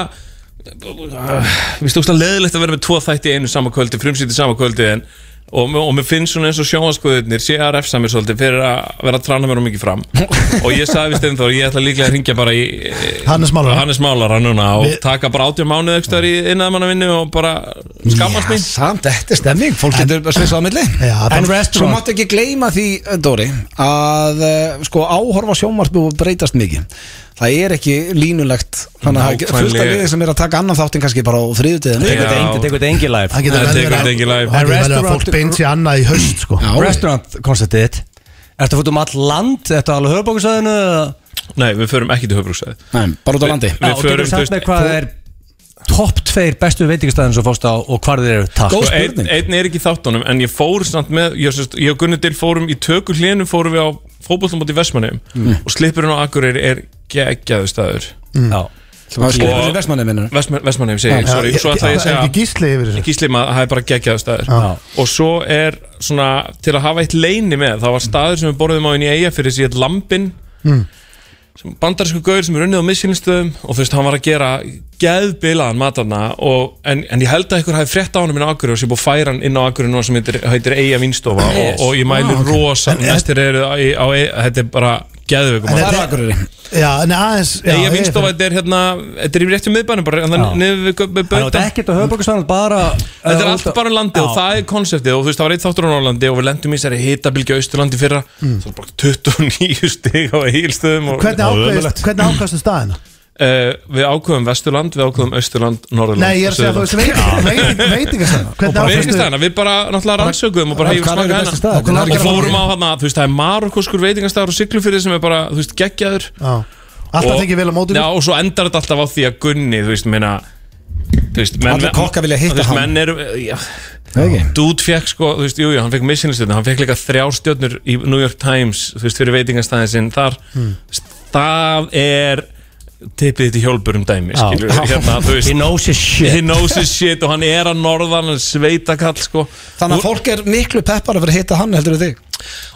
Speaker 4: Vistu, óslega leðilegt að vera með tvo þætti í einu sama kvöldi, frumsýtti sama kvöldi en, og, og mér finnst svona eins og sjónvaskvöðunir sé að refsa mér svolítið fyrir að vera að trána mér um mikið fram og ég sagði við Steinþór, ég ætla líklega að ringja bara í eh,
Speaker 2: Hannes Málara.
Speaker 4: Hannes Málara núna og
Speaker 2: Við-
Speaker 4: taka bara átjum mánuð ekstra í innaðmannavinnu og bara skammast mín
Speaker 1: Samt, þetta er stemming, fólk getur að svisa á milli
Speaker 2: Já,
Speaker 1: En
Speaker 2: bara-
Speaker 1: svo máttu ekki gleyma því, Dóri Að eh, sko áhorfa sjónvarpu breytast mikið Það er ekki línulegt Þannig að það er fullt af
Speaker 4: Nákvæmlega.
Speaker 1: liðið sem er að taka annan þáttin kannski bara á þriðutíðinu
Speaker 4: Já.
Speaker 3: Tekur þetta engi- tekur þetta engi live
Speaker 2: Það getur
Speaker 4: Nei,
Speaker 2: vel
Speaker 4: tekur
Speaker 2: verið
Speaker 4: þetta
Speaker 2: að-
Speaker 4: ekki í lagi.
Speaker 2: það getur vel verið að
Speaker 3: Restaurant-
Speaker 2: fólk beint sér annað í haust sko.
Speaker 1: Já.
Speaker 3: Restaurant konceptið þitt Ertu að fóta um all land, ertu alveg höfbókusæðinu
Speaker 4: Nei, við förum ekki til höfbruksæði
Speaker 1: Nei, bara út á landi
Speaker 4: Við förum, þú veist,
Speaker 3: veist Hvað er topp tveir bestu veitingastæðin sem fórst á og hvar þeir eru takk Mm.
Speaker 1: Góð
Speaker 4: Sko,
Speaker 1: spurning.
Speaker 4: einn, einn er ekki í þáttunum en ég fór samt með, ég, sérst, ég og Gunni Dill fórum í tökur hlénum fórum við á fótbollum út í Vestmannheim
Speaker 2: Mm.
Speaker 4: og Slippurinn á Akureyri er geggjaðu staður
Speaker 1: Það
Speaker 3: Já
Speaker 1: er
Speaker 4: Og-
Speaker 1: skrifað í vestmanni minnur
Speaker 4: Vestmann, Vestmannheim segi ég,
Speaker 2: Já,
Speaker 4: sorry, svo ætla ég að
Speaker 2: það er Ekki
Speaker 4: segja
Speaker 2: gísli yfir þessu
Speaker 4: Gíslim að það er bara geggjaðu staður og svo er svona til að hafa eitt leini með, það var staður sem við borðum á inn í eiga fyrir þessi eitt lambin sem bandarísku gauður sem er unnið á missinstöðum og þú veist, hann var að gera geðbilaðan matarna og, en, en ég held að ykkur hafi frétt á hann minn á Akureyri og sem búið að færa hann inn á Akureyri núna sem heitir, heitir Eyja Vinstofa og, og ég mæli rosa, næstir eru á, á, á þetta er bara geðveikum
Speaker 1: Það
Speaker 4: maður.
Speaker 1: er Akureyri
Speaker 2: Já, en aðeins já,
Speaker 4: Ég
Speaker 2: Eyjafjörður.
Speaker 4: vingstofa, þetta er hérna Þetta er í réttum miðbænum bara hérna
Speaker 3: Já.
Speaker 4: niður við gö- með
Speaker 3: Þannig að
Speaker 4: bauta
Speaker 3: þetta er ekkert að höfbrukarsvæðan bara uh,
Speaker 4: Þetta er allt bara um landi og það er konseptið og þú veist, það var eitt þáttur á Norrlandi og við lendum í þessari hitabilgja austurlandi í fyrra svo bara 29 stig á eigilstöðum
Speaker 2: Hmm.
Speaker 4: og
Speaker 2: Hvernig ákvæðist, hvernig ákvæðist staðina?
Speaker 4: Eh, Við ákveðum Vesturland, við ákveðum Austurland, Norðurland
Speaker 2: Nei, ég er að segja þú veist veiting- veiting- veitingastæðina Hvernig
Speaker 4: Við
Speaker 2: ákvæðist
Speaker 4: veitingastæðina, við bara náttúrulega rannsökuðum og bara hefum
Speaker 1: Hvar eru
Speaker 4: smaka
Speaker 1: bestu
Speaker 4: hérna
Speaker 1: staðir?
Speaker 2: Hvernig
Speaker 4: og
Speaker 2: ákvæðist
Speaker 4: fórum á hérna, þú veist, það er marokoskur veitingastæður og siglufyrir sem er bara, þú veist, geggjaður
Speaker 2: Alltaf
Speaker 4: Og-
Speaker 2: tekið vel á mótum
Speaker 4: Já, og svo endar þetta alltaf á því að Gunni, þú veist, minna Þú veist, menn
Speaker 1: Allir kokkar vilja hitta
Speaker 4: Þú veist,
Speaker 1: hann.
Speaker 4: menn eru, eh, já,
Speaker 1: Ekki
Speaker 4: Dude fekk sko, þú veist, jú, jú, hann fekk missinlistjörnur Hann fekk líka þrjá stjörnur í New York Times Þú veist, fyrir veitingastæðin sinn Þar,
Speaker 3: Hmm.
Speaker 4: þú veist, það er Tippið þitt í hjólburum dæmi
Speaker 3: Já.
Speaker 4: skilur, hérna, þú
Speaker 3: He
Speaker 4: veist,
Speaker 3: knows his
Speaker 4: He
Speaker 3: shit
Speaker 4: knows his shit og hann er að norðan hann er sveitakall sko
Speaker 1: Þannig að
Speaker 4: Ú-
Speaker 1: fólk er miklu peppara fyrir að hitta hann heldur en þig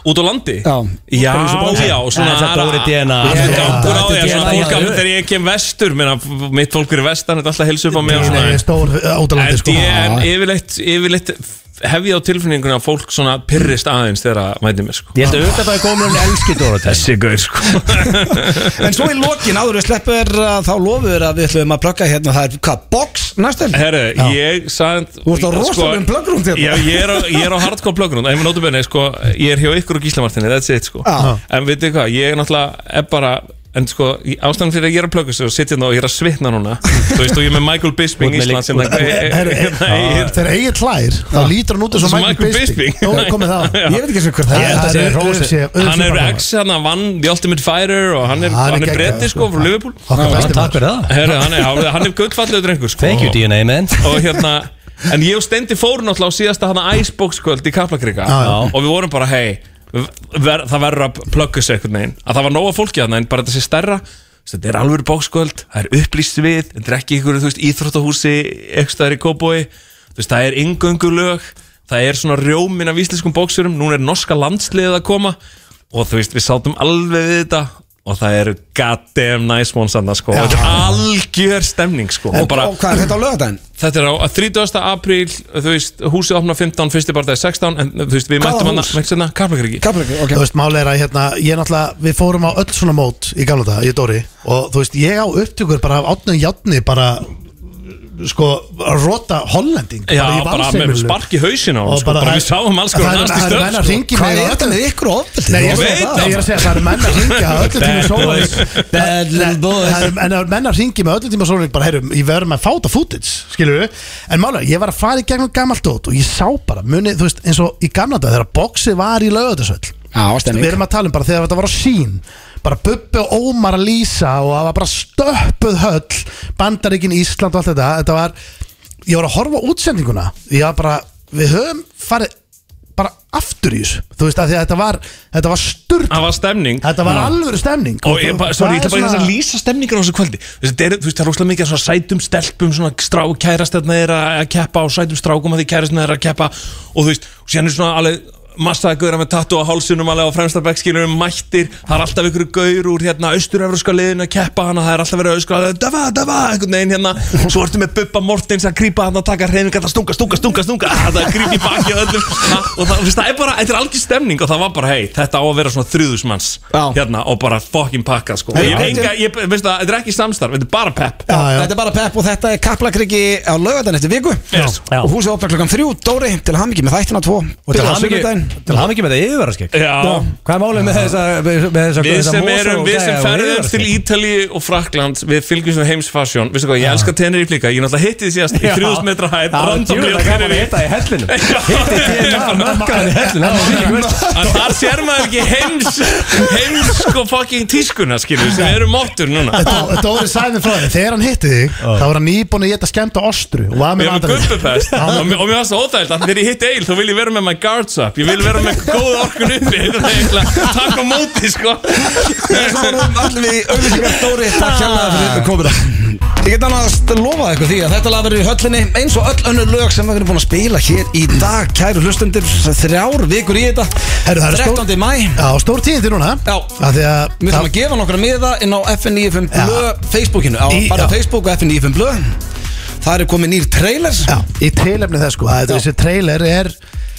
Speaker 4: út á landi
Speaker 1: Já.
Speaker 4: já,
Speaker 1: Bara eins og bara-
Speaker 4: já, og svona
Speaker 3: Þetta er dóri DNA.
Speaker 4: Alveg
Speaker 2: Já,
Speaker 4: gangur á
Speaker 3: þetta
Speaker 4: því
Speaker 3: er
Speaker 4: að svona
Speaker 3: DNA,
Speaker 4: fólk
Speaker 3: já.
Speaker 4: að þegar ég kem vestur minna, mitt fólk er vestan, þetta er alltaf að heilsa upp á mig og svona
Speaker 2: Nei, Stór
Speaker 4: En E-
Speaker 2: átalandi sko
Speaker 4: ég en yfirleitt, yfirleitt hef ég á tilfinningunni að fólk svona pyrrist aðeins þegar að mæti mér sko
Speaker 3: Ég held að auðvitað það er komin um elski Dóratæs
Speaker 4: Þessi gaur sko
Speaker 1: En svo í lokin áður við sleppur þá lofum við að við ætlum að plugga hérna það er hvað, box næstel?
Speaker 2: Eh,
Speaker 4: Herru, ég sagði Sko,
Speaker 1: Þú ert á rosalegum pluggrúnd hérna.
Speaker 4: Já, ég er á, ég er á hardcore pluggrúnd En ég notu benni, sko, ég er hjá ykkur og Gíslamartinni That's it, sko
Speaker 1: Já.
Speaker 4: En veitir hvað, ég er náttúrulega er bara En sko, í- ástæðan fyrir að ég er að plugga sig og sitja hérna og ég er að svitna núna Þú veist, og ég er með Michael Bisping
Speaker 3: Út með
Speaker 4: Íslands
Speaker 3: lík-
Speaker 4: hérna, e- e-
Speaker 2: Herru, e-
Speaker 4: e- e- e-
Speaker 2: Þegar eigið klær þá lítur hann út eins og
Speaker 4: Svo
Speaker 2: Michael
Speaker 4: Michael
Speaker 2: Bisping
Speaker 4: Bisping.
Speaker 2: Nú er komið það
Speaker 1: Ég veit ekki eins og hver það
Speaker 2: Ég
Speaker 1: er
Speaker 2: held að
Speaker 3: það
Speaker 4: hérna,
Speaker 3: er
Speaker 2: það sé
Speaker 3: Rósi.
Speaker 4: Hann er ex, hann hérna, vann The Ultimate Fighter og hann er,
Speaker 2: Hann er
Speaker 4: hann er
Speaker 2: geggjaður,
Speaker 4: bretti,
Speaker 2: sko.
Speaker 4: sko, frá Liverpool
Speaker 3: Takk fyrir það
Speaker 4: Herru, hann er, hann er gullfallegu drengur, sko
Speaker 3: Thank you DNA man
Speaker 4: og hérna en ég og Stendi fórum náttúrulega á síðasta hana Icebox kvöld í Kaplakrika
Speaker 2: Já, já.
Speaker 4: og við vorum bara hei ver, það verður að plugga sig einhvern veginn að það var nóga fólki hérna en bara þetta sé stærra Þú veist, þetta er alveg bókskvöld, það er upplýst við þetta er ekki ykkur, þú veist, íþróttahúsi ekstra í Kóboi, þú veist, það er yngöngulög, það er svona rjómin af íslenskum bóksurum, núna er norska landsliðið að koma og þú veist, við sátum alveg við þetta og það eru goddamn nice ones annars sko, og þetta er algjör stemning sko,
Speaker 1: Og og hvað er þetta á lögadaginn?
Speaker 4: Þetta er á að 30. apríl, þú veist, húsið opna 15, fyrsti barndagi 16, en þú veist, við
Speaker 1: Hvaða
Speaker 4: mættum hann
Speaker 1: hús?
Speaker 4: með sérna Karpakriki.
Speaker 1: Kaplakriki, ok
Speaker 2: Þú veist, máli er að hérna, ég náttúrulega, við fórum á öll svona mót í gamla dag, ég Dóri og þú veist, ég á upptökur bara af átnum játni bara, sko, að rota hollending
Speaker 4: Já,
Speaker 2: í
Speaker 4: bara með
Speaker 2: valsheimilinu.
Speaker 4: spark í hausin á hann,
Speaker 2: Og
Speaker 4: sko, bara
Speaker 2: það-
Speaker 4: við sáum alls konar
Speaker 2: það eru-
Speaker 4: næst í
Speaker 2: Það eru menn að
Speaker 4: stöð, sko.
Speaker 2: ringi
Speaker 1: Hvað
Speaker 2: mig
Speaker 1: er þetta
Speaker 2: öllu-
Speaker 1: með ykkur og ofbeldi?
Speaker 2: Nei, ég er að
Speaker 4: Ég
Speaker 2: segja
Speaker 4: veit
Speaker 2: það, Nei, ég er að segja það eru menn að ringi að öllu tíma
Speaker 4: Bad
Speaker 2: sólarins
Speaker 4: boys.
Speaker 1: Bad little
Speaker 2: Nei,
Speaker 1: boys.
Speaker 2: það eru- En það eru menn að ringi með öllu tíma sólarins bara, heyrðu, ég verður með að fáta footage, skilur við En málega, ég var að fara í gegnum gamalt dót og ég sá bara, muni, þú veist, eins og í gamla dag þegar boxið var í lögðarsöll
Speaker 1: Já,
Speaker 2: Við
Speaker 1: stemning
Speaker 2: erum að tala um bara þegar þetta var á sín bara Bubbi og Ómar að lýsa og það var bara stöppuð höll Bandaríkin, Ísland og allt þetta þetta var, ég var að horfa á útsendinguna ég var bara, við höfum farið bara aftur í þessu þú veist að því að þetta var, þetta var sturt
Speaker 4: Það var stemning.
Speaker 2: þetta var alvöru stemning
Speaker 4: Og ég bara, sorry, ég ætla bara
Speaker 2: það
Speaker 4: þess
Speaker 2: er
Speaker 4: að
Speaker 2: svona-
Speaker 4: lýsa stemningur á þessu kvöldi Þú veist, þetta er- þú veist, það er rosalega mikið af svona sætum stelpum Svona strákærastetna er að að keppa Og sætum strákum að því kærastetna er að keppa Og þú veist, og síðan er svona alveg Massaði gauðra með tattu á hálsunum alveg á fremsta bekkskilur mættir, það er alltaf ykkur gaur úr hérna austuröfruska liðinu að keppa hana það er alltaf verið að auskra, dafa, dafa, einhvern veginn hérna svo ertu með Bubba Mortens að grípa hann að taka hreyfingar, það stunga, stunga, stunga, stunga ah, það grípi baki á öllum ah, og það, þú veist, það er bara, þetta er algjör stemning og það var bara, hei, þetta á að vera svona þrjúðusmanns
Speaker 1: Já.
Speaker 4: hérna og bara fucking pakka sko.
Speaker 1: Hey,
Speaker 4: ég,
Speaker 1: þetta
Speaker 4: enga, ég, veistu það, þetta er ekki samstarf, þetta er bara pepp
Speaker 1: Já,
Speaker 2: Já, já.
Speaker 1: Þetta er bara pepp og þetta er Kaplakriki á lögadaginn eftir viku
Speaker 4: Yes.
Speaker 1: Já. Og húsið opna klokkan þrjú, Dóri, til hammingi með þættina tvo
Speaker 3: Og til
Speaker 1: Byrjar á
Speaker 3: hamingju-
Speaker 1: sunnudaginn.
Speaker 3: til hamingi með þetta yfirverðarskegg
Speaker 4: Já.
Speaker 3: Hvað er málið með þessa með þessa-
Speaker 4: Við
Speaker 3: þessa
Speaker 4: sem
Speaker 3: mosa
Speaker 4: erum,
Speaker 3: og
Speaker 4: við
Speaker 3: gæja
Speaker 4: sem
Speaker 3: og sko.
Speaker 4: ferðum til
Speaker 3: yfirvararskegg?
Speaker 4: Ítalíu og Frakland Við fylgjum sem heimsfasjón Vistu hvað, ég elska Tenerife líka Ég náttúrulega hitti því síðast í 3000 metra hæð randomly á
Speaker 3: Það gaman að
Speaker 4: Tenerife.
Speaker 3: hitta í hellinum
Speaker 4: Já.
Speaker 3: Hitti DNA mökkaðan í hellinum Það er mikið veist
Speaker 4: að þar sér maður ekki heims heims sko fucking tískuna skilur sem eru móttur núna
Speaker 2: Dó- Dóri sæði frá því, þegar hann hitti þig þá var hann íbúin að geta skemmt á ostru og var
Speaker 4: Við
Speaker 2: með
Speaker 4: erum
Speaker 2: vandræðum.
Speaker 4: guppupest og mér og mér var svo óþægilt að þegar ég hitt eil þá vil ég vera með my guards up ég vil vera með góða orkun uppi Þetta er eiginlega takk á móti sko
Speaker 1: Þessum vorum allir við auðvitað Dóri,
Speaker 2: Ah.
Speaker 1: takk hérlega fyrir þetta komina Ég get annars lofað ykkur því að þetta lag verður í höllinni eins og öll önnur lög sem við erum búin að spila hér í dag Kæru hlustendur, þrjár vikur í þetta
Speaker 2: Herru, það er stór-
Speaker 1: 13. mæ
Speaker 2: Já, stór tíðindi núna
Speaker 1: Já.
Speaker 2: Af því að
Speaker 1: Við ætlum að gefa nokkra miða inn á FN95 Blö Facebookinu, á
Speaker 2: Í-
Speaker 1: bara
Speaker 2: já.
Speaker 1: Facebook og FN95 Blö Það er komið nýr trailer
Speaker 2: Já, í tilefni þess sko að þessi trailer er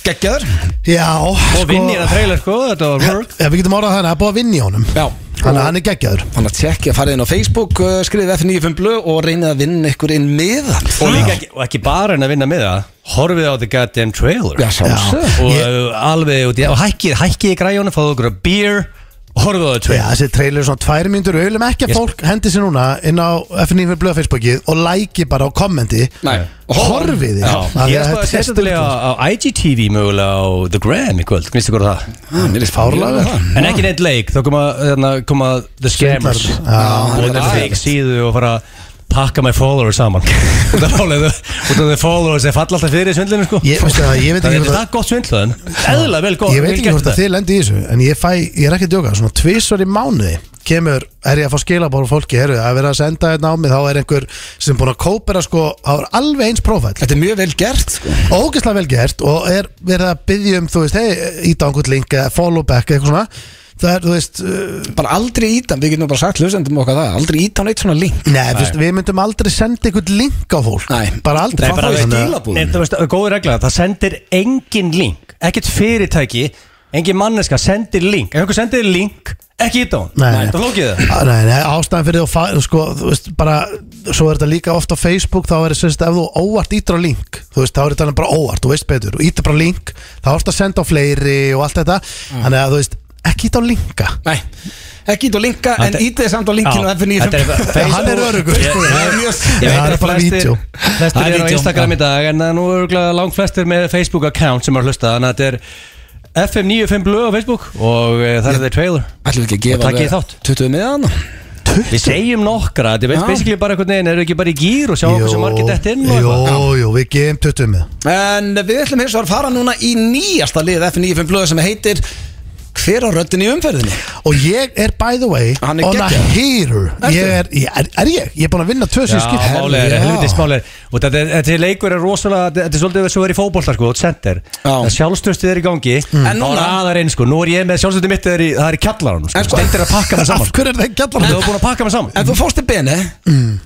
Speaker 1: geggjaður
Speaker 2: Já,
Speaker 3: Og vinnir að trailer sko, þetta var work
Speaker 2: Já, við getum orðað þannig að það er búið að vinna í honum
Speaker 1: Já
Speaker 2: Þannig að hann er geggjaður
Speaker 1: Þannig að tjekkja, farið inn á Facebook, uh, skriðið F95 blöð og reynið að vinna ykkur inn miðan
Speaker 3: Og líka ekki, og ekki bara en að vinna með það Horfið á the goddamn trailer
Speaker 1: Já, sjálfsög
Speaker 3: Og uh, alveg út í Og hækkið, hækkið í græjónu, fáðu okkur að beer og Horfið á the
Speaker 2: Sko, Já,
Speaker 3: trailer
Speaker 2: þessi trailer er svona tvær mínútur Við viljum ekki að
Speaker 3: Yes.
Speaker 2: fólk hendi sér núna inn á FNF Blöð Facebookið og læki bara á kommenti
Speaker 1: Nei.
Speaker 2: og horfið
Speaker 3: Já,
Speaker 2: þið
Speaker 3: ég er sko að setja þetta lega á IGTV mögulega á The Gram í kvöld, minnstu hvort það
Speaker 1: Ah, Mér er
Speaker 2: Fárlega vel.
Speaker 3: En ekki neitt leik, þá koma, þarna, koma The Scammers
Speaker 2: Já,
Speaker 3: og
Speaker 1: það
Speaker 3: það
Speaker 1: er
Speaker 3: fake síðu og fara að pakka my followers saman Út af málið, út af the followers er falla alltaf fyrir í svindlinu sko
Speaker 2: Ég, veistu það, ég veit
Speaker 3: Það
Speaker 2: ekki
Speaker 3: er
Speaker 2: hvort
Speaker 3: það
Speaker 2: að-
Speaker 3: gott svindlaðin Eðla vel gott
Speaker 2: ég veit ekki hvort að þið lendi í þessu en ég, fæ, ég er ekki að djóka, svona tvisvar í mánuði kemur, er ég að fá skilabóru fólki heru, að vera að senda þetta á mig, þá er einhver sem er búin að kópera sko, þá er alveg eins prófæll
Speaker 1: Þetta er mjög vel gert sko.
Speaker 2: ógeðslega vel gert og er verið að byggja um, þú veist, hei, íta á einhvern link eða follow back eitthvað svona það er, þú veist, uh,
Speaker 1: Bara aldrei ítan, við getum bara sagt hlustendum okkar það Aldrei ítan eitt svona link
Speaker 2: nei, þú veist, við myndum aldrei senda einhvern link á fólk,
Speaker 1: Nei.
Speaker 2: bara aldrei
Speaker 1: Nei, bara
Speaker 2: Þannig að-
Speaker 1: skila- skilabúðum.
Speaker 3: Nei, þú veist, góð regla, það sendir engin link Ekkert fyrirtæki, engin manneska sendir link Ef einhver sendir þér link, ekki í dón
Speaker 2: Nei.
Speaker 3: Það flókið það
Speaker 2: Á, Ah, Nei, nei, ástæðan fyrir þú, fa- sko, þú veist, bara, svo er þetta líka oft á Facebook, þá er þetta, sérst, ef þú óvart ítir á link, þú veist, þá er þetta bara óvart, þú veist betur, og ítir bara á link, þá ertu að senda á fleiri og allt þetta, þannig að, þú veist, ekki ítir á linka.
Speaker 1: Nei, ekki ít og linka En
Speaker 3: Þetta-
Speaker 1: ítið samt á linkinu
Speaker 3: Já, þetta er-
Speaker 1: F95
Speaker 3: Facebook-
Speaker 2: Hann er öruggur, sko.
Speaker 3: Ég- ég-
Speaker 2: Já,
Speaker 3: Ég veit
Speaker 2: það er
Speaker 3: að
Speaker 2: bara
Speaker 3: flestir,
Speaker 2: vídeó.
Speaker 3: flestir
Speaker 1: Það er
Speaker 3: er á
Speaker 1: vídeó,
Speaker 3: Instagram
Speaker 1: já.
Speaker 3: í dag en það er nú örgulega langt flestir með Facebook account sem er að hlusta þannig að þetta er FM95 blöð á Facebook og e, það er þeir trailer
Speaker 1: Ætlum við ekki að
Speaker 3: Og
Speaker 1: gefa
Speaker 3: takið
Speaker 1: alveg
Speaker 3: þátt.
Speaker 1: 20 miðan
Speaker 3: Við segjum nokkra, þetta er
Speaker 1: Já.
Speaker 3: veist basically bara einhvern veginn, eru ekki bara í gýr og sjá okkur sem margir dett inn og
Speaker 2: Jó,
Speaker 3: eitthvað
Speaker 2: jú, við gefum 20 með.
Speaker 1: En við ætlum hins vegar að fara núna í nýjasta lið F95 blöð sem heitir Hver á röddin í umferðinni?
Speaker 2: Og ég er, by the way,
Speaker 1: Hann er
Speaker 2: on a
Speaker 1: geggjaður.
Speaker 2: hater.
Speaker 1: Ertu?
Speaker 2: Ég er, ég- er, er ég? Ég er búin að vinna tvö
Speaker 3: Já,
Speaker 2: sem skipt.
Speaker 3: málega,
Speaker 1: Já.
Speaker 3: helviti smálega Og þetta er- þessi leikur er rosalega, þetta er svolítið þess að vera í fótbolta sko, út center
Speaker 1: Já.
Speaker 3: Það sjálfstöðstuð er í gangi,
Speaker 1: En
Speaker 3: þá
Speaker 1: núna-
Speaker 3: er aðar einn sko Nú er ég með sjálfstöðstuð mitt, er í, það er í kjallaranum sko.
Speaker 1: En sko-
Speaker 3: Stendir að pakka mig
Speaker 2: Af
Speaker 3: saman
Speaker 2: hverju er það ekki
Speaker 3: Þú
Speaker 2: allar?
Speaker 3: er búin að pakka mig saman
Speaker 1: En þú fórst til Bene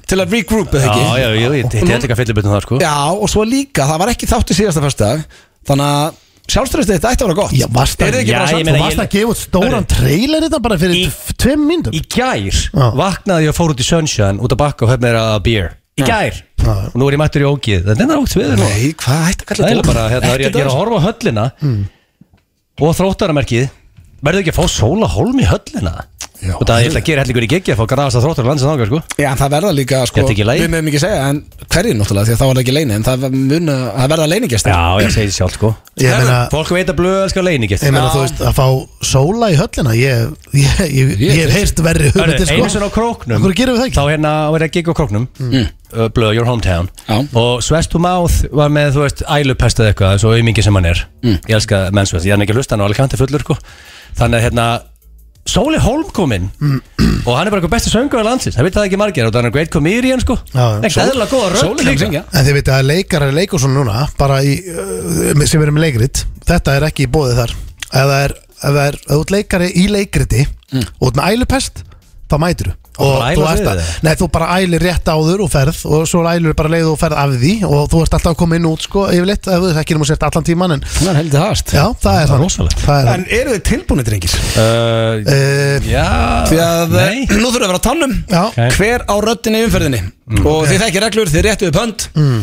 Speaker 1: til að regroupa þig
Speaker 3: Já,
Speaker 1: ekki
Speaker 3: já, já, ég hitti
Speaker 1: Nú-
Speaker 3: eitthvað fyllibutum það sko
Speaker 1: Já, og svo líka, það var ekki þáttu síðasta fyrstdag Þannig að sjálfstyrðist þetta ætti að vera gott
Speaker 2: Já, varst
Speaker 1: Eruð þið
Speaker 2: að,
Speaker 1: ekki
Speaker 3: Já,
Speaker 1: bara
Speaker 3: ég
Speaker 1: samt
Speaker 3: meina-
Speaker 2: þú varst að gefa út stóran trailer þetta bara fyrir
Speaker 3: Í-
Speaker 2: tv- tveim myndum.
Speaker 3: Í gær
Speaker 2: Já.
Speaker 3: vaknaði ég og fór út í Sunshine út að bakka og höfð mér að beer Í gær
Speaker 2: Já.
Speaker 3: Og nú er ég mættur í ógið Það er þetta átt við nú
Speaker 1: Nei, hvað ætti að kalla
Speaker 3: Það er
Speaker 1: þetta?
Speaker 3: bara, hérna, er ég, ég er að horfa á höllina Og þróttaramerkið Verður ekki að fá sóla hólm í höllina
Speaker 1: Já.
Speaker 3: Og það er eitthvað að gera hellingur í geggi að fá grafast að þróttara landsins þangað sko
Speaker 1: Já, það verða líka, sko,
Speaker 3: Þetta ekki í lagi?
Speaker 1: við meðum ekki segja En hverjir náttúrulega, því að þá er það ekki leini En það, mun, það verða leinigestir
Speaker 3: Já, ég segi sjálf sko
Speaker 2: Ég meina-
Speaker 3: Fólk veit að blöða skal leini
Speaker 2: Ég meina þú veist að fá sóla í höllina Ég, ég, ég, ég hef heyrt verri hugmyndir sko
Speaker 3: Einu sinna á króknum
Speaker 2: Hvernig gerum við það
Speaker 3: Þá
Speaker 2: ekki?
Speaker 3: hérna var ég að gigga á króknum mm. uh, Blöð, your hometown
Speaker 1: Já.
Speaker 3: Og Svest to Mouth var með, þú veist, ælupestað eitthvað Svo aumingi sem hann er
Speaker 2: Mm.
Speaker 3: Ég elska mennsvest, ég er ekki að hlusta hann og alveg kanti fullur sko. Þannig að hérna Sóli Holm kom inn
Speaker 2: Mm.
Speaker 3: Og hann er bara eitthvað besti söngur á landsins Það veit það ekki margir Og það er great comedian sko
Speaker 2: Já, já.
Speaker 3: Ekkert eðla góða rödd
Speaker 1: Sóli kann
Speaker 3: líka
Speaker 1: syngja
Speaker 2: En þið veitir að leikarar leikur svona núna Bara í, uh, sem erum leikrit Þetta er ekki í bóðið þar Ef það er, ef það er, ef þú ert leikari í leikriti Og út með ælupest Þá mætir Mm. þú
Speaker 3: bara æla
Speaker 2: þú
Speaker 3: sig
Speaker 2: ert
Speaker 3: við
Speaker 2: að,
Speaker 3: þig?
Speaker 2: Nei, þú bara ælir rétt áður og ferð Og svo ælur bara leið og ferð af því Og þú ert alltaf að koma inn og út sko Yfirleitt, ef þú þekkir um að sért allan tíman en,
Speaker 1: Það er heldur hast
Speaker 2: Já, það er
Speaker 3: Það er
Speaker 2: það
Speaker 3: rosalegt.
Speaker 2: Það er
Speaker 1: En eru þið tilbúinir, drengir?
Speaker 3: uh,
Speaker 2: það
Speaker 3: Já
Speaker 1: Því að eh,
Speaker 3: Nei
Speaker 1: nú þurfum við að vera á tannum
Speaker 2: Já.
Speaker 3: Ok. Mm.
Speaker 1: Hver á röddinni í umferðinni Og þið þekkir reglur, þið réttuðu pönd mm.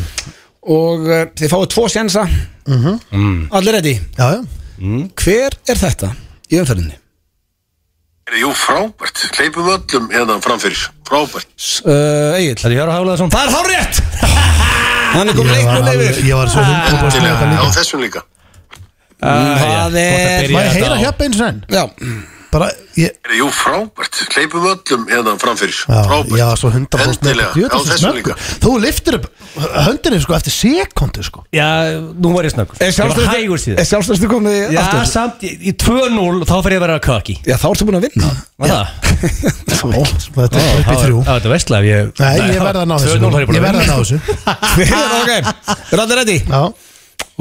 Speaker 1: Og uh, þið fáið tvo sjensa
Speaker 3: Mhm.
Speaker 1: Allir ready
Speaker 2: Já, já
Speaker 1: Hver er þetta í umferðinni?
Speaker 5: Jú, frábært. Leipum öllum hérna framfyrir. Frábært.
Speaker 1: S- Uh, Egil
Speaker 3: Það er Hjörður Hálaðarsson
Speaker 1: Það er hár rétt Hann er komin
Speaker 2: Ég var,
Speaker 1: leiknum
Speaker 2: alveg,
Speaker 1: leifir
Speaker 2: ég var svo
Speaker 5: Til
Speaker 2: hundbúin
Speaker 5: að á þessum líka.
Speaker 1: Mm, Það er
Speaker 2: Má ég heyra hjöp eins og enn?
Speaker 1: Já,
Speaker 2: Bara, ég,
Speaker 5: Jú, frábært. Leipum öllum hérna framfyrir.
Speaker 2: já,
Speaker 5: Frábært.
Speaker 2: ég var svo hundra
Speaker 5: Endilega, á þessum líka.
Speaker 2: Þú liftir upp höndinni sko eftir sekundu sko
Speaker 3: Já, nú var ég snöggur
Speaker 2: Eh,
Speaker 1: er
Speaker 3: Ég var hægur
Speaker 1: sjálfstæðstu
Speaker 3: síðan
Speaker 1: Er sjálfstæðstu komið
Speaker 3: Já,
Speaker 1: aftur?
Speaker 3: samt í, í 2-0 þá fer ég að vera kaki
Speaker 1: Já, þá ertu búin að vinna
Speaker 3: Var það?
Speaker 2: Ó, Þetta er upp í þrjú
Speaker 3: Já, þetta er vestlega ég,
Speaker 2: Nei, ég verða að ná þessu
Speaker 3: 2-0 er
Speaker 2: Ég verða að ná þessu
Speaker 1: Hver er ok Er allir ready?
Speaker 2: Já,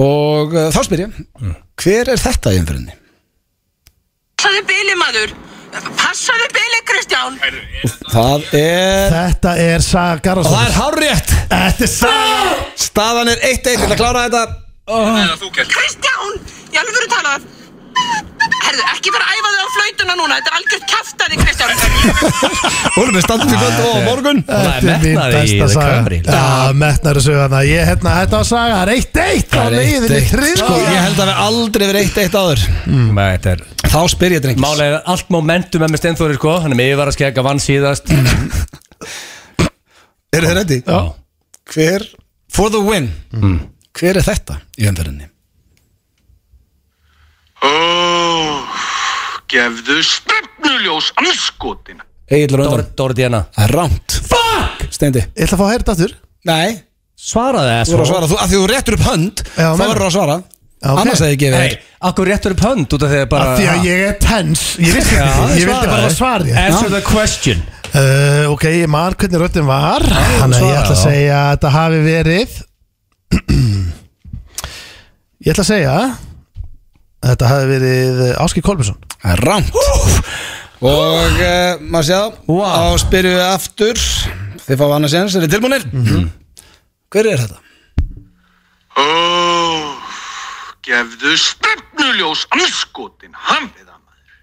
Speaker 1: Og uh, þá spyr ég
Speaker 2: Mm.
Speaker 1: Hver er þetta í umferðinni?
Speaker 6: Passaðu bilið maður Passaðu bilið Kristján
Speaker 1: Það er
Speaker 2: Þetta er Saga
Speaker 1: Og það er
Speaker 2: Garðarsson
Speaker 1: hár rétt
Speaker 2: Þetta er Saga
Speaker 1: Staðan er 1-1 Þetta klára þetta
Speaker 6: Kristján, ég alveg verið talað Herðu, ekki fara að æfa þig á flautuna núna Þetta er algjört kæftæði, Kristján
Speaker 1: Hún er með standið í kvöld og á morgun
Speaker 3: Það er metnaði í
Speaker 2: besta
Speaker 3: The
Speaker 2: saga Mm.
Speaker 3: Camry.
Speaker 2: Já, metnaði sögana Ég, hérna, þetta var saga, það er eitt eitt á
Speaker 1: Það er eitt
Speaker 2: leiðinni
Speaker 1: eitt
Speaker 2: þriðja.
Speaker 1: sko, Ég held að við aldrei verið eitt eitt áður
Speaker 3: Nei, sko. þetta er
Speaker 1: Þá spyr ég drengis
Speaker 3: Málega er allt momentum með mér steinþóri sko Hann er með yfir að skegga vann síðast
Speaker 1: Eru þið ready?
Speaker 3: Já.
Speaker 1: Hver For the win
Speaker 2: Mm.
Speaker 1: Hver er þetta í umferðinni?
Speaker 5: Ó, gefðu stefnuljós anskotin.
Speaker 1: Egil
Speaker 3: Dór,
Speaker 1: Röndar
Speaker 3: Dóri Diana
Speaker 1: Það er rámt
Speaker 3: Fuck!
Speaker 1: Steindi
Speaker 2: Ég ætla að fá að heyra þetta aftur
Speaker 1: Nei
Speaker 3: Svaraði
Speaker 1: Þú verður
Speaker 3: það
Speaker 1: að svara Þú, að því þú réttur upp hönd
Speaker 2: Já,
Speaker 1: Þá
Speaker 2: meina.
Speaker 1: verður að svara
Speaker 2: Já, ok.
Speaker 1: Annars hefði ég gefið
Speaker 3: Nei,
Speaker 1: þér
Speaker 3: akkur réttur upp hönd út af því að bara
Speaker 2: Af Því að ég er tens Ég vissi
Speaker 3: Já,
Speaker 2: ekki, ég vildi bara svara
Speaker 3: svaraði.
Speaker 2: þér
Speaker 3: Answer the question
Speaker 2: Uh, ok, ég man hvernig röddinn var Þannig að ég
Speaker 3: svaraði,
Speaker 2: ætla að
Speaker 3: já.
Speaker 2: segja að þetta hafi verið Ég ætla að segja að Þetta hafi verið Áski Kolbjörnsson
Speaker 1: Það er rámt Og uh, maður sjá
Speaker 3: Vá.
Speaker 1: Þá spyrjum við aftur Þið fá annars eins Er þið tilbúinir?
Speaker 3: Mhm.
Speaker 1: Hver er þetta?
Speaker 5: Ó, gefðu stefnuljós anskotin. Hann við það maður.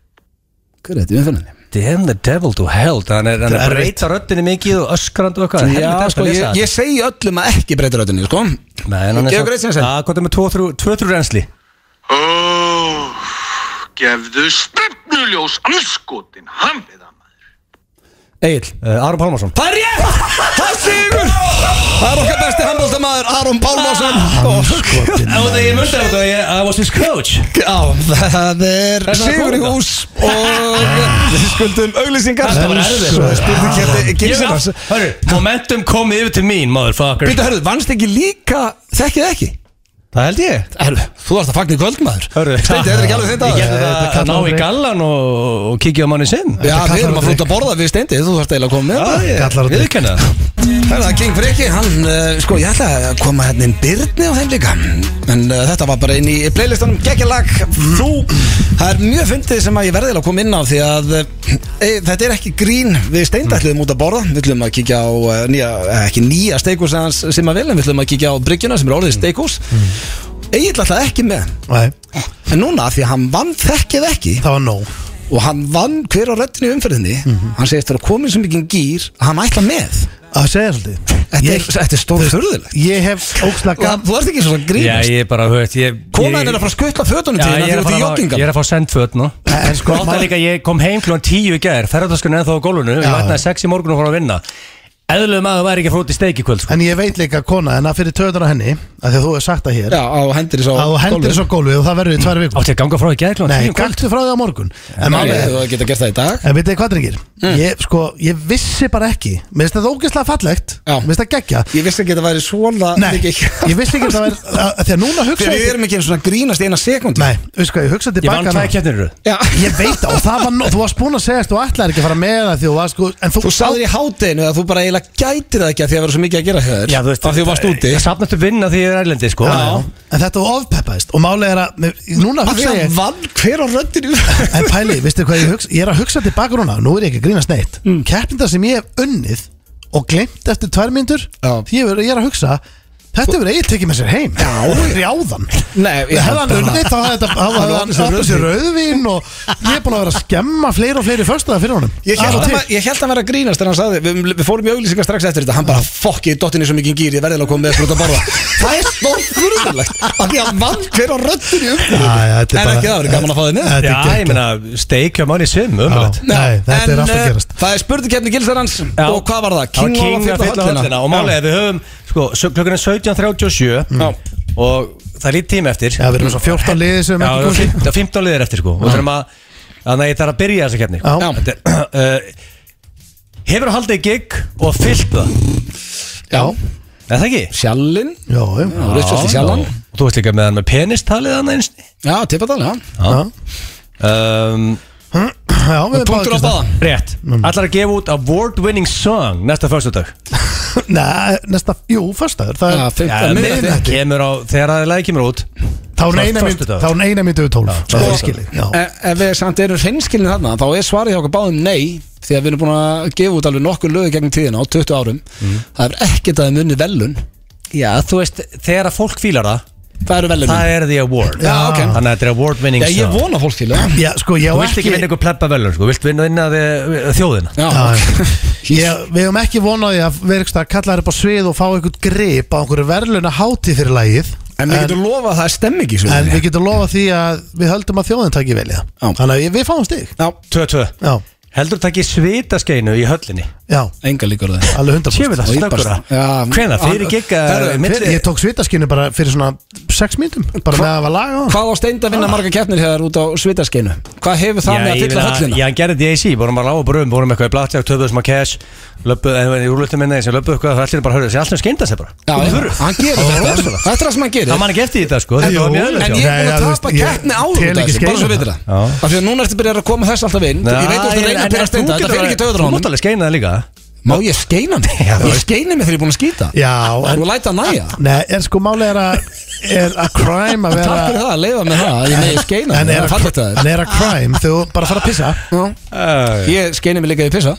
Speaker 1: Hver er þetta í umferðinni?
Speaker 3: Damn the devil to hell Hann er, hann er að breyta röddinni mikið og öskrandi og
Speaker 1: Já,
Speaker 3: eitthvað Helviti ertu að
Speaker 1: sko,
Speaker 3: lesa
Speaker 1: ég, ég segi öllum að ekki breyta röddunni, sko
Speaker 3: Nei, en hann er
Speaker 1: Gefur greitt sem
Speaker 3: samt-
Speaker 1: sem.
Speaker 3: Já, hvað er með 2-3 reynsli
Speaker 5: Ó, gefðu stefnuljós anskotin. Hann við það maður.
Speaker 1: Egil
Speaker 3: Árum eh, Pálmarsson
Speaker 1: Það er rétt! Það er sigur! Það er okkar besti handbóltamaður Aron Pálmarsson
Speaker 3: Ah. Á því ég myndi að þetta ég- I was his coach
Speaker 1: Já, það er
Speaker 3: Þess vegna
Speaker 1: sigur í
Speaker 3: kom þetta.
Speaker 1: hús og við skuldum auglýsingar
Speaker 3: Þetta var erfitt. sko.
Speaker 1: Spurðu kjæfti
Speaker 3: Hörru, momentum kom yfir til mín, motherfucker
Speaker 1: Býta, hörðu, vannst ekki líka þekkið ekki?
Speaker 3: Það held ég
Speaker 1: Hörðu, þú varst að fagna í kvöldmaður
Speaker 3: Hörru,
Speaker 1: Steindi, þetta er ekki alveg þitt
Speaker 3: Ég
Speaker 1: áður
Speaker 3: gerði það að ná í gallan og, og kíkja á manni sinn
Speaker 1: Já,
Speaker 2: Þetta
Speaker 1: við
Speaker 2: kallar
Speaker 1: erum
Speaker 2: á
Speaker 1: að flúta að borða við Steindi, þú þarfst eiginlega að koma með það.
Speaker 2: kallar á drykk.
Speaker 3: Viðurkenna það
Speaker 1: Herra, King Freki, hann, uh, sko, ég ætla að koma hérna inn Byrni á þeim líka En uh, þetta var bara inn í playlistanum Gekkjalag, þú Það er mjög fyndið sem að ég verðilega að koma inn á Því að uh, e, þetta er ekki grín Við steindætluðum út að borða Við ætlum að kíkja á uh, nýja, eh, ekki nýja steikhús hans sem að vil En við ætlum að kíkja á bryggjuna sem er orðið steikhús mm. Egil ætlaði ekki með
Speaker 2: Nei,
Speaker 1: En núna, af því að hann vann þekkið ekki
Speaker 2: það var nóg
Speaker 1: Og hann vann hver á röddinu í umferðinni Hann segist vera komin svo mikið gýr að Hann ætla með
Speaker 2: Að segja svolítið
Speaker 1: Þetta er,
Speaker 2: Ég,
Speaker 1: þetta er stór þurðilegt
Speaker 2: ég hef ókslega
Speaker 1: Já,
Speaker 2: gaman
Speaker 1: þú ert ekki svona
Speaker 3: Já,
Speaker 1: grínast
Speaker 3: ég er bara, höfð ég,
Speaker 1: Konan er að fara að skutla fötunum til
Speaker 3: Já,
Speaker 1: þín
Speaker 3: ég
Speaker 1: að
Speaker 3: er að
Speaker 1: þú ert í
Speaker 3: fara að- ég
Speaker 1: joggingan
Speaker 3: er að fá send föt nú
Speaker 2: En sko,
Speaker 3: Gott er líka, að ég kom heim klón 10 í gær Ferðartaskunni ennþá á gólfinu Ég
Speaker 2: Já.
Speaker 3: vatnaði 6 í morgun og fór að vinna Eðlum að það væri ekki að fara út í steik í kvöld sko.
Speaker 2: En ég veit líka kona en að fyrir töðunar henni að Því að þú hefur sagt það hér
Speaker 1: Já, á hendir svo
Speaker 2: Að þú hendir svo gólfið og það verður í tvær vikum
Speaker 3: Átti að ganga frá í gær klón
Speaker 2: Nei,
Speaker 3: 10 í kvöld
Speaker 2: gaktu frá því á morgun En
Speaker 1: Máli,
Speaker 2: málið er-
Speaker 1: þú geta gert það í dag
Speaker 2: En veitir hvað drengir? Ég, sko, ég vissi bara ekki Mér finnst þetta ógeðslega fallegt
Speaker 1: Já.
Speaker 2: Mér finnst þetta geggja
Speaker 1: Ég vissi ekki að það væri svona
Speaker 2: Nei,
Speaker 1: mikið-
Speaker 2: ég vissi ekki að það væri að- að Því að núna hugsa
Speaker 1: Þegar við
Speaker 2: ég
Speaker 1: erum ekki einu svona grínast í eina sekund
Speaker 2: Nei, veistu hvað, ég hugsa
Speaker 3: Ég vann
Speaker 2: tilbaka
Speaker 3: tvær keppnir í röð.
Speaker 1: Já,
Speaker 2: Ég veit það, og það var nóg Þú varst búin að segja að þú ætlaðir ekki að fara með það Því þú varst sko En þú,
Speaker 1: þú sagðir í hátinu að þú bara eiginlega gætir það ekki að því að vera svo mikið að gera hjá þér
Speaker 3: Já, þú veist,
Speaker 1: Af því þú varst úti
Speaker 3: Ég safnast upp vinna því ég er erlendi sko.
Speaker 2: En þetta var ofpeppaðist Og málega er að mér- Núna
Speaker 1: Af því
Speaker 2: hugsa
Speaker 1: að
Speaker 2: ég
Speaker 1: vann hver á röndinu
Speaker 2: En pæli, veistu hvað ég hugsa Ég er að hugsa tilbaka núna Nú er ég ekki að grínast neitt mm. sem ég hef unnið Og glemt eftir tvær myndur
Speaker 1: Já.
Speaker 2: Ég er- ég er að hugsa Þetta verður eiginlega tekið með sér heim Já, rjáðan
Speaker 1: Nei, ég-
Speaker 2: hefði hann unnið þá hefði þetta hann
Speaker 1: Hann
Speaker 2: hefði
Speaker 1: orðið
Speaker 2: hann
Speaker 1: sér
Speaker 2: átt þessi rauðvín og ég er búin að vera að skemma fleiri og fleiri föstuða fyrir honum
Speaker 1: Ég
Speaker 2: Af
Speaker 1: held,
Speaker 2: og
Speaker 1: að,
Speaker 2: til.
Speaker 1: ma- ég held að vera að grínast þegar hann sagði Við, við fórum í auglýsingar strax eftir þetta Hann bara, fokk, ég dottin í svo mikið gýr Ég verðilega að koma með frútt að borða Það er stórt fyrirlegt Af því að vann hver á röddinu í umhverfinu.
Speaker 2: Já, já, þetta
Speaker 1: En
Speaker 2: er bara-
Speaker 1: ekki það, verið gaman að fá þig með
Speaker 2: Þetta er
Speaker 3: Já,
Speaker 2: geggjað.
Speaker 3: ég meina steik hjá manni svim umhverfett
Speaker 2: Já. Nei, þetta er
Speaker 1: en,
Speaker 2: allt að
Speaker 1: eh,
Speaker 2: gerast.
Speaker 1: Það er spurningkeppni gilsarans Og hvað var það? King
Speaker 3: King, King
Speaker 1: of
Speaker 3: að fylla höllina Og málega, við höfum, sko, sö- klukkan er 17.37 Og það er lítið tími eftir
Speaker 2: Mm. Já, við erum svo 14 liðið sem
Speaker 3: Já,
Speaker 2: ekki
Speaker 3: og
Speaker 2: komið
Speaker 3: fimm- og 15 liðir eftir, sko Og þurfum að, þannig að ég þarf að byrja þessa keppni
Speaker 2: Já.
Speaker 1: Já.
Speaker 3: Þetta er, uh, Hefur haldið gig og fyllt það
Speaker 1: Já,
Speaker 3: Er það ekki?
Speaker 1: sjallinn
Speaker 2: Já, já, já,
Speaker 1: Richard í sjallan
Speaker 3: já. Og þú veist líka með hann með penistalið hann eins
Speaker 1: Já, tippadal, já
Speaker 2: já,
Speaker 3: um,
Speaker 2: já við erum
Speaker 1: Punktur á
Speaker 2: báðir
Speaker 1: báða
Speaker 3: Rétt,
Speaker 2: Mm.
Speaker 3: allar að gefa út award winning song næsta föstudag
Speaker 2: kista. Nei, næsta, jú, föstuður Það
Speaker 1: Já,
Speaker 2: er,
Speaker 1: fimmta, miðnætti.
Speaker 2: miðnætti.
Speaker 3: Eh, kemur á, þegar að lagi kemur út
Speaker 2: þá er hún eina mynd
Speaker 3: Föstudagur.
Speaker 2: Þá er hún eina mynd yfir 12 Það er
Speaker 1: Sko,
Speaker 2: skilið, já
Speaker 1: e- Ef við samt erum hreinskilin þarna Þá er svarið hjá okkur báðum nei Því að við erum búin að gefa út alveg nokkur lög Gegn tíðina á Mhm. 20 árum Það er ekkert að þeim unni velun
Speaker 3: Já, þú veist, þegar að fólk fílar það
Speaker 1: Það eru velum
Speaker 3: Það er the award
Speaker 2: Já, ok.
Speaker 3: Þannig að þetta er award winning
Speaker 1: Já, ég
Speaker 3: show
Speaker 1: vona fólk til það
Speaker 2: Já, sko, ég á
Speaker 3: Þú vilt ekki vinna ykkur pleppa velun sko. Vilt vinna vinna við, við þjóðina
Speaker 1: Já,
Speaker 2: Já, Ég, við höfum ekki vonaði að verkstæða kalla þér upp á svið og fá einhvern grip á einhverju verðluna hátíð fyrir lagið
Speaker 1: En við getum lofað að það er stemmi ekki
Speaker 2: en við getum lofa því að við höldum að þjóðin takki vel í það
Speaker 1: Já.
Speaker 2: Þannig að ég- við fáum stig
Speaker 1: Já,
Speaker 3: 2-2
Speaker 2: Já,
Speaker 3: Heldur þú takk í svitaskeinu í höllinni
Speaker 2: já,
Speaker 1: enga líkur á það
Speaker 2: alveg 100%
Speaker 3: Sjöfum við það
Speaker 1: Og ég
Speaker 3: snöggura
Speaker 1: bara- Já.
Speaker 3: Hvena, fyrir gigga
Speaker 1: Herru,
Speaker 2: Fyrir,
Speaker 3: milli-
Speaker 2: ég tók svitaskinu bara fyrir svona 6 mínutum bara með að hafa lag á
Speaker 1: Hvað á steind að vinna marga keppnir hér út á svitaskeinu? Hvað hefur það
Speaker 3: Ah. Já,
Speaker 1: með að
Speaker 3: ég
Speaker 1: fylla
Speaker 3: meina,
Speaker 1: höllina?
Speaker 3: Já, hann gerði DAC, vorum bara lág og brum, vorum eitthvað í blatleg, töfðu sem að cash, löppu, en í rúlutum minna, sem löppu eitthvað, það allir bara hörðu, þessi allir skeinda sér bara.
Speaker 1: Já,
Speaker 3: Út í
Speaker 1: já,
Speaker 3: þurru.
Speaker 1: hann gerir þetta Þetta er það sem hann gerir
Speaker 3: Það man ekki eftir í þetta, sko,
Speaker 2: Jú,
Speaker 3: þetta var mjög
Speaker 1: En
Speaker 3: öðvöld,
Speaker 1: ég
Speaker 3: já.
Speaker 1: er búin
Speaker 2: Nei,
Speaker 1: að
Speaker 2: þú veist,
Speaker 1: tapa
Speaker 2: ég
Speaker 1: keppni áður út
Speaker 2: tel
Speaker 1: af
Speaker 2: ekki
Speaker 1: þessu, bara
Speaker 2: skeina
Speaker 1: svo við þetta
Speaker 3: Já.
Speaker 1: Af því að núna ertu byrjar að koma þess alltaf inn Ég veit að þú ert að reyna að byrja að steinda Þetta fyrir ekki töður á
Speaker 3: Þú
Speaker 1: honum
Speaker 3: mátt alveg skeina það líka.
Speaker 1: Má ég skeina mig? Ég skeini mig þegar ég er búin að skýta
Speaker 2: það Já,
Speaker 1: Þú
Speaker 2: en
Speaker 1: læta næja
Speaker 2: Nei, er sko málið er að er að crime að
Speaker 1: Takk fyrir
Speaker 2: vera
Speaker 1: það, leifa mig það að Ég megi skeina
Speaker 2: en
Speaker 1: mig,
Speaker 2: er
Speaker 1: það er
Speaker 2: að,
Speaker 1: fallegt að
Speaker 2: en er að crime þegar þú bara fara að pissa
Speaker 1: þér
Speaker 3: Æ,
Speaker 1: Ég skeini mig líka í pissa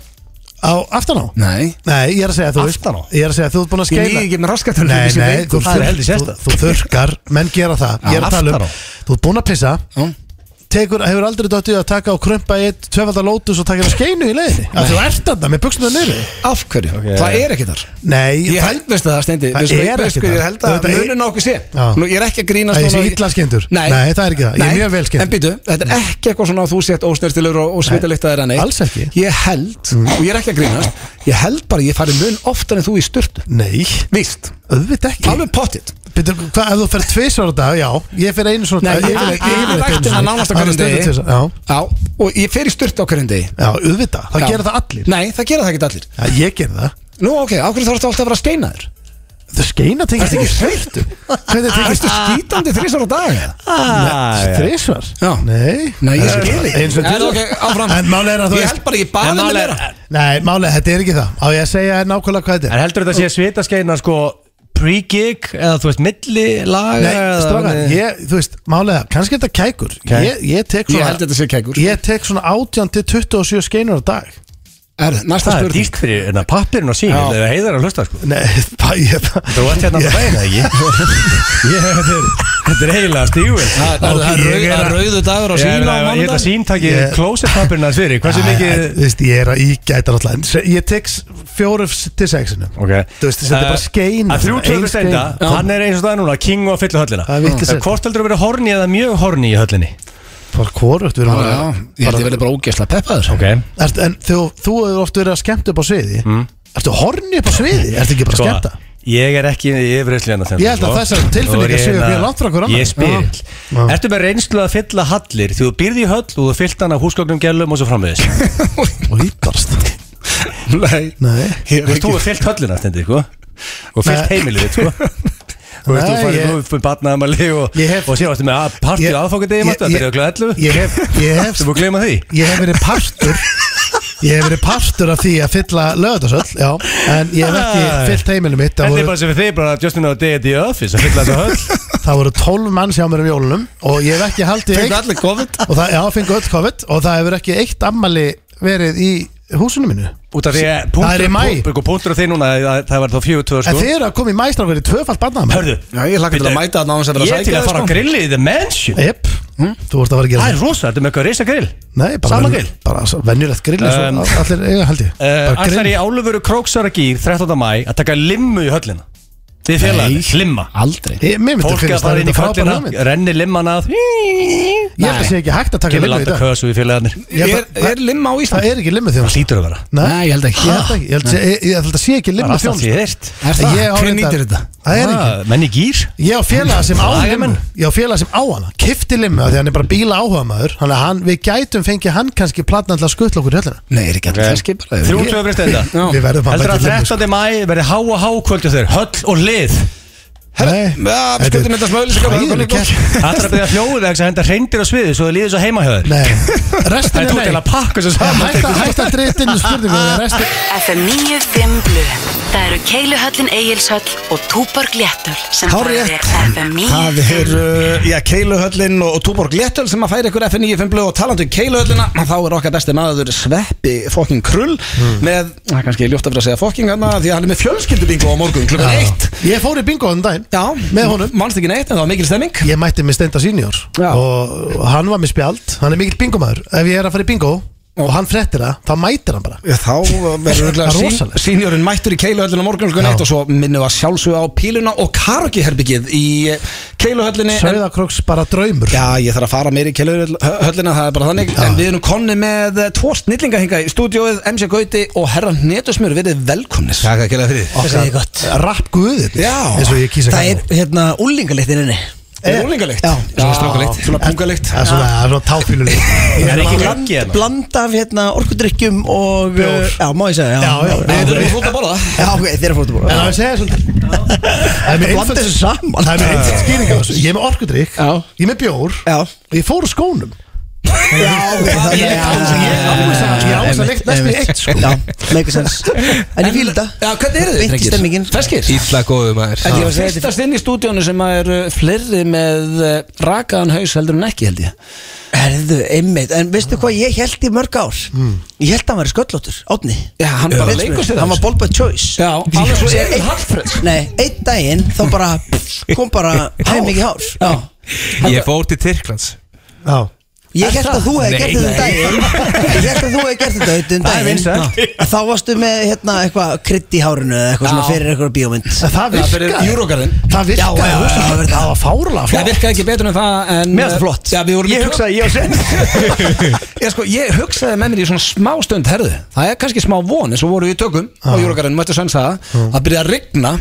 Speaker 2: á aftan á
Speaker 1: Nei
Speaker 2: Nei, ég er að segja að þú veist
Speaker 3: Aftan á?
Speaker 2: Ég er að segja að þú ert búin að
Speaker 1: Ég
Speaker 2: skeila
Speaker 1: líði ekki með raskatunum
Speaker 2: Nei, nei, þú,
Speaker 3: Það er
Speaker 2: þú,
Speaker 3: heldur
Speaker 2: þú,
Speaker 3: sérstakt.
Speaker 2: þú þurkar, menn gera það Ég er að tala
Speaker 3: aftar á.
Speaker 2: um, þú ert búin að pissa tekur, Hefur aldrei dottið að taka og krumpa í eitt tvefaldar lótus og taka hérna skeinu í leiðinni Að þú ert þarna með buksuna niður
Speaker 1: Af hverju? Það er ekki þar
Speaker 2: Nei,
Speaker 1: Ég held veist að það stendi
Speaker 2: Það
Speaker 1: Við-
Speaker 2: er
Speaker 1: við-
Speaker 2: ekki
Speaker 1: sko,
Speaker 2: það.
Speaker 1: Ég held að
Speaker 2: Þetta er-
Speaker 1: munin á okkur sé
Speaker 2: Já.
Speaker 1: Nú, Ég er ekki að grínast
Speaker 2: Nei, ég sé
Speaker 1: núna-
Speaker 2: illa skemmdur. Nei, það er ekki það. Ég er
Speaker 1: Nei.
Speaker 2: mjög vel skemmdur.
Speaker 1: En býtu, þetta er ekki eitthvað svona að þú sett ósnertilur og, og svitalyktaðir að neitt
Speaker 2: alls ekki. Mm.
Speaker 1: Ég held, og ég er ekki að grínast Ég held bara að ég fari mun oftar en þú í styrtu
Speaker 2: nei,
Speaker 1: Víst,
Speaker 2: auðvitað ekki
Speaker 1: alveg pottit
Speaker 2: Býtum, hvað, ef þú fer tvisvar á dag, já Ég fer einu svona
Speaker 1: Nei,
Speaker 2: dag
Speaker 1: ég-
Speaker 2: fer-
Speaker 1: ég- ég-
Speaker 2: fer eitt
Speaker 1: ég-
Speaker 2: einu
Speaker 1: ég-
Speaker 2: sinni.
Speaker 1: nánast á hverjum
Speaker 2: Annars stendur
Speaker 1: degi.
Speaker 2: tvisvar, Já,
Speaker 1: Já, og ég fer í styrtu á hverjum degi
Speaker 2: já, auðvitað, það
Speaker 1: Já.
Speaker 2: gera það allir
Speaker 1: Nei, það gera það ekki allir
Speaker 2: Já, ég ger það
Speaker 1: Nú, ok, á hverju þarf þetta alltaf að vera steinaður?
Speaker 2: Þau skeina tengist ekki sveittu Hvernig tengist
Speaker 1: Ertu skítandi þrísar á dag?
Speaker 3: já.
Speaker 2: þrísvar?
Speaker 1: Ah, Já.
Speaker 2: Nei
Speaker 1: Nei, ég skil
Speaker 2: Eins-
Speaker 1: ekki.
Speaker 2: eins og
Speaker 1: En
Speaker 2: tvisvar.
Speaker 1: ok, áfram.
Speaker 2: En málið er að þú
Speaker 1: Ég
Speaker 2: veist
Speaker 1: held bara að ég baði
Speaker 3: En
Speaker 1: mig
Speaker 3: málið-
Speaker 1: meira
Speaker 2: Nei, málið, þetta er ekki það Á ég að segja þér nákvæmlega hvað þetta
Speaker 3: En
Speaker 2: er
Speaker 3: heldur þetta að sé svitaskeina, sko, pre-gig, eða þú veist, milli laga?
Speaker 2: Nei,
Speaker 3: eða-
Speaker 2: strákar, ég, þú veist, málið er að Kannski þetta er kækur Ég, ég tek
Speaker 1: Ég
Speaker 2: svona
Speaker 1: held þetta sé kækur
Speaker 2: Ég tek svona 18 til 27 skeinur á dag
Speaker 1: Er, Næsta
Speaker 3: Það er
Speaker 1: spurning
Speaker 3: dýrt fyrir hérna, pappirinn og sín,
Speaker 1: Já.
Speaker 3: það heiðar að hlusta, sko.
Speaker 2: Nei, það ég
Speaker 3: Þú ert hérna á
Speaker 2: Ég-
Speaker 3: daginn, eða ekki? Ég, þetta er- þetta er eiginlega stífin
Speaker 1: Það er- það er
Speaker 2: Ok,
Speaker 1: rauð-
Speaker 2: ég er
Speaker 1: það er
Speaker 2: að-
Speaker 1: rauðu dagur á
Speaker 3: Ég
Speaker 1: sína á
Speaker 3: meina, ég ætla að
Speaker 1: mánudag
Speaker 3: sín takki
Speaker 2: Ég-
Speaker 3: klósetpappirinn hans fyrir Hversu
Speaker 2: Æ,
Speaker 3: mikið
Speaker 2: Þú veist, ég er að ígæta alltaf En se- ég tek s- fjóru f- til sexinu
Speaker 3: Ok.
Speaker 2: Þú veist, þetta er bara
Speaker 3: Eh,
Speaker 2: skeina
Speaker 3: Að þrjú
Speaker 2: ein
Speaker 3: tvöku steinda,
Speaker 2: skeina.
Speaker 3: hann er eins og það er núna King og fyllu höllina
Speaker 2: Það er vitlaust.
Speaker 3: Eh, Hvort heldur þú að vera horni eða mjög horni í höllinni?
Speaker 2: Bara hvorugt, við erum
Speaker 1: Já,
Speaker 2: bara-
Speaker 1: Ég held ég verði bara ógeðslega peppaður
Speaker 3: Ok
Speaker 2: Ert, en þú, þú hefur oft verið að skemmta upp á sviði
Speaker 3: Mm.
Speaker 2: Ertu horni upp á sviði? Ertu ekki bara að skemmta?
Speaker 3: Sko, ég er ekki hérna yfirreyslega hennar
Speaker 2: Ég held að þessar tilfinningar séu mjög langt frá hver annan.
Speaker 3: sko. hérna, Ég spyr
Speaker 2: Já.
Speaker 3: Ertu með reynslu að fylla hallir Því þú byrði í höll og þú fyllt hann af húsgögnum gælum og svo framvegis
Speaker 2: Og hýtast
Speaker 1: Nei,
Speaker 2: Nei,
Speaker 1: ég er
Speaker 3: Þú
Speaker 1: ekki
Speaker 3: hefur fyllt höllina stendur, sko Og fyllt
Speaker 2: Nei.
Speaker 3: heimilið, þitt, sko Þú veist, þú
Speaker 2: Nei,
Speaker 3: farið
Speaker 2: ég-
Speaker 3: nú fyrir batnaðamali og,
Speaker 2: Ég hef-
Speaker 3: og síðan varstu með partí
Speaker 2: Ég-
Speaker 3: og aðfókandi í
Speaker 2: ég-
Speaker 3: matta,
Speaker 2: ég-
Speaker 3: byrjaðu glöð 11
Speaker 2: ég hef, ég hef,
Speaker 3: Þú búið að gleyma því
Speaker 2: ég hef verið partur Ég hef verið partur af því að fylla lögðarsöll Já, en ég hef
Speaker 3: Æ.
Speaker 2: ekki fyllt heimilinu mitt Það
Speaker 3: Þetta er
Speaker 2: voru,
Speaker 3: bara sem við þig, bara Justin og Day at the Office að fylla þetta höll
Speaker 2: það voru 12 mann hjá mér um jólunum Og ég hef ekki haldið
Speaker 1: Fengu
Speaker 2: eitt
Speaker 1: allir COVID
Speaker 2: og það, Já, fengu öll COVID Og það hefur ekki eitt ammali verið í húsinu mínu
Speaker 3: Út af því að
Speaker 2: Það er í maí.
Speaker 3: punktur, punktur, punktur á þig núna, það, það var þá 42
Speaker 2: En
Speaker 3: sko
Speaker 2: þið eru að koma í mæstrákur í tvöfalt barnaðamæli
Speaker 3: Hörðu,
Speaker 1: Já, ég hlakka til að
Speaker 3: Bíddu,
Speaker 1: mæta þarna á þess að vera
Speaker 3: ég
Speaker 1: að
Speaker 3: er til
Speaker 1: sækja
Speaker 3: að
Speaker 1: þig,
Speaker 3: fara
Speaker 1: sko.
Speaker 3: að grilli í The Mansion
Speaker 2: Jep, þú vorst að fara að gera
Speaker 3: Hm? Það er rosa, þetta er með eitthvað reysa grill
Speaker 2: Nei, bara,
Speaker 3: Sama
Speaker 2: venju-
Speaker 3: grill.
Speaker 2: bara s- venjulegt grill eins og
Speaker 3: Um,
Speaker 2: all- Allir eiga held ég
Speaker 3: uh,
Speaker 2: Bara grill.
Speaker 3: Ætlar í álufuru króksara gýr 13. mæ að taka limmu í höllina Þið félagarnir, limma
Speaker 1: Aldrei
Speaker 2: Ég- Mér myndi
Speaker 3: Fólk að
Speaker 2: finnast það
Speaker 3: fara inn í
Speaker 2: frábæra
Speaker 3: köllina,
Speaker 2: hugmynd
Speaker 3: renni limman að
Speaker 2: Ég held að sé ekki hægt að taka
Speaker 3: Kemur
Speaker 2: limmu í
Speaker 3: landa
Speaker 2: dag
Speaker 3: kösu í félagarnir
Speaker 2: Ég held
Speaker 1: Er,
Speaker 2: að-
Speaker 1: er limma á
Speaker 2: Það
Speaker 1: Ísland?
Speaker 2: er ekki limmu
Speaker 3: Það
Speaker 2: þjónust
Speaker 3: hlýtur að vera
Speaker 1: Nei, ég held ekki.
Speaker 2: Ég held ekki- ég held að sé- ég- ég held að sé ekki
Speaker 3: Það
Speaker 2: limmu
Speaker 3: er alltaf
Speaker 2: þjónust
Speaker 3: því þeirt
Speaker 1: Er það?
Speaker 2: Ég á
Speaker 1: Hver
Speaker 2: reyndar-
Speaker 1: nýtir þetta?
Speaker 2: Það er ekki
Speaker 3: Menn í gýr
Speaker 2: Ég á félaga sem á
Speaker 3: Laga
Speaker 2: limmu
Speaker 3: Ah. menn.
Speaker 2: Ég á félaga sem á hana Kifti limmu af því hann er bara bíla áhuga maður Þannig að hann- við gætum fengið hann kannski platna til að skutla okkur í höllina
Speaker 1: Nei, er ekki allir
Speaker 3: Ok.
Speaker 1: það skipar
Speaker 3: Þrjú tvö fyrir stenda
Speaker 1: Já.
Speaker 2: Við verðum að
Speaker 3: Heldur
Speaker 2: leggja
Speaker 3: að
Speaker 2: limmu, sko.
Speaker 3: 13. mæ verði há og há kvöldu þeir Höll og lið
Speaker 2: Nei,
Speaker 1: Já, við
Speaker 2: þetta er
Speaker 1: skuldum þetta smöðlis
Speaker 2: hræðileg keppni.
Speaker 3: Ætlar að byrja fjóðu þegar að henda reyndir á sviði Svo þið líður svo heima hjá þér
Speaker 2: Nei, restin er
Speaker 3: Það er tók til
Speaker 2: nei
Speaker 3: að pakka þessu saman
Speaker 2: Hætta hætta að dreita inn í spurningu Restin
Speaker 7: FM 95 Blu Það eru Keiluhöllin Egilshöll og Túborg Léttul sem
Speaker 1: Hárrétt.
Speaker 7: færir FM 95
Speaker 1: Það er, uh, já, Keiluhöllin og, og Túborg Léttöl sem að færa ykkur F95 blöð og talandi um Keiluhöllina, þá er okkar besti maður Sveppi fokking krull með, það er kannski ljótt að vera að segja fokking hana, því að hann er með fjölskyldubingo á morgun klukkan eitt
Speaker 2: Ég fór í bingo þann daginn daginn
Speaker 1: Já,
Speaker 2: með honum
Speaker 1: Manst ekki neitt, en það var mikil stemming
Speaker 2: Ég mætti með Steinda Senior
Speaker 1: Já.
Speaker 2: og hann var með spjald, hann er mikill bingomæður ef ég er að fara í bingo og hann frettir það, þá mætir hann bara
Speaker 1: Já, þá verður
Speaker 2: Það er
Speaker 1: örugglega
Speaker 2: rosalegt.
Speaker 1: sínjórinn mættur í keiluhöllinu morgunsku neitt og svo minnum við að sjálfsögja á píluna og karaokeherbyggið í keiluhöllinu
Speaker 2: Sauðakróks bara draumur
Speaker 1: Já, ég þarf að fara meir í keiluhöllinu, það er bara þannig En við erum konni með eh, tvo snillinga hinga í stúdióið MC Gauti og herran Netusmjör verið velkomnir Takk að keila fyrir
Speaker 8: Það er gott
Speaker 2: Rapp guðið
Speaker 1: Já.
Speaker 2: eins og ég kýsa
Speaker 8: Það er hérna úlingalitt inn inni
Speaker 1: Er það úlingalikt?
Speaker 8: Já.
Speaker 1: Svona strákalikt Svona pungalikt
Speaker 2: Það er svona, það er svona táfíluleg
Speaker 3: Er ekki
Speaker 8: Bland,
Speaker 3: gaggi hérna?
Speaker 8: bland af hérna orkudrykkjum og eh,
Speaker 2: Bjór.
Speaker 8: Já, má ég
Speaker 2: Já,
Speaker 8: segja
Speaker 2: já,
Speaker 1: Við
Speaker 8: já,
Speaker 1: erum að flóta bóla
Speaker 8: já ok, þeir eru fórt
Speaker 2: En
Speaker 8: að búra
Speaker 2: það er segja svolítið Það er með
Speaker 8: Blanda
Speaker 2: einföld
Speaker 8: þessu saman
Speaker 2: Það er með einföld skýring á þessu Ég er með orkudrykk
Speaker 8: Já.
Speaker 2: Ég er með bjór
Speaker 8: Já.
Speaker 2: Og ég fór úr skónum
Speaker 8: Já, ok það-
Speaker 2: Ég á þess að- ég á þess að- ég á þess að leikt næstum í eitt sko
Speaker 8: Já, make sense En ég fíla þetta
Speaker 1: Já, hvernig eru þið,
Speaker 8: Beint í
Speaker 1: drengir?
Speaker 8: stemmingin.
Speaker 1: Ferskir?
Speaker 9: Ítla góðu maður
Speaker 1: Þetta var fyrstast inn í stúdíónu sem að er uh, fleiri með uh, rakaðan haus heldur en ekki held ég
Speaker 8: Herðu, einmitt, en veistu hvað ég held í mörg ár? Ég held að hann væri sköllóttur, átni
Speaker 1: Hmm. Já, hann bara leikur sér
Speaker 8: Hann var
Speaker 1: þessu.
Speaker 8: ball by choice
Speaker 1: Já, alveg svo er einn hallfröð
Speaker 8: Nei, einn daginn þá bara kom bara heim ekki hár Já.
Speaker 9: Ég fór til Tyrklands
Speaker 2: Já
Speaker 8: Ég held að þú hefði gert þetta um daginn Ég held að þú hefði gert þetta um
Speaker 3: er
Speaker 8: daginn
Speaker 3: vinsælt.
Speaker 8: Að Þá varstu með hérna eitthvað krydd í hárinu eða eitthvað svona
Speaker 1: Já.
Speaker 8: fyrir eitthvað bíómynd
Speaker 2: En það
Speaker 1: fyrir
Speaker 2: virkaði
Speaker 1: Júrógarðin
Speaker 2: Það virkaði
Speaker 8: Já, já,
Speaker 2: rosalega.
Speaker 8: já, það virkaði.
Speaker 2: Það var fárlega
Speaker 1: Það
Speaker 2: flott
Speaker 1: virkaði ekki betur en það en uh,
Speaker 8: Mér fannst það flott.
Speaker 1: Já, við vorum
Speaker 3: Ég hugsaði ég á sen
Speaker 1: Ég, sko, ég hugsaði með mér í svona smá stund herðu Það er kannski smá von eins og voru við í tökum á Júrógarðin mættu sönsa að byrja að rigna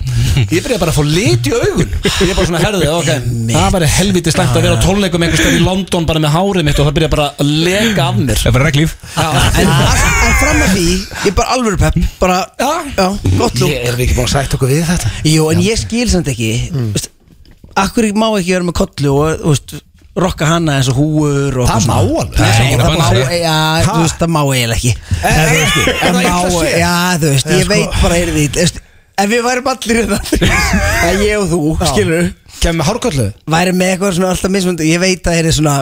Speaker 1: Ég byrja bara að fá lit í augun Ég er bara svona herðu ok Það var helviti slæmt að vera á tónleikum einhvers staðar í London bara með hárið mitt og það byrja bara að leka af mér
Speaker 9: Það var reglíf
Speaker 8: En, en fram að því, ég er bara alvöru pepp Bara,
Speaker 1: Já.
Speaker 8: já, gott lúk
Speaker 1: Ég er við ekki búin að sætt okkur við þetta
Speaker 8: Jú, en ég skil samt ekki mm. veist, Akkur má ekki vera með kollu og veist, rokka hana eins og húur
Speaker 1: Það
Speaker 8: og eitthvað
Speaker 1: má
Speaker 8: svona.
Speaker 1: alveg.
Speaker 9: Nei,
Speaker 8: Nei,
Speaker 9: það
Speaker 8: það
Speaker 9: banna
Speaker 8: má,
Speaker 9: sig.
Speaker 8: já, þú veist, það má eiginlega ekki
Speaker 1: Er- er- er
Speaker 8: Það
Speaker 1: eh, það illa
Speaker 8: má,
Speaker 1: séð? Eh, sko-
Speaker 8: já, þú veist, ég veit bara er því veist, Ef við værum allir hérna, í það Ég og þú, skilur
Speaker 1: Kæmum með hárkollu
Speaker 8: Værum með eitthvað svona alltaf mismund Ég veit að það er svona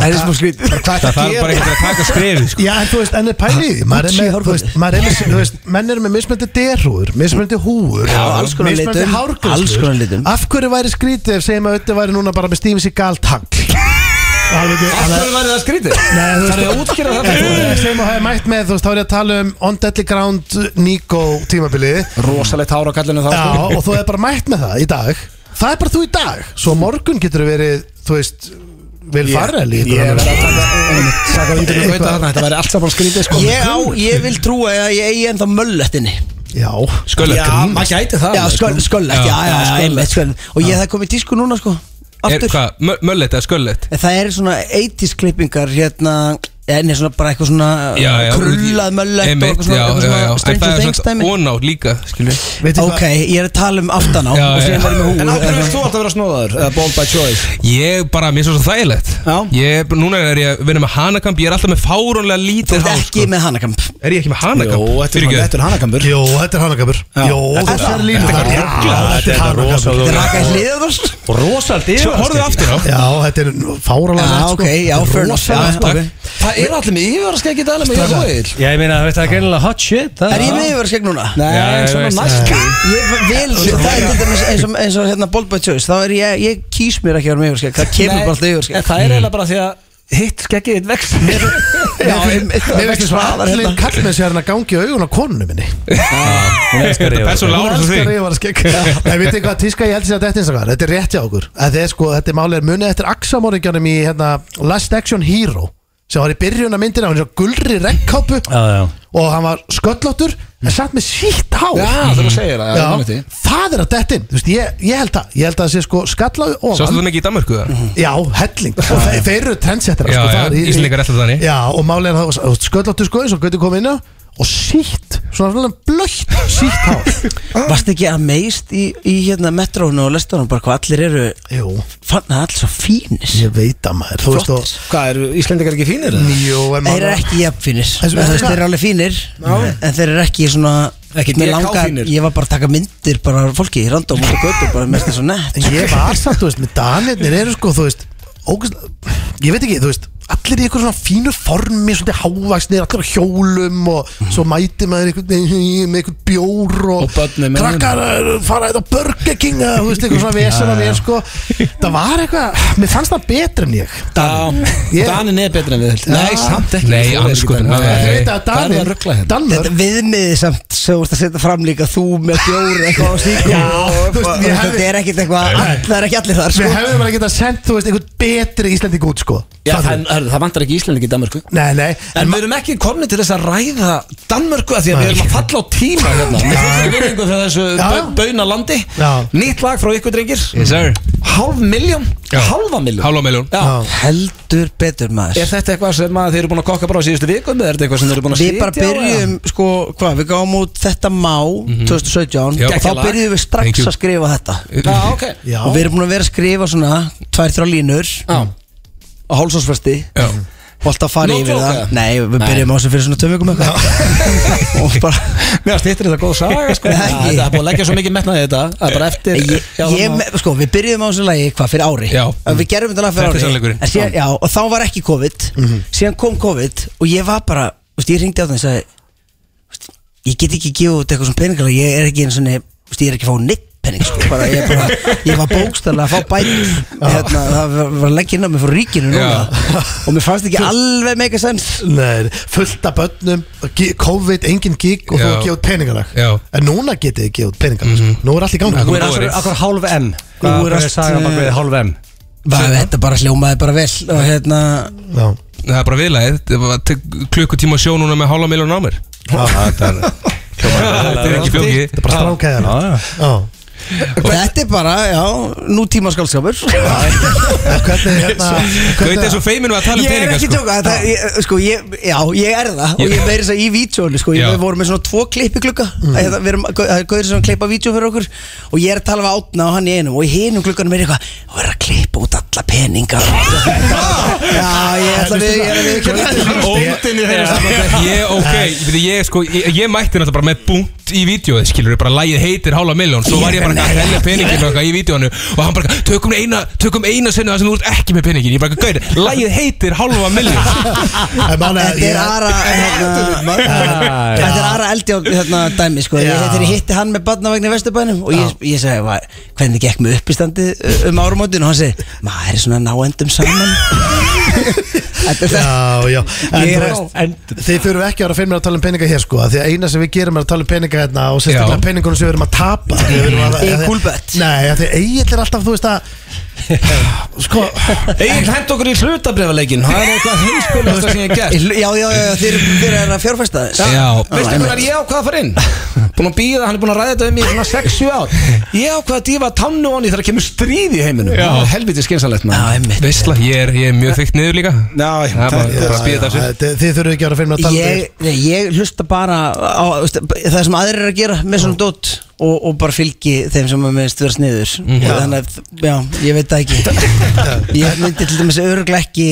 Speaker 8: Það er smá skrýt
Speaker 9: Það þarf bara eitthvað að taka skrefi sko.
Speaker 2: Já, en þú veist, en það er pælið í því. maður er
Speaker 8: Gucci
Speaker 2: með, þú veist,
Speaker 8: hárkollu.
Speaker 2: maður er með, þú veist, menn eru með mismöndi derhúður, mismöndi húur
Speaker 8: Já, alls konar
Speaker 2: mismunandi
Speaker 8: litum,
Speaker 2: hárgreiðslur.
Speaker 8: alls konar litum.
Speaker 2: Af hverju væri skrítið ef segjum að auðvitað væri núna bara með stímis í galt hang Alveg,
Speaker 1: Af hverju væri það skrítið? Nei,
Speaker 2: þú veist-
Speaker 1: Það er að útskýra það fyrir
Speaker 2: Þú
Speaker 1: fólki.
Speaker 2: veist, sem að hafa mætt með, þú veist, þá er ég að tala um On Deadly Ground Nico tímabilið
Speaker 1: Rosalegt hár á kallinu þá
Speaker 2: Já,
Speaker 1: sko.
Speaker 2: og þú er bara mætt með það í dag Það er bara þú í dag Svo á morgun getur þú verið, þú veist, vil fara í
Speaker 1: Ég
Speaker 2: ykkur
Speaker 1: verð
Speaker 2: annað.
Speaker 1: að taka- taka undir með Gauta þarna, Þetta væri allt saman skrítið sko.
Speaker 8: Ég á, ég vil trúa að ég eigi ennþá möllettinni
Speaker 2: Já,
Speaker 9: Sköllögt
Speaker 1: Já, maður gæti það
Speaker 8: Já,
Speaker 1: alveg, sko.
Speaker 8: sköll, sköllett, já,
Speaker 9: Já,
Speaker 8: já, já,
Speaker 1: sköllett.
Speaker 8: einmitt sköllett Og ég það er komið í tísku núna, sko
Speaker 9: Er
Speaker 8: Aftur
Speaker 9: hvað? Mö- Möllet eða sköllögt?
Speaker 8: En Það eru svona 80s klippingar hérna En er svona bara eitthvað svona
Speaker 9: Já, já
Speaker 8: Krullað möllett og
Speaker 9: Einmitt,
Speaker 8: eitthvað svona,
Speaker 9: já,
Speaker 8: eitthvað
Speaker 9: já, já. En
Speaker 8: svona
Speaker 9: það
Speaker 8: Stranger
Speaker 9: er
Speaker 8: Things
Speaker 9: svona
Speaker 8: dæmi
Speaker 9: On á líka skilur við.
Speaker 2: veitir
Speaker 8: Ok, ég er að tala um aftan á
Speaker 9: Já,
Speaker 8: Og síðan
Speaker 9: já.
Speaker 8: verðum við hú
Speaker 1: En af hverju veist þú alltaf að vera snóðaður? Eða bold by choice?
Speaker 9: Ég bara, mér er svo svo þægilegt
Speaker 1: Já.
Speaker 9: Ég, núna er ég að vinna með hanakamp Ég er alltaf með fárónlega
Speaker 8: Þú
Speaker 9: lítið
Speaker 8: ert
Speaker 9: hár sko.
Speaker 8: ekki með hanakamp
Speaker 9: Er ég ekki með hanakamp?
Speaker 1: þetta er hanakambur
Speaker 2: Jú, þetta er hanakabur Jú, þetta
Speaker 8: þetta-
Speaker 2: er línu
Speaker 8: þetta er
Speaker 2: Þetta er hanakabur
Speaker 8: Þetta er raka hliðið þar
Speaker 3: Og rosalt
Speaker 9: Svo horfðu aftur á
Speaker 2: Já, þetta er fáralega
Speaker 8: Já,
Speaker 2: sko.
Speaker 8: ok, já,
Speaker 2: Þetta er
Speaker 8: fair enough,
Speaker 2: rosalega,
Speaker 8: já,
Speaker 2: sko.
Speaker 8: takk.
Speaker 1: Það er allir með yfirvarskeggi dæli með Jörg Vóil
Speaker 3: Já, ég meina, þetta er greinilega hot shit það
Speaker 8: Er ég með yfir skegg núna?
Speaker 1: Nei,
Speaker 3: Já, ég
Speaker 1: svona
Speaker 3: veist
Speaker 1: næstu
Speaker 8: Ég vil, það er til dæmis eins og, eins og hérna Bold by Choice Þá er ég, ég kýs mér ekki að vera með yfir skegg Það kemur bara alltaf yfir
Speaker 1: En
Speaker 8: skegg
Speaker 9: Mm.
Speaker 1: Það er eiginlega bara því að hitt skeggið þitt vex
Speaker 8: Já,
Speaker 2: Mér veist þess að allir kallmenn sér hann að gangi hérna í augun á konunum minni
Speaker 9: Þetta er persónulega árið svo þig
Speaker 2: ég var að skekka En veit þið hvað tíska ég held sér að þetta eins og hvað Þetta er rétt hjá okkur Að Þetta er sko, þetta er málið er munið eftir Axamorikjanum í hérna, Last Action Hero sem var í byrjun af myndina, hann var í svo gulri rekkápu
Speaker 3: Já, já.
Speaker 2: og hann var sköllóttur en satt með sítt hár
Speaker 1: Já, þegar þú segir það já, ég man
Speaker 2: Já,
Speaker 1: eftir því.
Speaker 2: það er að detta inn Þú veist, ég, ég held að, ég held að það sé sko skallaðu
Speaker 9: Svo
Speaker 2: ofan
Speaker 9: stóðum mikið í Danmörku það
Speaker 2: Já, helling Og þeir, þeir eru trendsettara
Speaker 9: Já,
Speaker 2: sko,
Speaker 9: já,
Speaker 2: það er í-
Speaker 9: Íslendingar ætla þannig.
Speaker 2: Já, og málega það var sköllóttu sko eins og gauti kom inn á og sítt, svona svona blöitt sítt hár
Speaker 8: Varst ekki að meist í, í hérna metrónu og lestunum bara hvað allir eru
Speaker 2: Jú,
Speaker 8: fann að allir svo fínis
Speaker 2: ég veit að maður Þú veist og
Speaker 1: Hvað, eru Íslendingar ekki fínir? eða?
Speaker 2: Jú, en
Speaker 8: Þeir
Speaker 2: maður
Speaker 8: eru ekki jafn
Speaker 2: En
Speaker 8: fínir En
Speaker 2: svo-
Speaker 8: þú veist, Þeir eru alveg fínir En þeir eru ekki svona
Speaker 1: Ekkert
Speaker 8: Mér
Speaker 1: BK
Speaker 8: langar-
Speaker 1: fínir.
Speaker 8: Ég var bara að taka myndir bara af fólki Random út og götu bara mest þess að nett
Speaker 2: En ég var samt, þú veist, með danirnir eru sko, þú veist ógust, Ég veit ekki, þú veist allir í einhver svona fínu formi svolítið hávaksnir, allir á hjólum og svo mæti maður einhvern veginn með einhvern bjór og,
Speaker 1: Mhm. Og börnin með
Speaker 2: krakkar eh, fara þetta á Burger King eða þú veist, einhver svona vesen af mér sko það var eitthvað, mér fannst það betra en ég
Speaker 1: Dan
Speaker 2: Ég-
Speaker 1: Danin er betra en við held Nei, samt ekki
Speaker 9: Nei,
Speaker 1: Þú er ekki
Speaker 9: andskotin.
Speaker 1: Daninn.
Speaker 9: Nei.
Speaker 2: Ég sko, veit að
Speaker 1: Hvað er það að ruggla hérna?
Speaker 2: Danir, Danmörk sko.
Speaker 8: Þetta viðmiði samt sem þú ert að setja fram líka þú með bjóri eitthvað á slíku
Speaker 2: Já,
Speaker 8: og-
Speaker 2: þú veist, ég
Speaker 8: og- og
Speaker 2: hefði-
Speaker 8: þetta er ekkert eitthvað það er ekki allir þar sko.
Speaker 2: Við hefðum alveg getað sendt, þú veist, einhvern betri Íslending út, sko
Speaker 1: Já,
Speaker 2: Fattar
Speaker 1: það,
Speaker 2: þú?
Speaker 1: það, það vantar ekki Íslendingi í Danmörku
Speaker 2: Nei, nei
Speaker 1: En við erum ekki komni til þess að ræða Danmörku að því að við erum að falla á tíma hérna Við erum virðingu fyrir þessu
Speaker 2: Já.
Speaker 1: bau- bauna landi
Speaker 2: Já.
Speaker 1: Nýtt lag frá ykkur drengir
Speaker 9: Yes sir
Speaker 1: Hálf miljón,
Speaker 9: Já.
Speaker 1: halva miljón
Speaker 9: Hálfa miljón.
Speaker 1: Já.
Speaker 8: heldur betur maður
Speaker 1: Er þetta eitthvað sem að þið eru búin að kokka bara á síðustu vikum eða er þetta eitthvað sem þið eru búin að
Speaker 8: Við bara
Speaker 1: sitja á, eða?
Speaker 8: byrjum, sko, hvað, við gáum út þetta má 2017
Speaker 9: Já.
Speaker 8: og þá
Speaker 9: Geggjað lag.
Speaker 8: byrjum við
Speaker 9: Thank
Speaker 8: strax
Speaker 9: you.
Speaker 8: að skrifa þetta
Speaker 1: Já, ok
Speaker 2: Já,
Speaker 8: og við erum búin að vera að skrifa svona tvær, þrjá línur
Speaker 1: Já.
Speaker 8: á hálsásfresti
Speaker 9: Já.
Speaker 8: og alltaf fara
Speaker 1: No
Speaker 8: yfir
Speaker 1: joke, eða?
Speaker 8: það Nei, við
Speaker 1: Nei.
Speaker 8: byrjum á þessu fyrir svona tömjögum eitthvað og bara
Speaker 1: Mér að stýttir þetta góð saga sko.
Speaker 8: Nei.
Speaker 1: Það það er búin að leggja svo mikið metnaði í þetta að
Speaker 9: Eh,
Speaker 1: bara eftir
Speaker 8: ég,
Speaker 1: Já,
Speaker 8: ég,
Speaker 1: þannig að-
Speaker 8: me- sko, við byrjuðum á þessu lagi hvað fyrir ári
Speaker 9: Já.
Speaker 8: Að við gerum þetta lag
Speaker 9: Þetta er
Speaker 8: fyrir ári
Speaker 9: sannleikurinn.
Speaker 8: en síðan, já, Mhm. og þá var ekki COVID síðan kom COVID og ég var bara þú veist, ég ringdi á það og sagði þú veist, ég get ekki gefið út eitthvað svona peningalega ég er ekki einu svona ég er ekki að fá neitt pening sko, bara, ég, bara, ég var bókstæðlega að fá bætur hérna, það var var að leggja inn á mig frá ríkinu núna og mér fannst ekki alveg mega sens
Speaker 2: Nei, fullt af börnum gi- COVID, engin gig og þú
Speaker 9: Já.
Speaker 2: að gefa út peningalag
Speaker 9: Já.
Speaker 2: En núna getið þið gefa út peningalag sko. Nú er allt í gangi
Speaker 9: Nú
Speaker 3: Þú er
Speaker 9: Góri.
Speaker 3: akkur, akkur hálf M Hvað
Speaker 8: Þú
Speaker 3: hvað
Speaker 8: er
Speaker 3: er
Speaker 8: allt,
Speaker 3: að saga bak við
Speaker 8: eh,
Speaker 3: hálf M?
Speaker 8: Bara- þetta bara hljómaði bara vel og hérna
Speaker 2: Já,
Speaker 9: Það er bara viðlæðið Það var til klukkutíma sjó núna með hálfa miljón á mér Það er ekki flókið
Speaker 2: þetta er bara strákæðan Já,
Speaker 8: Þetta er bara, já, nútíma skaldskapur
Speaker 2: En hvernig hérna
Speaker 9: Gauti
Speaker 2: hvernig-
Speaker 9: er svo feiminn við að tala um
Speaker 8: Ég er
Speaker 9: peninga
Speaker 8: ekki
Speaker 9: sko.
Speaker 8: tjóka, það, ég, sko, ég, já, ég er það Og ég meiri þess að í vítjónu, sko ég,
Speaker 9: Já. Mm.
Speaker 8: Við vorum með svona tvo klippi klukka Það er gauður sem klippa vítjó fyrir okkur Og ég er að tala við átna og hann í einum Og í hinum klukkanum er ég eitthvað Það er að klippa út alla peninga Já, ég ætla við, ég er að við
Speaker 1: Óttinn í þeirra
Speaker 9: Ég, ok, ég, ég, sko, ég, ég mætti náttúrulega bara með búnt í vídjóið, skilur bara lægið heitir hálfa miljón, svo var ég bara að tellja peningin og eitthvað í vídjónu og hann bara, tökum eina, tökum eina sennu það sem þú ert ekki með peningin, ég bara, gauð, lægið heitir hálfa miljón,
Speaker 2: En málega,
Speaker 8: Þetta er
Speaker 2: ég-
Speaker 8: aðra hérna, Þetta er aðra eldjón hérna, dæmi sko. ég,
Speaker 2: Já.
Speaker 8: Þegar ég hitti hann með barnavagn í Vesturbænum Og ég, ég sagði "Va, hvernig gekk með uppistandi uh, um árumótin Og hann segi, maður er svona náendum saman Þetta er það
Speaker 2: Já, já En þú
Speaker 8: Ég er á
Speaker 2: veist, þið þurfum ekki að vera fyrir mér að tala um peninga hér sko af Því að eina sem við gerum er að tala um peninga hérna Og sérstaklega
Speaker 9: Já.
Speaker 2: peningunum sem við erum að tapa Við erum að-
Speaker 8: Í
Speaker 2: að-
Speaker 8: cool bet.
Speaker 2: Nei, af því eigill er alltaf, þú veist að Sko
Speaker 1: Egil hend okkur í hlutabrifaleikin Það er eitthvað heimskulegasta sem ég hef
Speaker 8: Ég
Speaker 1: gert
Speaker 8: hlu- Já, já, já, þeir, þeir eru að fjárfæsta
Speaker 9: Já.
Speaker 1: Veistu hvernig er ég ákvað að fara inn? Búin að býða, hann er búin að ræða þetta um í svona 6-7 ár Ég ákvað að dífa tannu honni þegar kemur stríð í heiminum
Speaker 9: Já.
Speaker 1: Það er Helviti skynsalegt maður
Speaker 8: einmitt
Speaker 9: veistla, ég er, ég er mjög þykkt niður líka,
Speaker 1: Já, já,
Speaker 9: það er
Speaker 1: það-
Speaker 9: bara- bara að
Speaker 2: Já,
Speaker 9: spýta
Speaker 2: já,
Speaker 9: þessu.
Speaker 2: þetta- Þið þurfum ekki að vera fyrir mér að tala um
Speaker 8: Ég, nei, ég hlusta bara á, veist, það sem aðrir eru að gera með svona dót og, og bara fylgi þeim sem er með stjórn sniður
Speaker 2: Mhm.
Speaker 8: og þannig að, já, ég veit það ekki ég myndi til dæmis öruglega ekki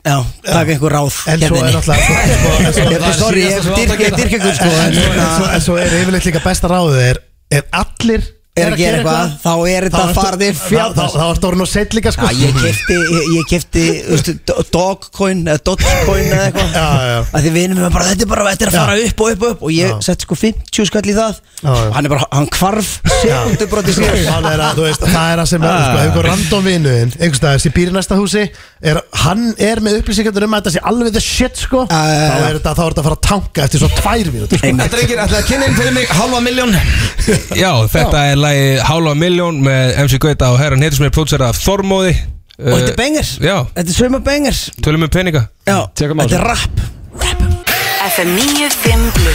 Speaker 8: já, taka einhver ráð hérna
Speaker 2: En svo er alltaf svo, svo,
Speaker 8: Ég-
Speaker 2: Hérna svo,
Speaker 8: ég- sorry, ég dyrka ég dyrka ykkur sko en
Speaker 2: en, svo,
Speaker 8: svona,
Speaker 2: en svo er yfirleitt líka besta ráðið er Ef allir
Speaker 8: er að gera eitthvað þá er
Speaker 2: þá
Speaker 8: þetta
Speaker 2: ertu-
Speaker 8: farðið
Speaker 2: þá- þá-
Speaker 8: fjall
Speaker 2: Þá ertu orðin og seitt líka
Speaker 8: Já,
Speaker 2: sko
Speaker 8: ég kefti, ég, ég kefti veistu, do- Dogcoin eða Dogecoin eða eitthvað
Speaker 2: Já, já.
Speaker 8: að því vinum við bara, þetta er bara þetta er að fara upp og upp og upp og ég
Speaker 2: Já.
Speaker 8: sett sko 50 skall í það
Speaker 2: Já, já.
Speaker 8: og hann er bara, hann kvarf sekundu broti sér
Speaker 2: Það er að, þú veist, það er að sem
Speaker 1: Ah.
Speaker 2: að, sko, einhver random vinuðin, einhvers staðar sem býr í næsta húsi, er, hann er með upplýsingarnir um að þetta sé alveg the shit, sko,
Speaker 8: Já, Ah, já, já.
Speaker 2: þá er þetta, þá er þetta að fara að tanka eftir svo tvær mínútur, sko.
Speaker 1: Þetta er ekki, ætlaði að kynna inn fyrir mig Halva miljón
Speaker 9: já, þetta er lægið hálfa miljón með MC Gauta og herran heitir sem er pródusera af Þormóði
Speaker 1: Eh,
Speaker 8: og þetta er bengars,
Speaker 9: Já.
Speaker 8: þetta er söma bengars
Speaker 9: Tölum um peninga
Speaker 8: já,
Speaker 1: Tökum á
Speaker 8: þetta er rap
Speaker 7: FM 95 Blu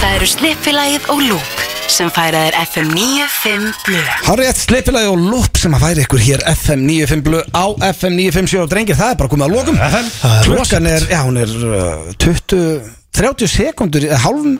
Speaker 7: Það eru Slippilagið og Lúk sem færa þér FM 95 Blu
Speaker 1: Hárétt sleipilagi og lúp sem að færi ykkur hér FM 95 blöð á FM 957 og drengir það er bara komið að lokum
Speaker 2: Það er
Speaker 1: Klokkan er, já hún er uh, 20, 30 sekundur eða hálf,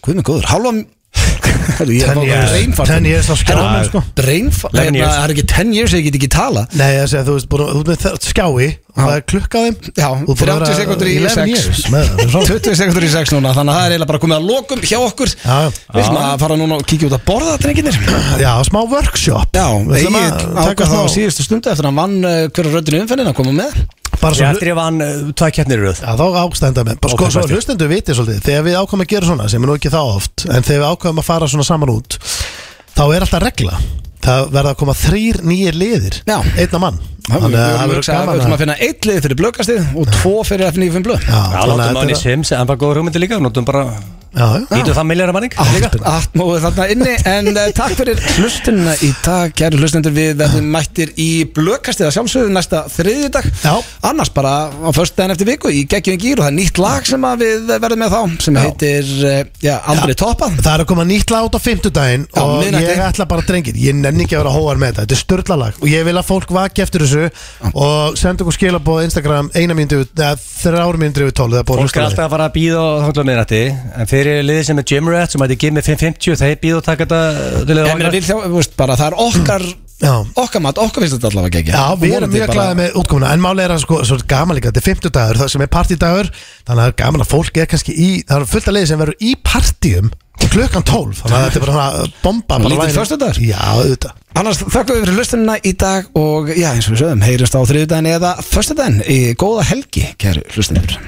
Speaker 1: hvað er mér góður, hálfa Herru, ég er
Speaker 2: 10
Speaker 1: bara
Speaker 2: years.
Speaker 1: brainfart.
Speaker 2: 10 years á skjánum,
Speaker 1: Herru,
Speaker 2: sko.
Speaker 1: brainfart-
Speaker 3: Eleven
Speaker 1: hérna,
Speaker 3: years.
Speaker 1: Það er ekki 10 years, ég get ekki tala
Speaker 2: Nei, ég segi, þú veist, búin, að- þú ert með þ- skjái, og það er klukkaðum,
Speaker 1: Já, 30 sekundur í 6 20 sekundur í 6 núna, þannig að það er eiginlega bara komið að lokum hjá okkur
Speaker 2: Já, já.
Speaker 1: Við ætlum að fara núna og kíkja út að borða, drengirnir
Speaker 2: Já, smá workshop
Speaker 1: Já,
Speaker 2: Við ætlum
Speaker 1: Egil
Speaker 2: að taka
Speaker 1: ákvað þá á
Speaker 2: smá-
Speaker 1: eh, síðustu stundu eftir að hann vann uh, hverja röddinu umfennin að koma með
Speaker 2: Bara
Speaker 3: Ég
Speaker 2: svo
Speaker 3: eftir ég vann uh, tvær keppnir í röð
Speaker 2: Já, þá ástænda með, bara sko,
Speaker 3: Ok,
Speaker 2: svo
Speaker 3: besti.
Speaker 2: hlustendur viti svolítið, þegar við ákvæmum að gera svona, sem er nú ekki þá oft, en þegar við ákvæmum að fara svona saman út, þá er alltaf regla, það verða að koma þrýr nýjir liðir,
Speaker 1: Já.
Speaker 2: einna mann,
Speaker 1: Þannig að
Speaker 2: það
Speaker 1: við
Speaker 2: verður gaman
Speaker 1: höfum að finna eitt lið fyrir blökastið og tvo fyrir F95 blöð
Speaker 2: Já,
Speaker 3: Já,
Speaker 2: þannig að
Speaker 3: látum
Speaker 2: þetta
Speaker 3: hann í
Speaker 2: er-
Speaker 3: sims En bara góða hugmyndi líka Nótum bara
Speaker 2: Já, já. Ah,
Speaker 3: Nýtum það milljarra manning líka
Speaker 1: Allt móðu þarna inni En uh, takk fyrir hlustunna í dag Kæru hlustendur við verðum mættir í blökastið að sjálfsögðu næsta þriðjudag
Speaker 2: Já.
Speaker 1: Annars bara á förstu daginn eftir viku í geggjum gýr og það er nýtt lag sem að við verðum með þá sem heitir uh, já, Aldrei toppað
Speaker 2: Það er að koma nýtt lag út á fimmtudaginn
Speaker 1: Já,
Speaker 2: og
Speaker 1: miðnætti.
Speaker 2: ég ætla bara drengir, ég nenni ekki að vera hóar með þetta, þetta er störtlalag og ég vil að fólk vaki eftir þessu og senda okkur skilabóð á Instagram eina mínútu, eða þrjár mínútur yfir tólf, það er búið að
Speaker 3: Fólk
Speaker 2: hlusta
Speaker 3: er
Speaker 2: á
Speaker 3: alltaf
Speaker 2: þig.
Speaker 3: að fara að býða og þangla með nætti En fyrir liðið sem er Jim Rat sem hætti Gimmi 550 Þeir býða og taka þetta til
Speaker 1: Ég meina
Speaker 3: liða
Speaker 1: við þjá, þú veist bara það er okkar
Speaker 2: Já.
Speaker 1: okkar mat, okkar finnst þetta allavega geggja
Speaker 2: Já, við
Speaker 1: Og
Speaker 2: erum
Speaker 1: vonandi
Speaker 2: mjög
Speaker 1: bara-
Speaker 2: glæðið með útkomuna En máli er að sko, svo er gaman líka, þetta er 50 dagur Það sem er partídagur, þannig að það er gaman að fólk er kannski í Það eru fullt að leiði sem verður í partíum Klukkan 12, þannig að þetta er bara svona Bomba bara
Speaker 1: Lítill
Speaker 2: væri-
Speaker 1: föstudagur?
Speaker 2: Já, auðvitað
Speaker 1: Annars þakkum við fyrir hlustunina í dag og já eins og við sögum, heyrjast á þriðdæn eða förstudæn í góða helgi kæru hlustundur